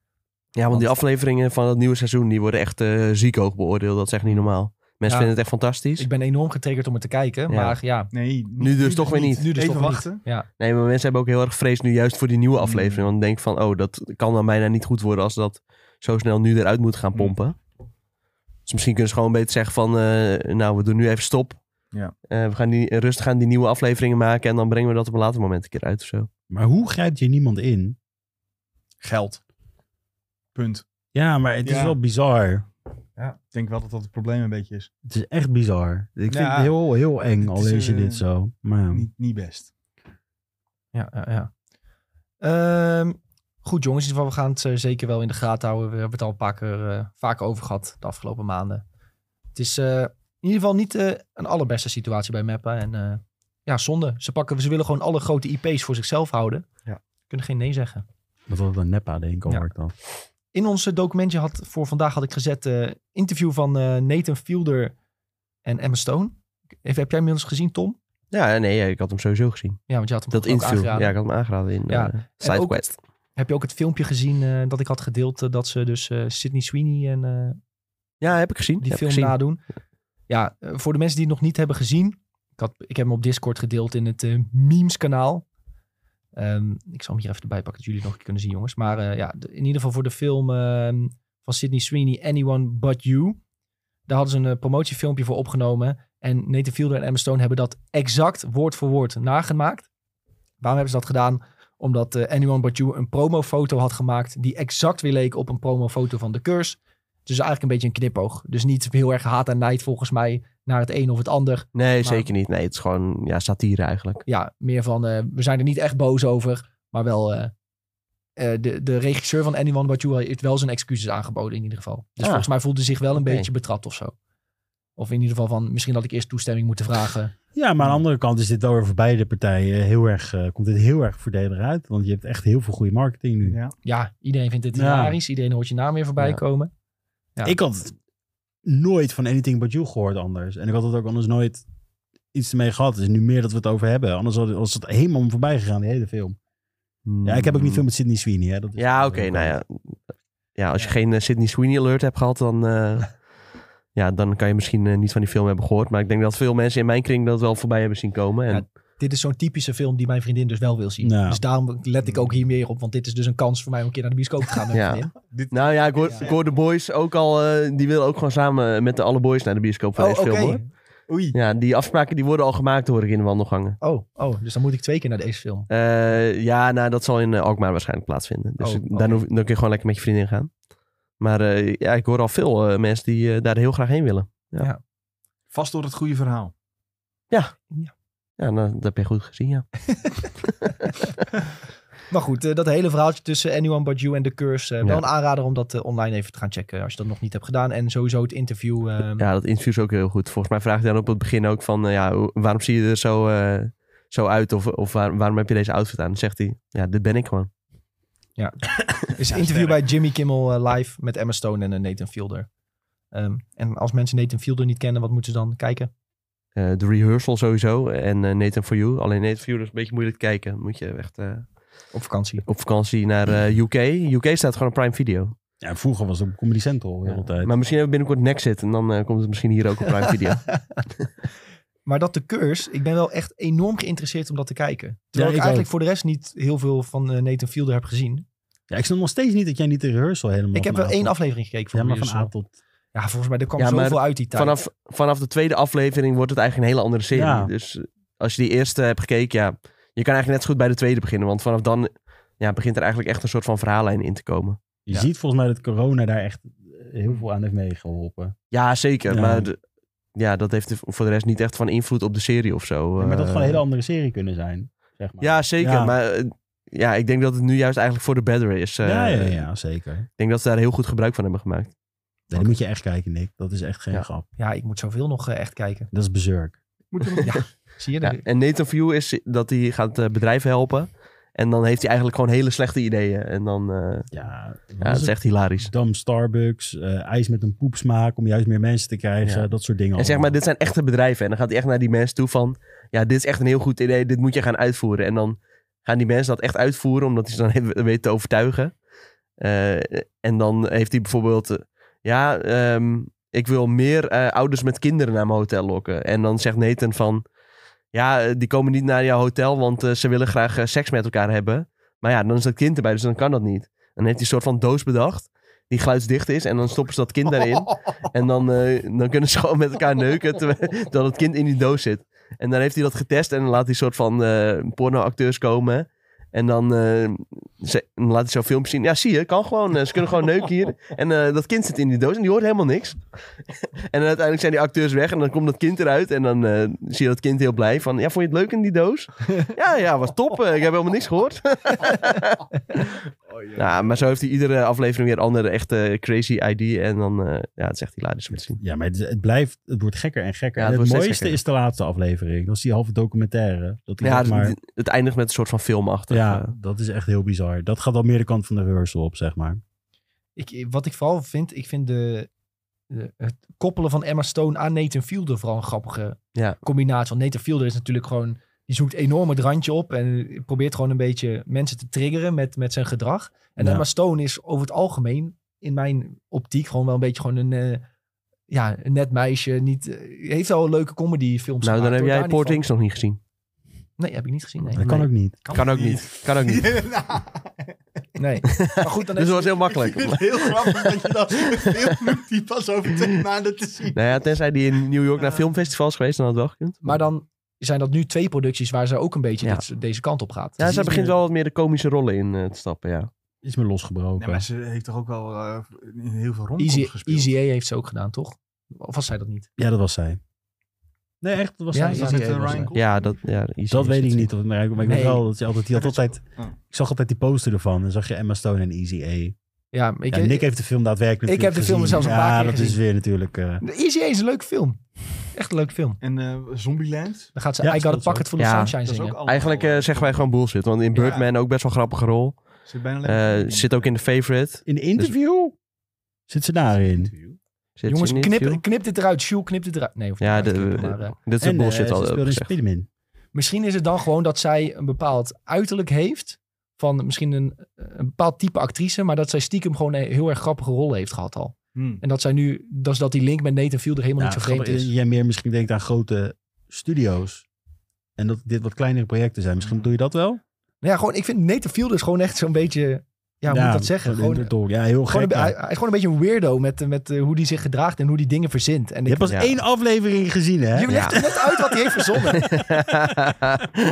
B: Ja, want die afleveringen van het nieuwe seizoen, die worden echt eh, ziek hoog beoordeeld. Dat is echt niet normaal. Mensen
A: Ja.
B: vinden het echt fantastisch.
A: Ik ben enorm getriggerd om het te kijken.
B: Ja.
A: Maar ja,
C: Nee, niet-
B: Nu dus toch weer niet.
A: nu dus
C: Even
A: toch
C: wachten.
A: Niet. Ja,
B: Nee, maar mensen hebben ook heel erg vrees nu juist voor die nieuwe aflevering. Want denk van, oh, dat kan dan bijna niet goed worden als dat zo snel nu eruit moet gaan pompen. Dus misschien kunnen ze gewoon beter zeggen van, eh, nou, we doen nu even stop.
C: Ja.
B: Eh, we gaan die, rustig aan die nieuwe afleveringen maken en dan brengen we dat op een later moment een keer uit of zo.
D: maar hoe grijpt je niemand in?
C: Geld. Punt.
D: Ja, maar het is
C: Ja.
D: wel bizar.
C: Ik denk wel dat dat het probleem een beetje is.
D: Het is echt bizar. Ik vind
C: Ja.
D: het heel, heel eng,
C: Het
D: al
C: is,
D: lees je
C: eh,
D: dit zo. Maar ja.
C: Niet, niet best.
A: ja, ja. ja. Ehm, goed jongens, in ieder geval, we gaan het eh, zeker wel in de gaten houden. We hebben het al een paar keer eh, vaker over gehad de afgelopen maanden. Het is eh, in ieder geval niet eh, een allerbeste situatie bij Meppa. En eh, ja, zonde. Ze, pakken, ze willen gewoon alle grote IP's voor zichzelf houden.
C: Ja.
A: Kunnen geen nee zeggen.
D: dat was een nepa, denk ik,
A: Ja.
D: hoor ik dan.
A: in ons eh, documentje had voor vandaag had ik gezet eh, interview van eh, Nathan Fielder en Emma Stone. Even, heb jij inmiddels gezien, Tom?
B: Ja, nee, ja, ik had hem sowieso gezien.
A: Ja, want je had hem
B: Dat
A: ook
B: interview.
A: aangeraden.
B: Ja, ik had hem aangeraden in
A: Ja,
B: eh,
A: en ook-
B: SideQuest.
A: Heb je ook het filmpje gezien eh, dat ik had gedeeld eh, dat ze dus eh, Sydney Sweeney en eh,
B: Ja, heb ik gezien.
A: die
B: heb ik
A: film
B: gezien.
A: nadoen? Ja, eh, voor de mensen die het nog niet hebben gezien, ik, had, ik heb hem op Discord gedeeld in het eh, memes kanaal. Ehm, ik zal hem hier even erbij pakken, dat jullie het nog een keer kunnen zien, jongens. Maar eh, ja, de- in ieder geval voor de film ehm, van Sydney Sweeney, Anyone But You. Daar hadden ze een eh, promotiefilmpje voor opgenomen. En Nathan Fielder en Emma Stone hebben dat exact woord voor woord nagemaakt. Waarom hebben ze dat gedaan? Omdat eh, Anyone But You een promofoto had gemaakt... die exact weer leek op een promofoto van de Curse. Dus eigenlijk een beetje een knipoog. Dus niet heel erg haat en nijd volgens mij naar het een of het ander.
B: Nee,
A: Maar-
B: zeker niet. Nee, het is gewoon ja, satire eigenlijk.
A: ja, meer van eh, we zijn er niet echt boos over, maar wel eh, eh, de, de regisseur van Anyone But You heeft wel zijn excuses aangeboden in ieder geval. Dus
B: Ah.
A: volgens mij voelde hij zich wel een
B: Oké.
A: beetje betrapt of zo. Of in ieder geval van misschien had ik eerst toestemming moeten vragen.
D: Ja, maar aan de andere kant is dit wel weer voor beide partijen heel erg, eh, komt dit heel erg voordelig uit. Want je hebt echt heel veel goede marketing nu.
C: Ja.
A: Ja, iedereen vindt dit
D: Ja.
A: hilarisch, iedereen hoort je naam weer voorbij
B: Ja.
A: komen. Ja.
D: Ik had nooit van Anything But You gehoord anders. En ik had het ook anders nooit iets ermee gehad. Dus nu meer dat we het over hebben. Anders had- was het helemaal om voorbij gegaan, die hele film. Ja, ik heb ook niet veel met Sydney Sweeney. Hè. Dat is
B: Mm. Ja, oké, nou ja. Ja, als je
A: Ja.
B: geen eh, Sydney Sweeney alert hebt gehad,
A: (laughs)
B: dan, eh, ja, dan kan je misschien eh, niet van die film hebben gehoord. Maar ik denk dat veel mensen in mijn kring dat wel voorbij hebben zien komen. En,
A: Ja. Dit is zo'n typische film die mijn vriendin dus wel wil zien.
D: Ja.
A: Dus daarom let ik ook hier meer op, want dit is dus een kans voor mij om een keer naar de bioscoop te gaan met
B: Ja.
A: mijn vriendin.
B: Nou ja, ik hoor,
A: Ja.
B: ik hoor de boys ook al, eh, die willen ook gewoon samen met de alle boys naar de bioscoop
A: Oh,
B: van deze film hoor.
C: Oei.
B: Ja, die afspraken die worden al gemaakt hoor ik in de wandelgangen.
A: Oh, oh, dus dan moet ik twee keer naar deze film.
B: Eh, ja, nou dat zal in eh, Alkmaar waarschijnlijk plaatsvinden. Dus
A: Oh,
B: dan,
A: oké.
B: hoef- dan kun je gewoon lekker met je vriendin gaan. Maar eh, ja, ik hoor al veel eh, mensen die eh, daar heel graag heen willen.
C: Vast door het goede verhaal.
B: Ja, nou, dat heb je goed gezien, ja.
A: Maar goed, eh, dat hele verhaaltje tussen Anyone But You en The Curse. eh,
B: Ja.
A: Wel een aanrader om dat eh, online even te gaan checken als je dat nog niet hebt gedaan. En sowieso het interview. (laughs) eh,
B: Ja, dat interview is ook heel goed. Volgens mij vraagt hij dan op het begin ook van... eh, ja, hoe- waarom zie je er zo, eh, zo uit? Of, of waar- waarom heb je deze outfit aan? Dan zegt hij, ja, dit ben ik gewoon.
A: is een interview bij Jimmy Kimmel eh, live met Emma Stone en eh, Nathan Fielder. Ehm, en als mensen Nathan Fielder niet kennen, wat moeten ze dan kijken?
B: Eh, de rehearsal sowieso en eh, Nathan For You. Alleen Nathan For You is een beetje moeilijk te kijken. Dan Moet je echt eh,
A: Op vakantie.
B: op vakantie naar eh, UK. UK staat gewoon op Prime Video.
D: Ja, vroeger was het op Comedy Central heel de tijd.
B: Maar misschien hebben we binnenkort Nexit. En dan eh, komt het misschien hier ook op Prime Video.
A: Maar dat The Curse, ik ben wel echt enorm geïnteresseerd om dat te kijken. Terwijl
D: ik
A: ik eigenlijk
D: ook.
A: voor de rest niet heel veel van eh, Nathan Fielder heb gezien.
D: Ja, ik snap nog steeds niet dat jij niet de rehearsal helemaal
A: ik heb
D: van
A: wel
D: A
A: één
D: tot-
A: aflevering gekeken van
D: Ja,
A: ja,
D: maar van A tot...
A: Ja, volgens mij er kwam
B: Ja, maar
A: zoveel uit die tijd.
B: vanaf, vanaf de tweede aflevering wordt het eigenlijk een hele andere serie.
D: Ja.
B: Dus eh, als je die eerste hebt gekeken, ja, je kan eigenlijk net zo goed bij de tweede beginnen. Want vanaf dan ja, begint er eigenlijk echt een soort van verhaallijn in te komen.
D: Je
A: Ja.
D: ziet volgens mij dat corona daar echt eh, heel veel aan heeft meegeholpen.
B: Ja, zeker.
D: Ja.
B: Maar de- ja, dat heeft voor de rest niet echt van invloed op de serie of zo.
D: Ja, maar dat
B: Eh,
D: gewoon een hele andere serie kunnen zijn, zeg maar.
B: Ja, zeker.
D: Ja.
B: Maar eh, ja, ik denk dat het nu juist eigenlijk voor de better is. Eh,
D: ja, ja, ja, zeker. Nee,
B: Ik denk dat ze daar heel goed gebruik van hebben gemaakt.
D: dat moet je echt kijken, Nick. Dat is echt geen
B: Ja.
D: grap.
A: Ja, ik moet zoveel nog eh, echt kijken. (laughs)
D: Dat is bezurk.
A: ja, Zie je?
B: Ja,
A: De-
B: en Nathan View is dat hij gaat eh, bedrijven helpen. En dan heeft hij eigenlijk gewoon hele slechte ideeën. En dan, eh
D: Ja,
B: ja, het is echt hilarisch.
D: Dam Starbucks, eh, ijs met een poepsmaak om juist meer mensen te krijgen,
B: Ja.
D: dat soort dingen.
B: En zeg maar, dit zijn echte bedrijven. En dan gaat hij echt naar die mensen toe van... Ja, dit is echt een heel goed idee. Dit moet je gaan uitvoeren. En dan gaan die mensen dat echt uitvoeren. Omdat hij ze dan even weet te overtuigen. Eh, en dan heeft hij bijvoorbeeld... eh, ja, ehm, ik wil meer eh, ouders met kinderen naar mijn hotel lokken. En dan zegt Nathan van... Ja, eh, die komen niet naar jouw hotel, want eh, ze willen graag eh, seks met elkaar hebben. Maar ja, dan is dat kind erbij, dus dan kan dat niet. Dan heeft hij een soort van doos bedacht, die geluidsdicht is. En dan stoppen ze dat kind daarin. En dan, eh, dan kunnen ze gewoon met elkaar neuken, terwijl terwijl het kind in die doos zit. En dan heeft hij dat getest en dan laat hij een soort van eh pornoacteurs komen. En dan, eh, ze- dan laat hij zo'n filmpje zien. Ja, zie je, kan gewoon. Eh, Ze kunnen gewoon neuken hier. En eh, dat kind zit in die doos en die hoort helemaal niks. en uiteindelijk zijn die acteurs weg en dan komt dat kind eruit. En dan eh, zie je dat kind heel blij van... Ja, vond je het leuk in die
D: (laughs)
B: doos? ja, ja, was top. Eh, ik heb helemaal niks gehoord.
D: Oh,
B: ja, maar zo heeft hij iedere aflevering weer een andere echte eh, crazy ID. En dan, eh, ja, het is echt hilarisch om te zien.
D: Ja, maar het, het blijft, het wordt gekker en gekker.
B: Ja, het
D: En het
B: wordt steeds
D: mooiste
B: gekker.
D: is de laatste aflevering. Dat is die halve documentaire. Dat hij
B: Ja,
D: dat
B: het,
D: maar,
B: het eindigt met een soort van filmachtig. eh,
D: ja, dat is echt heel bizar. Dat gaat al meer de kant van de rehearsal op, zeg maar.
A: Ik, wat ik vooral vind, ik vind de, de- het koppelen van Emma Stone aan Nathan Fielder vooral een grappige
B: Ja.
A: combinatie. Want Nathan Fielder is natuurlijk gewoon, die zoekt enorm het randje op en probeert gewoon een beetje mensen te triggeren met, met zijn gedrag. En
D: Ja.
A: Emma Stone is over het algemeen, in mijn optiek, gewoon wel een beetje gewoon een, eh, ja, een net meisje. Niet, eh, heeft wel leuke comedyfilms
B: nou, dan
A: gemaakt,
B: heb
A: hoor,
B: jij
A: daar niet
B: Poor
A: van.
B: Things nog niet gezien.
A: Nee, heb ik niet gezien. Nee.
D: dat kan ook niet.
B: Kan ook niet. Kan ook
C: (laughs)
B: niet. (laughs)
A: Nee. Maar goed, dan heb
B: Dus dat
A: je-
B: was heel makkelijk.
C: Ik vind het heel grappig dat je dat film noemt die pas over twee maanden te zien.
B: nou ja, tenzij die in New York naar filmfestivals geweest, dan had het wel gekund.
A: Maar dan zijn dat nu twee producties waar ze ook een beetje
B: Ja.
A: dit- deze kant op gaat.
B: Ja,
A: Dus
B: zij
A: die-
B: begint wel wat meer de komische rollen in eh, te stappen, ja.
D: Is me losgebroken.
C: Nee, maar ze heeft toch ook wel eh, in heel veel rondjes
A: Easy,
C: gespeeld.
A: Easy A heeft ze ook gedaan, toch? Of was zij dat niet?
D: Ja, dat was zij. Nee, echt, dat was
A: Ja,
D: zij.
A: is
C: Was
A: Easy
C: het,
A: A
C: eh,
A: was
C: Ryan
A: hij.
C: Gosling?
B: Ja, dat, ja, easy
D: Dat
B: is
D: weet
B: het.
D: ik niet. Of, maar ik weet
A: Nee.
D: wel dat hij altijd, die had altijd,
C: Oh.
D: ik zag altijd die poster ervan. En zag je Emma Stone en Easy A.
A: Ja, maar ik,
D: Ja, Nick heeft de film daadwerkelijk
A: Ik heb de film
D: gezien.
A: zelfs een
D: ja,
A: paar keer
D: dat is
A: gezien.
D: weer natuurlijk... eh,
A: Easy A is een leuke film. Echt een leuke film.
C: En eh, Zombieland?
A: Dan gaat ze
D: Ja,
A: I Got a
D: speelt ze
A: Pocket Full of
B: Ja,
A: Sunshine
C: Dat is ook
A: zingen.
C: allemaal-
B: Eigenlijk eh, zeggen wij gewoon bullshit, want in
C: Ja.
B: Birdman ook best wel een grappige rol.
C: Zit bijna
B: Eh,
C: alleen maar-
B: zit ook in de favorite.
D: in de
A: Dus-
D: interview zit ze daarin.
B: Zit
A: Jongens,
B: in de interview.
A: knip, knip dit eruit. Sjoel, knip dit eruit. Nee, hoeft
B: Ja,
A: niet uit te
B: de-
A: knippen, maar, eh,
B: Dit is
D: En
B: een
D: eh,
B: bullshit
D: ze
B: al
D: speelde in
B: gezegd.
D: Spiderman.
A: misschien is het dan gewoon dat zij een bepaald uiterlijk heeft. Van misschien een, eh, een bepaald type actrice. Maar dat zij stiekem gewoon een heel erg grappige rol heeft gehad al.
C: Hmm.
A: En dat zij nu, dat is dat die link met Nathan Fielder helemaal
D: Ja,
A: niet zo vreemd
D: grappig
A: is.
D: is dat Nou, eh, Jij meer misschien denkt aan grote studio's. En dat dit wat kleinere projecten zijn. Misschien doe je dat wel?
A: Nou ja, gewoon, ik vind Nathan Fielder is gewoon echt zo'n beetje... Ja, hoe moet ik dat zeggen?
D: Gewoon,
A: Gewoon,
D: ja, heel gek.
A: Gewoon een be-
D: ja.
A: hij, hij is gewoon een beetje een weirdo met, eh, met eh, hoe hij zich gedraagt en hoe hij dingen verzint. En
D: Je hebt
A: ik,
D: pas
B: Ja.
D: één aflevering gezien, hè?
A: je legt net uit wat hij heeft
D: (laughs)
A: verzonnen.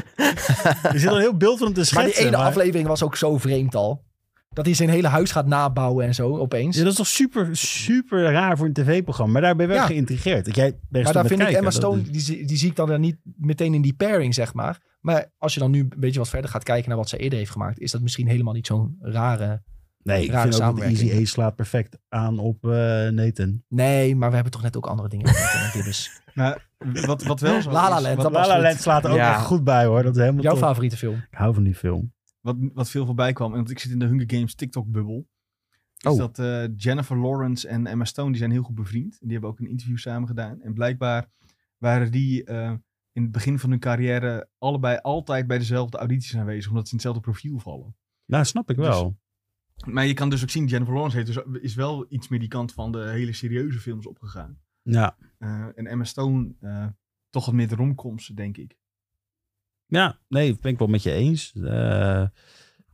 B: (laughs)
D: Er zit al een heel beeld van hem te
A: maar
D: schetsen.
A: die ene
D: maar-
A: aflevering was ook zo vreemd al. Dat hij zijn hele huis gaat nabouwen en zo opeens.
D: Ja, dat is toch super, super raar voor een tv-programma. Maar daar ben ik wel
A: Ja.
D: geïntrigeerd. Dat jij daar
A: maar
D: stond
A: daar
D: met
A: vind ik
D: kijken,
A: Emma
D: dat
A: Stone,
D: is-
A: die, zie- die zie ik dan weer niet meteen in die pairing, zeg maar. Maar als je dan nu een beetje wat verder gaat kijken naar wat ze eerder heeft gemaakt, is dat misschien helemaal niet zo'n rare.
D: nee, ik
A: rare
D: vind ook dat
A: samenwerking.
D: Easy A slaat perfect aan op eh, Nathan.
A: Nee, maar we hebben toch net ook andere dingen. gedaan, en dit is
C: Maar Hmm. wat, wat wel zo
A: La La
C: is,
A: Land,
C: wat,
A: dat was-
D: La La
A: goed.
D: Land slaat er ook
B: Ja.
D: echt goed bij, hoor. (laughs) Dat is helemaal
A: jouw
D: top.
A: favoriete film.
D: Ik hou van die film.
C: wat, wat veel voorbij kwam, en want ik zit in de Hunger Games TikTok-bubbel, is
B: Oh.
C: dat eh, Jennifer Lawrence en Emma Stone, die zijn heel goed bevriend. En die hebben ook een interview samen gedaan. En blijkbaar waren die eh, in het begin van hun carrière allebei altijd bij dezelfde audities aanwezig, omdat ze in hetzelfde profiel vallen.
D: Nou, snap
A: Dus-
D: ik wel.
C: Maar je kan dus ook zien, Jennifer Lawrence heeft dus, is wel iets meer die kant van de hele serieuze films opgegaan.
D: ja.
C: Eh, en Emma Stone eh, toch wat meer de romcoms, denk ik.
D: ja, nee, ben ik wel met je eens. Eh,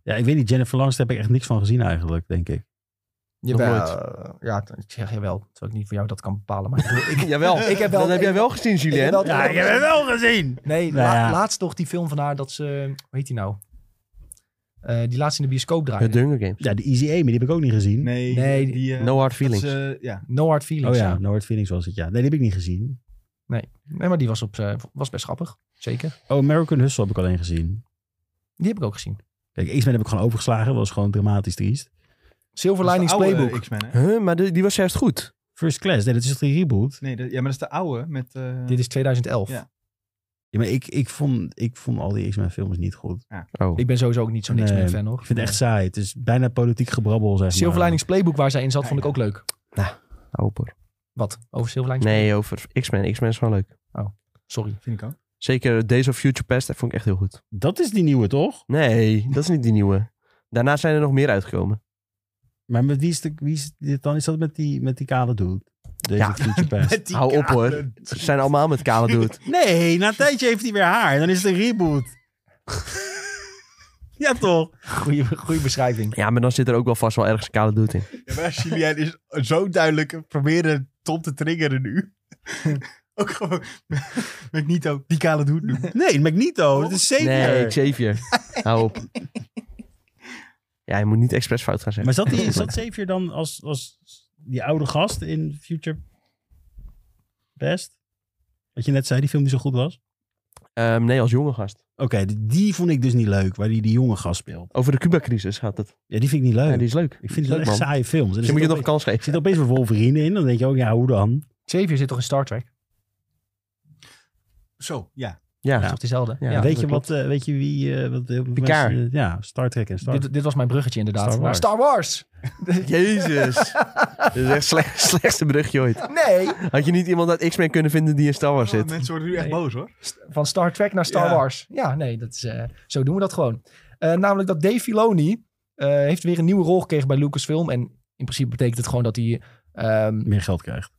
D: ja, ik weet niet, Jennifer Lawrence daar heb ik echt niks van gezien eigenlijk, denk ik.
A: Jawel. Ja, ik zeg je wel. Terwijl ik niet voor jou dat kan bepalen. Maar ik,
D: (laughs)
A: bedoel, ik,
B: Jawel,
A: Ik heb wel-
B: dat heb jij
A: ik-
B: wel gezien,
A: ik heb
B: Julien.
A: wel- Ja, ik heb hem
D: wel gezien!
A: Nee,
D: Nou
A: la-
D: ja.
A: laatst toch die film van haar dat ze... Hoe heet die nou? Eh, die laatst in de bioscoop
B: Het
A: draaide.
B: Hunger Games.
D: Ja, de Easy A, maar die heb ik ook niet gezien.
C: Nee,
A: Nee,
C: die, eh,
B: No Hard
C: dat is,
B: Feelings.
C: eh, ja.
A: No Hard
D: Oh
A: Feelings.
D: ja, Noord Phoenix was het, ja. Nee, die heb ik niet gezien.
A: Nee, maar die was, op, eh, was best grappig. Zeker.
D: Oh, American Hustle heb ik alleen gezien.
A: Die heb ik ook gezien.
D: Kijk, X-Men heb ik gewoon overgeslagen. was gewoon dramatisch triest.
A: Silver
C: dat is
A: Linings
C: de oude
A: Playbook.
C: X-Men, hè?
B: Huh, maar die, die was juist goed.
D: First Class, nee, dat is toch die reboot?
C: Nee, dat- ja, maar dat is de oude met... eh,
A: Dit is 2011.
C: Ja.
D: Ja, maar ik, ik, vond, ik vond al die X-Men films niet goed.
B: Oh.
A: Ik ben sowieso ook niet zo'n
D: Nee,
A: X-Men fan, hoor.
D: Ik vind het echt saai. Het is bijna politiek gebrabbel, zeg
A: Silver
D: maar.
A: Linings Playbook waar zij in zat, vond ik ook leuk.
B: Open.
A: Wat? Over Silver Linings
B: Nee, over X-Men. X-Men is wel leuk.
D: (laughs)
A: Sorry.
C: Vind ik ook.
B: Zeker Days of Future Past, dat vond ik echt heel goed.
D: Dat is die nieuwe, toch?
B: Nee, dat is niet die nieuwe. Daarna zijn er nog meer uitgekomen.
D: Maar met wie is, de, wie is dit dan? Is dat met die, met die kale dude? Deze
B: Ja.
D: (laughs) Future Past.
C: Met die
B: Hou op, hoor.
C: kale-
B: Ze zijn allemaal met kale
D: (laughs)
B: dude.
D: Nee, na een tijdje heeft hij weer haar. Dan is het een reboot. (laughs) ja, toch?
A: Goeie, goeie beschrijving.
B: Ja, maar dan zit er ook wel vast wel ergens een kale dude in.
C: Ja, maar Julian is dus zo duidelijk proberen Tom te triggeren (laughs) nu. ook gewoon met met Nito die kale doet nu.
D: Nee, Magneto. Het is zeker.
B: Nee, Xavier. Hou op. Ja, je moet niet expres fout gaan
D: Maar
B: zeggen.
D: zat, die, zat Xavier dan als, als die oude gast in Future Best? Wat je net zei, die film die zo goed was?
B: Ehm, nee, als jonge gast.
D: Oké, die, die vond ik dus niet leuk, waar die die jonge gast speelt.
B: Over de Cuba-crisis gaat het.
D: Ja, die vind ik niet leuk.
B: Ja, die is leuk.
D: Ik vind
B: Leuk,
D: het echt
B: man.
D: saaie films. Er
B: Misschien moet je
D: zit
B: het nog een kans
D: opeens, er
B: geven.
D: zit opeens weer Wolverine in, dan denk je ook, ja, hoe dan?
A: Xavier zit toch in Star Trek?
C: (laughs) Zo, ja.
B: Ja,
A: Dat is toch dezelfde?
B: Ja,
A: Ja.
B: dat
D: weet, je
B: klopt.
D: wat, eh, weet je wie... eh, wat heel veel
B: Picard.
D: mensen- ja, Star Trek en Star
A: Dit, dit was mijn bruggetje inderdaad.
D: Star Wars.
A: Naar Star Wars!
B: Jezus. Dit is echt slecht, (laughs) slechtste brugje ooit.
D: (laughs)
A: Nee!
B: Had je niet iemand uit X-Men kunnen vinden die in Star Wars
C: Oh,
B: zit?
C: mensen worden nu echt
A: Nee.
C: boos hoor.
A: St- Van Star Trek naar Star
C: Ja.
A: Wars. Ja, nee, dat is, eh, zo doen we dat gewoon. Eh, namelijk dat Dave Filoni eh, heeft weer een nieuwe rol gekregen bij Lucasfilm. En in principe betekent het gewoon dat hij... ehm,
D: meer geld krijgt.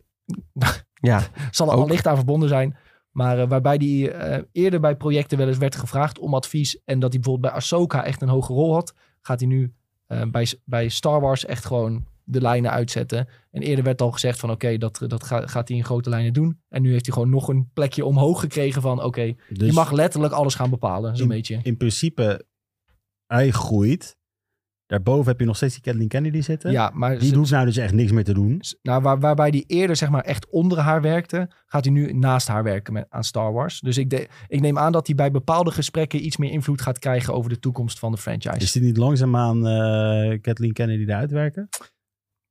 B: Ja,
A: zal er
B: Ook.
A: al licht aan verbonden zijn. Maar eh, waarbij die eh, eerder bij projecten wel eens werd gevraagd om advies. En dat hij bijvoorbeeld bij Ahsoka echt een hoge rol had. Gaat hij nu eh, bij, bij Star Wars echt gewoon de lijnen uitzetten. En eerder werd al gezegd van oké, dat, dat ga- gaat hij in grote lijnen doen. En nu heeft hij gewoon nog een plekje omhoog gekregen van oké,
D: Dus
A: je mag letterlijk alles gaan bepalen. Zo'n
D: Die-
A: beetje.
D: in principe, hij groeit. Daarboven heb je nog steeds die Kathleen Kennedy zitten.
A: Ja, maar
D: Die
A: ze-
D: hoeft nou dus echt niks meer te doen.
A: S- Nou, waar, waarbij die eerder zeg maar echt onder haar werkte, gaat hij nu naast haar werken met, aan Star Wars. Dus ik, de- ik neem aan dat hij bij bepaalde gesprekken iets meer invloed gaat krijgen over de toekomst van de franchise.
D: Is dit niet langzaamaan eh Kathleen Kennedy eruit werken?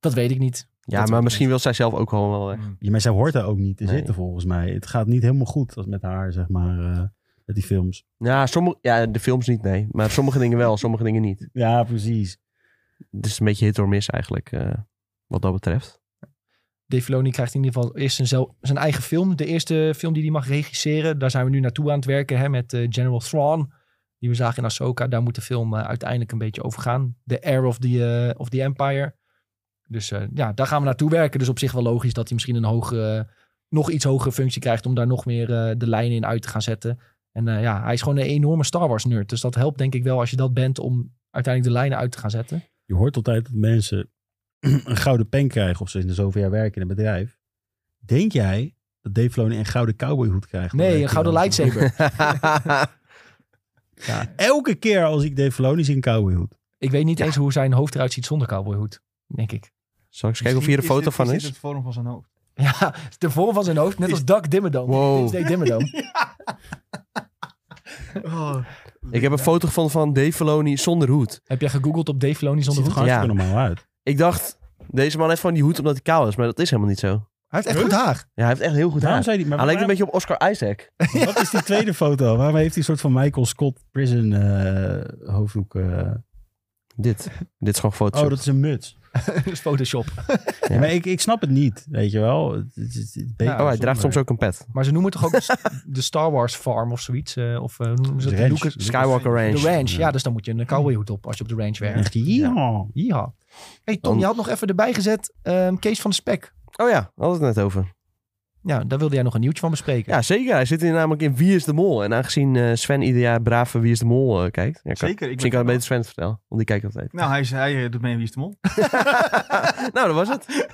A: dat weet ik niet.
B: ja
A: Dat
B: maar
A: weet
B: misschien wil zij zelf ook gewoon wel weg.
C: Hmm.
D: Ja, maar zij hoort daar ook niet te
B: Nee.
D: zitten volgens mij. Het gaat niet helemaal goed als met haar, zeg maar, eh, met die films.
B: Ja, sommige, ja, de films niet, nee. Maar sommige dingen wel, sommige dingen niet.
D: Ja, precies.
B: Het is een beetje hit or miss eigenlijk, eh, wat dat betreft.
A: Dave Filoni krijgt in ieder geval eerst zijn, zel- zijn eigen film. De eerste film die hij mag regisseren. Daar zijn we nu naartoe aan het werken hè, met eh, General Thrawn. Die we zagen in Ahsoka. Daar moet de film eh, uiteindelijk een beetje over gaan. The Heir of the, eh, of the Empire. Dus eh, ja, daar gaan we naartoe werken. Dus op zich wel logisch dat hij misschien een hogere, nog iets hogere functie krijgt. Om daar nog meer eh, de lijnen in uit te gaan zetten. En eh, ja, hij is gewoon een enorme Star Wars nerd. Dus dat helpt denk ik wel als je dat bent om uiteindelijk de lijnen uit te gaan zetten.
D: Je hoort altijd dat mensen (clears throat) een gouden pen krijgen of ze in de zoveel jaar werken in een bedrijf. Denk jij dat Dave Filoni een gouden cowboyhoed krijgt? Dan
A: Nee,
D: werkt
A: een
D: hij
A: gouden
D: wel.
A: lightsaber.
D: Elke keer als ik Dave Filoni zie, een cowboyhoed.
A: Ik weet niet eens hoe zijn hoofd eruit ziet zonder cowboyhoed, denk ik.
B: Zal ik eens kijken of hier een foto van
C: Is dit
B: is?
C: het vorm van zijn hoofd? (laughs)
A: (laughs) Ja, de vorm van zijn hoofd, net als Doug Dimmadome.
B: Wow.
A: Doomsday Dimmadome.
C: Oh.
B: Ik heb een foto gevonden van Dave Filoni zonder hoed.
A: Heb jij gegoogeld op Dave Filoni
D: Ziet
A: zonder hoed?
D: er gewoon
B: Ja.
D: hartstikke normaal uit.
B: Ik dacht, deze man heeft gewoon die hoed omdat hij kaal is. Maar dat is helemaal niet zo.
A: Hij heeft echt goed haar.
B: Ja, hij heeft echt heel goed
D: Waarom
B: haar.
D: zei die, maar
B: Hij lijkt een
D: waarom-
B: beetje op Oscar Isaac.
D: Wat is die tweede foto? Waarom heeft hij een soort van Michael Scott prison eh, hoofddoek? eh?
B: Dit. Dit is gewoon foto's.
D: Oh, dat is een muts.
A: (laughs) Dat is Photoshop.
B: Ja.
D: Maar ik, ik snap het niet, weet je wel. Het- het- het- het-
A: Ja.
B: Nou, Oh, hij draagt soms ook een pet.
A: Maar ze noemen toch ook de- de Star Wars Farm of zoiets? eh, of eh, hoe noemen ze dat?
D: De ranch.
A: Lucas-
B: Skywalker Range.
A: De ranch, ja. Dus dan moet je een cowboyhoed op als je op de ranch werkt.
D: Echt, ja.
A: Ja. Hey Tom,
B: Dan-
A: je had nog even erbij gezet ehm Kees van de Spek.
B: Oh ja, daar hadden we het net over.
A: Ja, daar wilde jij nog een nieuwtje van bespreken.
B: Ja, zeker. Hij zit hier namelijk in Wie is de Mol. En aangezien eh, Sven ieder jaar brave Wie is de Mol eh, kijkt. Ja, kan,
C: Zeker. Ik
B: misschien
C: ben
B: kan het beter Sven het vertellen, want die kijkt altijd.
C: Nou, hij, zei, hij eh, doet mee in Wie is de Mol.
B: (laughs) nou, dat was
C: (laughs)
B: het.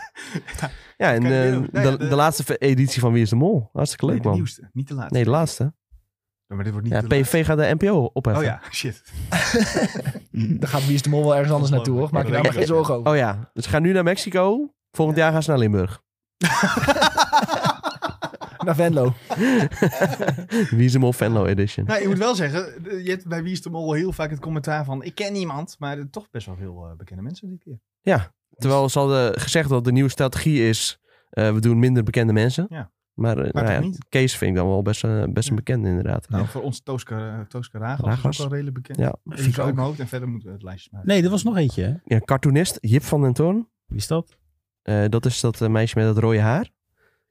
B: Ja, en
C: Kan je
B: eh,
C: weer doen. Nou ja,
B: de,
C: de-
B: de laatste ve- editie van Wie is de Mol. Hartstikke
C: nee,
B: leuk,
C: de
B: man.
C: nieuwste, niet de laatste.
B: Nee, de laatste.
C: Ja, maar dit wordt niet
B: Ja,
C: de
B: PV gaat de NPO
C: laatste.
B: opheffen.
C: Oh ja,
B: (laughs)
C: shit.
A: Dan gaat Wie is de Mol wel ergens anders naartoe, hoor. Maak je daar maar geen zorgen over.
B: Oh ja, dus ze gaan nu naar Mexico. Volgend jaar gaan ze naar
C: (laughs)
B: Limburg.
A: Naar Venlo.
B: Wie is de Mol Venlo Edition.
C: Nou, ik moet wel zeggen, de- je hebt bij Wie is de Mol heel vaak het commentaar van... ik ken niemand, maar er toch best wel veel eh, bekende mensen die keer.
B: Terwijl ze hadden gezegd dat de nieuwe strategie is... eh, we doen minder bekende mensen.
C: Ja.
B: Maar, eh, nou
C: Maar toch
B: ja,
C: niet?
B: Kees vind ik dan wel best, eh, best een bekende inderdaad.
C: Nou, voor ons Tooska, Tooska Ragas
B: Ragas.
C: is ook wel redelijk bekend.
B: Ja.
C: Even zo uit mijn hoofd en verder moeten we het lijstje maken.
D: Nee, er was nog eentje. Hè?
B: Ja, cartoonist Jip van den Toorn.
D: Wie is dat?
B: Eh, dat is dat eh, meisje met dat rode haar.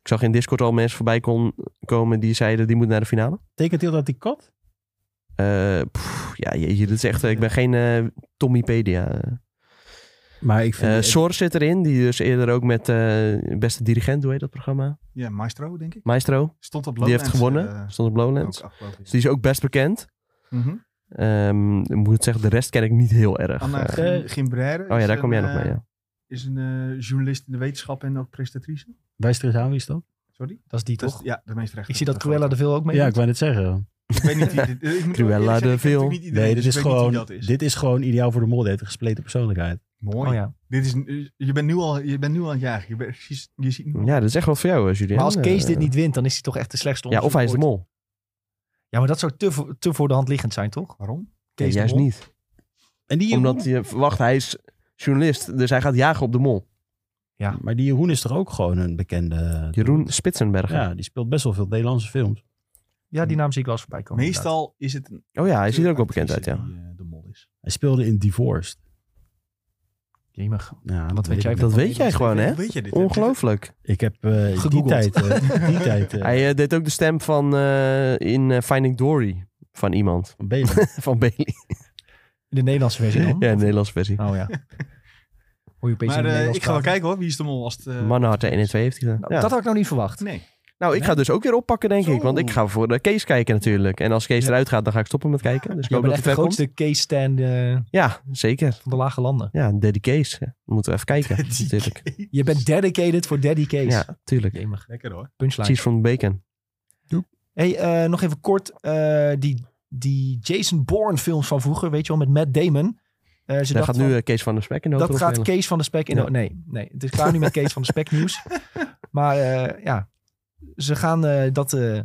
B: Ik zag in Discord al mensen voorbij kon komen die zeiden die moet naar de finale.
D: Tekent heel dat die kat?
B: Eh, pff, ja, jeetje, dit is echt. eh, ik ben geen eh Tommypedia.
D: Maar ik
B: Eh
D: vind...
B: Sor zit erin, die dus eerder ook met eh, beste dirigent, hoe heet dat programma?
C: Ja, Maestro, denk ik.
B: Maestro.
C: Stond op
B: die
C: Lowlands.
B: heeft gewonnen.
C: eh,
B: stond op Lowlands.
C: ook afgelopen
B: Dus
C: jaar.
B: die is ook best bekend.
C: Mhm.
B: Ehm, ik moet zeggen, de rest ken ik niet heel erg.
C: Anna
B: Eh,
C: Gim- Gimbrère.
B: oh ja,
C: is
B: daar kom jij
C: een,
B: nog mee.
C: eh,
B: Ja.
C: Is een eh, journalist in de wetenschap en ook presentatrice.
D: Wijst er eens aan, wie is dat?
C: Sorry?
A: Dat is die
C: Dat is-
A: toch?
C: ja, de meest rechter.
A: Ik zie dat Cruella er veel ook mee
D: Ja, ik
A: doet.
D: wou net zeggen.
C: Ik weet niet wie dit- ik moet
B: Cruella
C: wel eerlijk
B: de Vil.
C: zeggen, ik ken natuurlijk niet iedereen,
D: Nee, dit
C: dus
D: is
C: ik weet niet wie
D: gewoon...
C: dat is.
D: Dit is gewoon ideaal voor de mol, een gespleten persoonlijkheid.
C: Mooi.
A: Oh ja.
C: Dit is, je, bent nu al, je bent nu al aan het jagen. Je, bent, je, je ziet nu al-
B: ja, dat is echt wat voor jou, eh, Julian.
A: Maar als Kees
B: Eh,
A: dit niet wint, dan is hij toch echt de slechtste
B: Ja, of hij is de
A: onderzoeker
B: mol.
A: ooit. Ja, maar dat zou te, voor- te voor de hand liggend zijn, toch?
C: Waarom?
B: Nee,
A: Kees de
B: juist
A: Mol.
B: niet.
D: En die
B: Omdat je verwacht, hij is journalist, dus hij gaat jagen op de mol.
D: Maar die Jeroen is toch ook gewoon een bekende...
B: Jeroen Spitsenberger.
D: Ja, die speelt best wel veel Nederlandse films.
A: Ja, die naam zie ik wel eens voorbij komen.
C: Meestal is het een
B: Oh ja, hij ziet er ook wel bekend uit,
C: actrice
B: ja.
C: die, eh, de mol is.
D: Hij speelde in Divorced.
A: inderdaad. Jemig.
D: Ja,
A: Wat weet
D: ik
A: jij
D: niet.
A: van
B: Dat weet
A: Nederlands
B: jij gewoon, hè?
C: Hoe weet je dit?
B: Ongelooflijk.
D: Ik heb eh, die
A: Gegoogeld.
D: tijd... eh, die tijd eh,
B: Hij eh, deed ook de stem van eh, in eh, Finding Dory van iemand. (laughs)
D: van Belen.
B: van Bailey.
A: In de Nederlandse versie
B: (laughs) Ja,
A: dan?
B: in de Nederlandse versie.
A: Oh ja. Hoor je opeens
C: Maar
A: in het
C: eh,
A: Nederlands
C: ik ga wel
A: praten.
C: kijken hoor, wie is de mol als het... eh,
B: Mannenharten 1 en 2 heeft hij gedaan.
A: Nou,
B: Ja.
A: Dat had ik nou niet verwacht.
C: Nee.
B: Nou, ik ga dus ook weer oppakken, denk ik. Want ik
C: Zo.
B: ga voor eh, Kees kijken natuurlijk. En als Kees eruit gaat, dan ga ik stoppen met kijken. Dus ik
A: Jij
B: hoop
A: bent
B: dat hij
A: echt de
B: ver komt.
A: grootste case stand eh,
B: Ja, zeker.
A: van de lage landen.
B: Ja, Daddy Kees. hè. Moeten we even kijken.
C: Daddy
B: natuurlijk.
A: Je bent dedicated voor Daddy Case.
B: Ja, tuurlijk.
A: Jemig.
C: Lekker hoor.
A: Punchline.
B: Cheese from the bacon.
A: Hey, eh, nog even kort. eh, die, die Jason Bourne films van vroeger, weet je wel, met Matt Damon. Eh, ze
B: Daar
A: dachten
B: gaat
A: van,
B: nu eh, Kees van der Spek in de
A: dat
B: hoofdrol
A: gaat
B: spelen.
A: Kees van de Spek in de-
B: Ja.
A: Nee, nee, het is klaar nu met Kees van de Spek nieuws. Maar eh, ja, ze gaan eh, dat eh,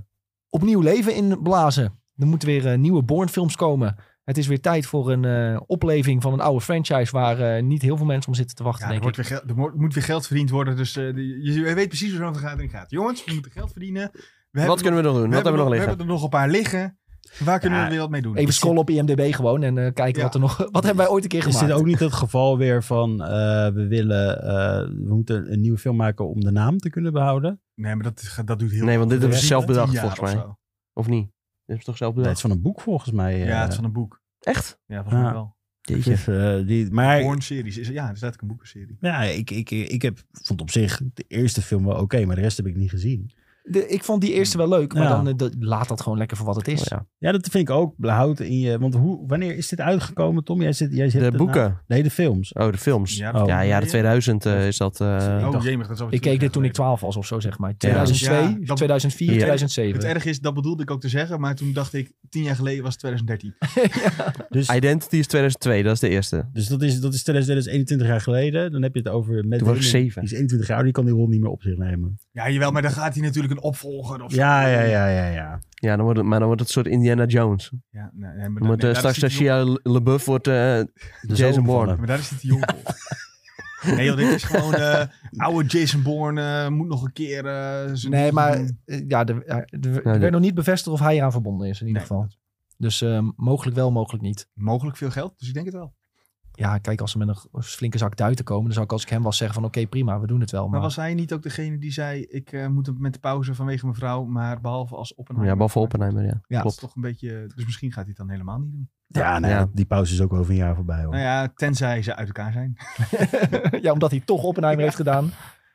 A: opnieuw leven inblazen. Er moeten weer eh, nieuwe Bourne films komen. Het is weer tijd voor een eh, opleving van een oude franchise... waar eh, niet heel veel mensen om zitten te wachten,
C: Ja, er,
A: denk
C: wordt
A: ik.
C: weer geld, er mo- moet weer geld verdiend worden, dus eh, die- je, je weet precies hoe zo'n vergadering gaat. Jongens, we moeten geld verdienen. We
B: Wat kunnen we nog doen? Wat hebben we nog liggen?
C: We hebben er nog een paar liggen. Waar kunnen
D: Ja,
C: we weer wat mee doen?
A: Even scrollen op IMDb gewoon en eh, kijken
C: Ja.
A: wat er nog... Wat hebben wij ooit een keer
D: Is
A: gemaakt?
D: dit ook niet het geval weer van eh, we willen eh, we moeten een nieuwe film maken om de naam te kunnen behouden?
C: Nee, maar dat, dat doet heel
B: Nee, want dit hebben ze
D: Ja,
B: zelf
C: tien
B: bedacht,
C: jaar
B: volgens
C: of
B: mij.
C: zo.
B: Of niet? Dit is toch zelf
D: Dat is
B: bedacht?
D: van een boek volgens mij. eh.
C: Ja, het is van een boek.
B: Echt?
C: Ja, volgens mij
D: Ja.
C: wel.
B: Jeetje.
D: Dus, eh, die, maar
C: Born series. Is, ja, er staat ook een boekenserie.
D: ja, ik, ik, ik heb, vond op zich de eerste film wel oké, maar de rest heb ik niet gezien.
A: De- ik vond die eerste wel leuk, maar
D: Ja.
A: dan eh, dat- laat dat gewoon lekker voor wat het is.
B: Oh ja.
D: Ja, dat vind ik ook. Behoud in je. Want hoe, wanneer is dit uitgekomen, Tom? Jij zit, jij zit
B: De
D: erna-
B: boeken.
D: nee, de films.
B: Oh, de films.
C: Ja,
B: Ja,
C: dat-
D: Oh.
B: jaren 2000 eh, is dat... eh,
D: ik
C: oh, jemig, dat is
D: dacht-
C: alweer
A: Ik keek
C: twintig jaar
A: dit toen ik
C: geleden.
A: 12 was of zo, zeg maar.
C: Ja,
A: 2002,
C: dat-
A: 2004,
B: Ja.
A: 2007.
C: Het erg is, dat bedoelde ik ook te zeggen, maar toen dacht ik, tien jaar geleden was het 2013.
D: Dus,
B: Identity is 2002, dat is de eerste.
D: dus dat is, dat is 2021 jaar geleden. Dan heb je het over. Met
B: Toen was ik
D: Damon.
B: zeven.
D: Die is 21 jaar, die kan die rol niet meer op zich nemen.
C: Ja, jawel, maar dan gaat hij natuurlijk een opvolger of zo.
D: Ja, ja, ja, ja, ja.
B: Ja, dan wordt het, maar dan wordt het een soort Indiana Jones.
C: Ja, nee, nee, maar
B: Dan wordt,
C: nee,
B: eh,
C: daar
B: straks
C: zit
B: als
C: hij
B: Shia LaBeouf wordt eh,
D: De
B: Jason
D: zoon van
B: Bourne.
D: hem.
C: Maar daar is het jong voor. Nee joh, dit is gewoon eh, oude Jason Bourne eh, moet nog een keer... eh, zijn
A: Nee,
C: ding
A: maar
D: Mm.
C: doen.
A: eh, ja, de, eh, de- er
B: dit-
A: werd nog niet bevestigd of hij eraan verbonden is in ieder
C: Nee,
A: geval. Dus eh, mogelijk wel, mogelijk niet.
C: Mogelijk veel geld, dus ik denk het wel.
A: Ja, kijk, als ze met een g- flinke zak duiten komen, dan zou ik als ik hem was zeggen van oké, prima, we doen het wel. Maar,
C: Maar was hij niet ook degene die zei, ik eh, moet met de pauze vanwege mijn vrouw, maar behalve als Oppenheimer.
B: Ja, behalve Oppenheimer, ja.
A: ja,
C: Dat is
B: Klopt.
C: toch een beetje... Dus misschien gaat hij het dan helemaal niet doen.
D: Ja, nou ja,
B: Ja.
D: die pauze is ook over een jaar voorbij. Hoor.
C: Nou ja, tenzij ze uit elkaar zijn.
A: (laughs) ja, omdat hij toch Oppenheimer heeft gedaan.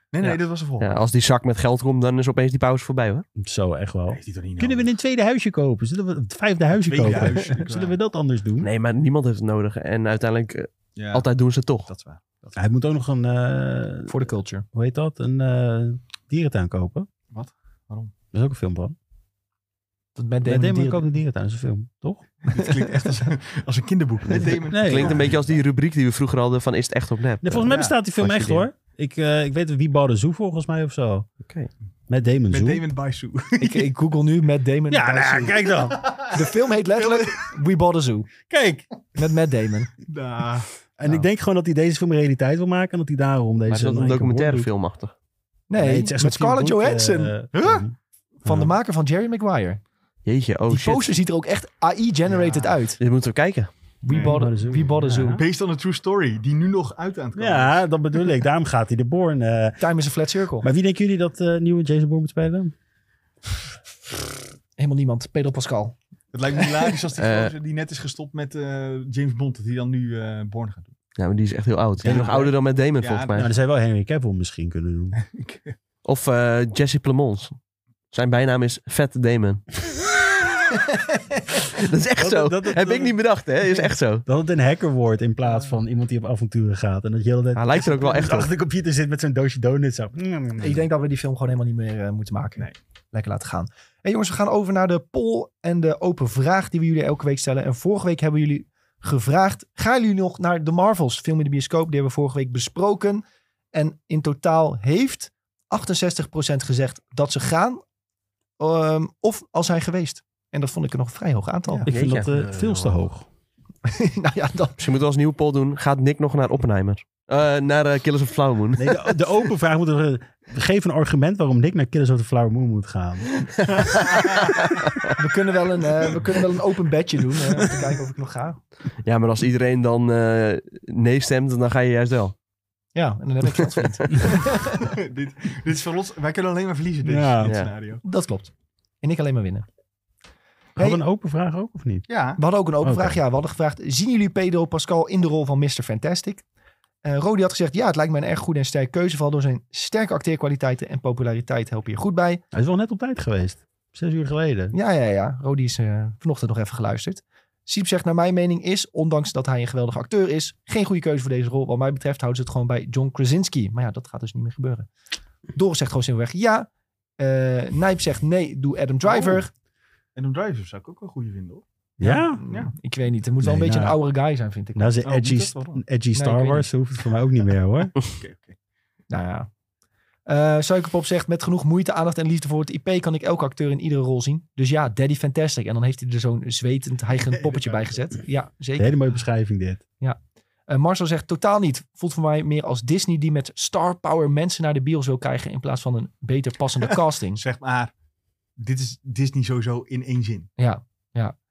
C: Nee, nee,
A: Ja.
C: dat was ervoor.
B: ja. Als die zak met geld komt, dan is opeens die pauze voorbij hoor.
D: Zo, echt wel.
C: Heeft hij toch niet
D: Kunnen we
C: nodig?
D: een tweede huisje kopen? Zullen we het vijfde huisje
C: Tweede
D: kopen?
C: huisje, ik
D: (laughs) Zullen
C: wou-
D: we dat anders doen?
B: Nee, maar niemand heeft het nodig. En uiteindelijk, eh,
C: Ja,
B: altijd doen ze het toch.
C: dat is waar.
D: Hij moet ook nog een, eh,
A: Voor de culture.
D: hoe heet dat? Een eh, dierentuin kopen.
C: Wat? Waarom?
D: Dat is ook een film van.
A: Dat met
D: Nee,
A: Damon,
D: Damon
A: dieren-
D: koopt een dierentuin, dat is een film, toch?
C: Dit klinkt echt als een, (laughs) als een kinderboek. Met Damon.
D: Nee.
B: Klinkt een
D: Ja.
B: beetje als die rubriek die we vroeger hadden van is het echt op nep?
D: Nee, volgens mij
C: Ja,
D: bestaat die film
B: als je
D: echt
B: die-
D: hoor. Ik, eh, ik weet wie bouwde Zoo volgens mij of zo.
B: Oké.
D: Met Damon
C: Met
D: Zoo.
C: Damon Baisu.
A: (laughs) ik, ik google nu met Damon.
D: Ja,
A: bij
D: nou ja,
A: Zoo.
D: kijk dan.
A: De film heet letterlijk We Bought a Zoo.
D: Kijk.
A: Met Matt Damon.
C: (laughs) Nah.
D: En
A: Nou.
D: ik denk gewoon dat hij deze film een realiteit wil maken en dat hij daarom deze...
B: Maar is dat
D: in
B: een
D: één keer
B: documentaire
D: wordt
B: filmachtig?
A: Nee,
D: het is echt
A: met
D: zo'n
A: Scarlett
D: feel-good,
A: Johansson.
D: eh,
A: Huh?
D: film.
A: van de
D: Ja.
A: maker van Jerry Maguire.
B: Jeetje, oh
A: die
B: shit.
A: poster ziet er ook echt AI-generated
C: Ja.
A: uit.
B: Dit moeten we kijken.
A: We
C: Nee,
A: bought,
D: maar
A: a,
D: dat is ook-
A: we bought a
D: ja.
A: zoo.
C: Based on a true story, die nu nog uit aan het komen is.
D: Ja, dat bedoel ik. Daarom gaat hij de Born. eh.
A: Time is a flat circle.
D: Maar wie denken jullie dat eh, nieuwe Jason Bourne moet spelen?
A: Helemaal niemand. Pedro Pascal.
C: Het lijkt me hilarisch als die,
B: Eh.
C: gozer die net is gestopt met eh, James Bond, dat hij dan nu eh Born gaat doen.
B: Ja, maar die is echt heel oud. Die is
D: Ja.
B: nog ouder dan met Damon,
C: Ja,
B: volgens
D: Nou,
B: mij.
D: dan zou je wel Henry Cavill misschien kunnen doen.
B: Of eh, Jesse Plemons. Zijn bijnaam is Vet Damon. dat is echt
D: Dat-
B: zo.
D: dat- dat-
B: Heb
D: dat-
B: ik niet bedacht, hè? Is echt zo.
D: Dat het een hacker wordt in plaats van iemand die op avonturen gaat. En dat je de hele tijd
B: Hij lijkt er ook Ah, wel echt op.
D: (laughs) achter de computer zit met zo'n doosje donuts. Zo.
A: Ik denk dat we die film gewoon helemaal niet meer eh, moeten maken. Nee. Lekker laten gaan. Hey jongens, we gaan over naar de poll en de open vraag die we jullie elke week stellen. En vorige week hebben jullie gevraagd, gaan jullie nog naar de Marvels film in de bioscoop? Die hebben we vorige week besproken. En in totaal heeft 68% gezegd dat ze gaan. ehm, of al zijn geweest. En dat vond ik een nog vrij hoog aantal.
D: Ik vind
B: Jeetje.
D: dat eh, veel te hoog.
A: (laughs) nou ja, dan
B: Misschien moeten we als nieuwe poll doen. Gaat Nick nog naar Oppenheimer? Eh, naar eh, Killers of Flower Moon. (laughs)
D: Nee, de, de open vraag moet er, eh, geef een argument waarom Nick naar Killers of the Flower Moon moet gaan.
A: We kunnen wel een, eh, we kunnen wel een open bedje doen. eh, (laughs) om te kijken of ik nog ga.
B: Ja, maar als iedereen dan eh, nee stemt, dan ga je juist wel.
A: Ja, en dan heb ik geld verdiend.
C: dit, (laughs) dit is voor ons, wij kunnen alleen maar verliezen dit,
D: Ja.
C: dit
B: Ja.
C: scenario.
A: Dat klopt. En ik alleen maar winnen.
D: Had
A: Hey,
D: een open vraag ook of niet?
C: Ja,
A: we hadden ook een open
D: Oké.
A: vraag. Ja, we hadden gevraagd, zien jullie Pedro Pascal in de rol van Mr. Fantastic? Eh Rodi had gezegd, ja, het lijkt me een erg goede en sterke keuze. Vooral door zijn sterke acteerkwaliteiten en populariteit helpen je goed bij.
D: Hij is wel net op tijd geweest. Zes uur geleden.
A: Ja, ja, ja. Rodi is eh, vanochtend nog even geluisterd. Siep zegt, naar mijn mening is, ondanks dat hij een geweldige acteur is, geen goede keuze voor deze rol. Wat mij betreft houden ze het gewoon bij John Krasinski. Maar ja, dat gaat dus niet meer gebeuren. Doris zegt gewoon simpelweg ja. Eh Nijp zegt nee, doe
D: Oh.
A: Adam Driver.
C: Adam Driver zou ik ook wel een goede vinden, hoor.
D: Ja?
C: Ja.
A: Hmm, Ik weet niet. Het moet wel
D: Nee,
A: een beetje
D: nou-
A: een oudere guy zijn, vind ik.
D: Nou, ze
C: Oh,
D: edgy,
C: moet dat wel dan?
D: edgy
A: ik
D: Star
A: weet
D: Wars hoeft het voor mij ook niet meer hoor.
C: Oké, oké.
A: Nou ja. Eh, Suikerpop zegt, met genoeg moeite, aandacht en liefde voor het IP kan ik elke acteur in iedere rol zien. Dus ja, Daddy Fantastic. En dan heeft hij er zo'n zwetend, hijgend poppetje bij gezet. Ja,
D: Een
A: zeker.
D: hele mooie beschrijving dit.
A: Eh, Marcel zegt, totaal niet. Voelt voor mij meer als Disney die met star power mensen naar de bios wil krijgen in plaats van een beter passende casting.
C: Zeg maar, dit is Disney sowieso in één zin.
A: Ja.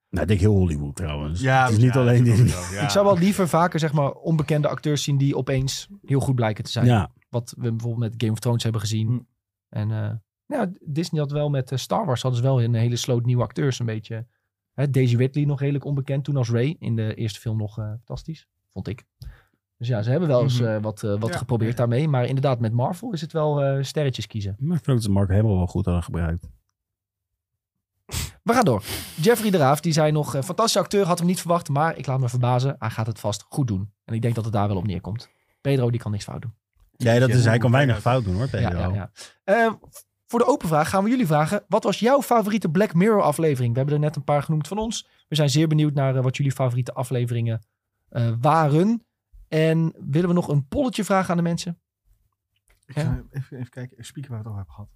D: Nou, ik denk heel Hollywood trouwens.
C: Ja,
D: Dus het is niet alleen dit. (laughs)
A: Ik zou wel liever vaker, zeg maar, onbekende acteurs zien die opeens heel goed blijken te zijn.
D: Ja,
A: Wat we bijvoorbeeld met Game of Thrones hebben gezien.
C: Hm.
A: En eh, nou, Disney had wel met eh, Star Wars hadden ze wel een hele sloot nieuwe acteurs. Een beetje. Hè, Daisy Whitley nog redelijk onbekend toen als Ray. In de eerste film nog eh, fantastisch, vond ik. Dus ja, ze hebben wel eens
C: Mhm.
A: eh, wat, eh, wat
C: Ja.
A: geprobeerd daarmee. Maar inderdaad, met Marvel is het wel eh, sterretjes kiezen.
D: maar ik vind ook dat Mark helemaal wel goed hadden gebruikt.
A: We gaan door. Jeffrey de Raaf, die zei nog... eh, fantastische acteur, had hem niet verwacht. Maar ik laat me verbazen, hij gaat het vast goed doen. En ik denk dat het daar wel op neerkomt. Pedro, die kan niks fout doen.
D: Ja, dat is, hij kan weinig
C: Ja.
D: fout doen hoor, Pedro.
A: Ja, ja, ja. Eh, voor de open vraag gaan we jullie vragen: wat was jouw favoriete Black Mirror aflevering? We hebben er net een paar genoemd van ons. We zijn zeer benieuwd naar eh, wat jullie favoriete afleveringen eh, waren. En willen we nog een polletje vragen aan de mensen?
C: Ik ga even, even kijken, spieken waar we het over hebben gehad.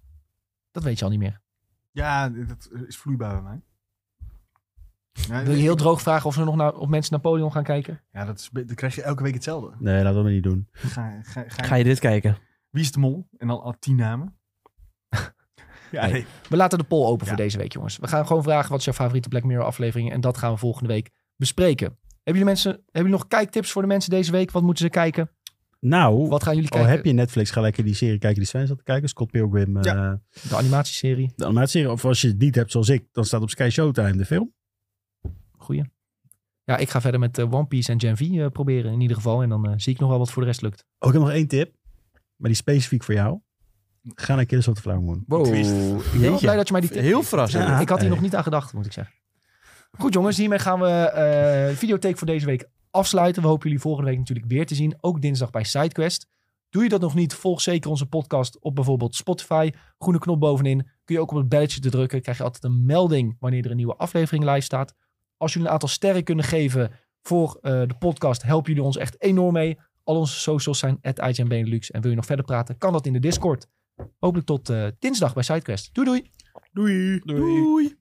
A: Dat weet je al niet meer.
C: Ja, dat is vloeibaar bij mij. Ja,
A: Wil je heel droog vragen of, ze nog naar, of mensen Napoleon gaan kijken?
C: ja dat is, be- dan krijg je elke week hetzelfde.
D: Nee, laten we dat niet doen.
C: Ga, ga, ga,
B: Ga je dit kijken?
C: Wie is de mol? En dan al tien namen. (laughs) ja,
A: Nee.
C: nee.
A: We laten de poll open
C: Ja.
A: voor deze week, jongens. We gaan gewoon vragen: wat is jouw favoriete Black Mirror aflevering? En dat gaan we volgende week bespreken. Hebben jullie, mensen, hebben jullie nog kijktips voor de mensen deze week? Wat moeten ze kijken?
D: Nou,
A: Wat gaan jullie
D: al
A: kijken?
D: heb je Netflix, ga lekker die serie kijken die Sven zat te kijken. Scott Pilgrim, eh
C: Ja.
A: De animatieserie.
D: de animatieserie. Of als je het niet hebt zoals ik, dan staat op Sky Showtime de film.
A: Goeie. Ja, ik ga verder met eh, One Piece en Gen V eh, proberen in ieder geval. En dan eh, zie ik nog wel wat voor de rest lukt.
D: Ook Oh, ik heb nog één tip, maar die is specifiek voor jou. Ga naar Killers of the Flower Moon.
A: Wow.
C: Twist.
A: Ik ben wel blij dat je mij die tip
B: Heel
A: geeft.
B: verrassend.
D: Ja.
A: Ik had hier
D: Hey.
A: nog niet aan gedacht, moet ik zeggen. Goed jongens, hiermee gaan we eh, de videotheek voor deze week afsluiten. We hopen jullie volgende week natuurlijk weer te zien. Ook dinsdag bij SideQuest. Doe je dat nog niet, volg zeker onze podcast op bijvoorbeeld Spotify. Groene knop bovenin. Kun je ook op het belletje te drukken. Krijg je altijd een melding wanneer er een nieuwe aflevering live staat. Als jullie een aantal sterren kunnen geven voor eh, de podcast, helpen jullie ons echt enorm mee. Al onze socials zijn at En wil je nog verder praten, kan dat in de Discord. Hopelijk tot eh, dinsdag bij SideQuest. Doei doei!
C: Doei.
B: Doei.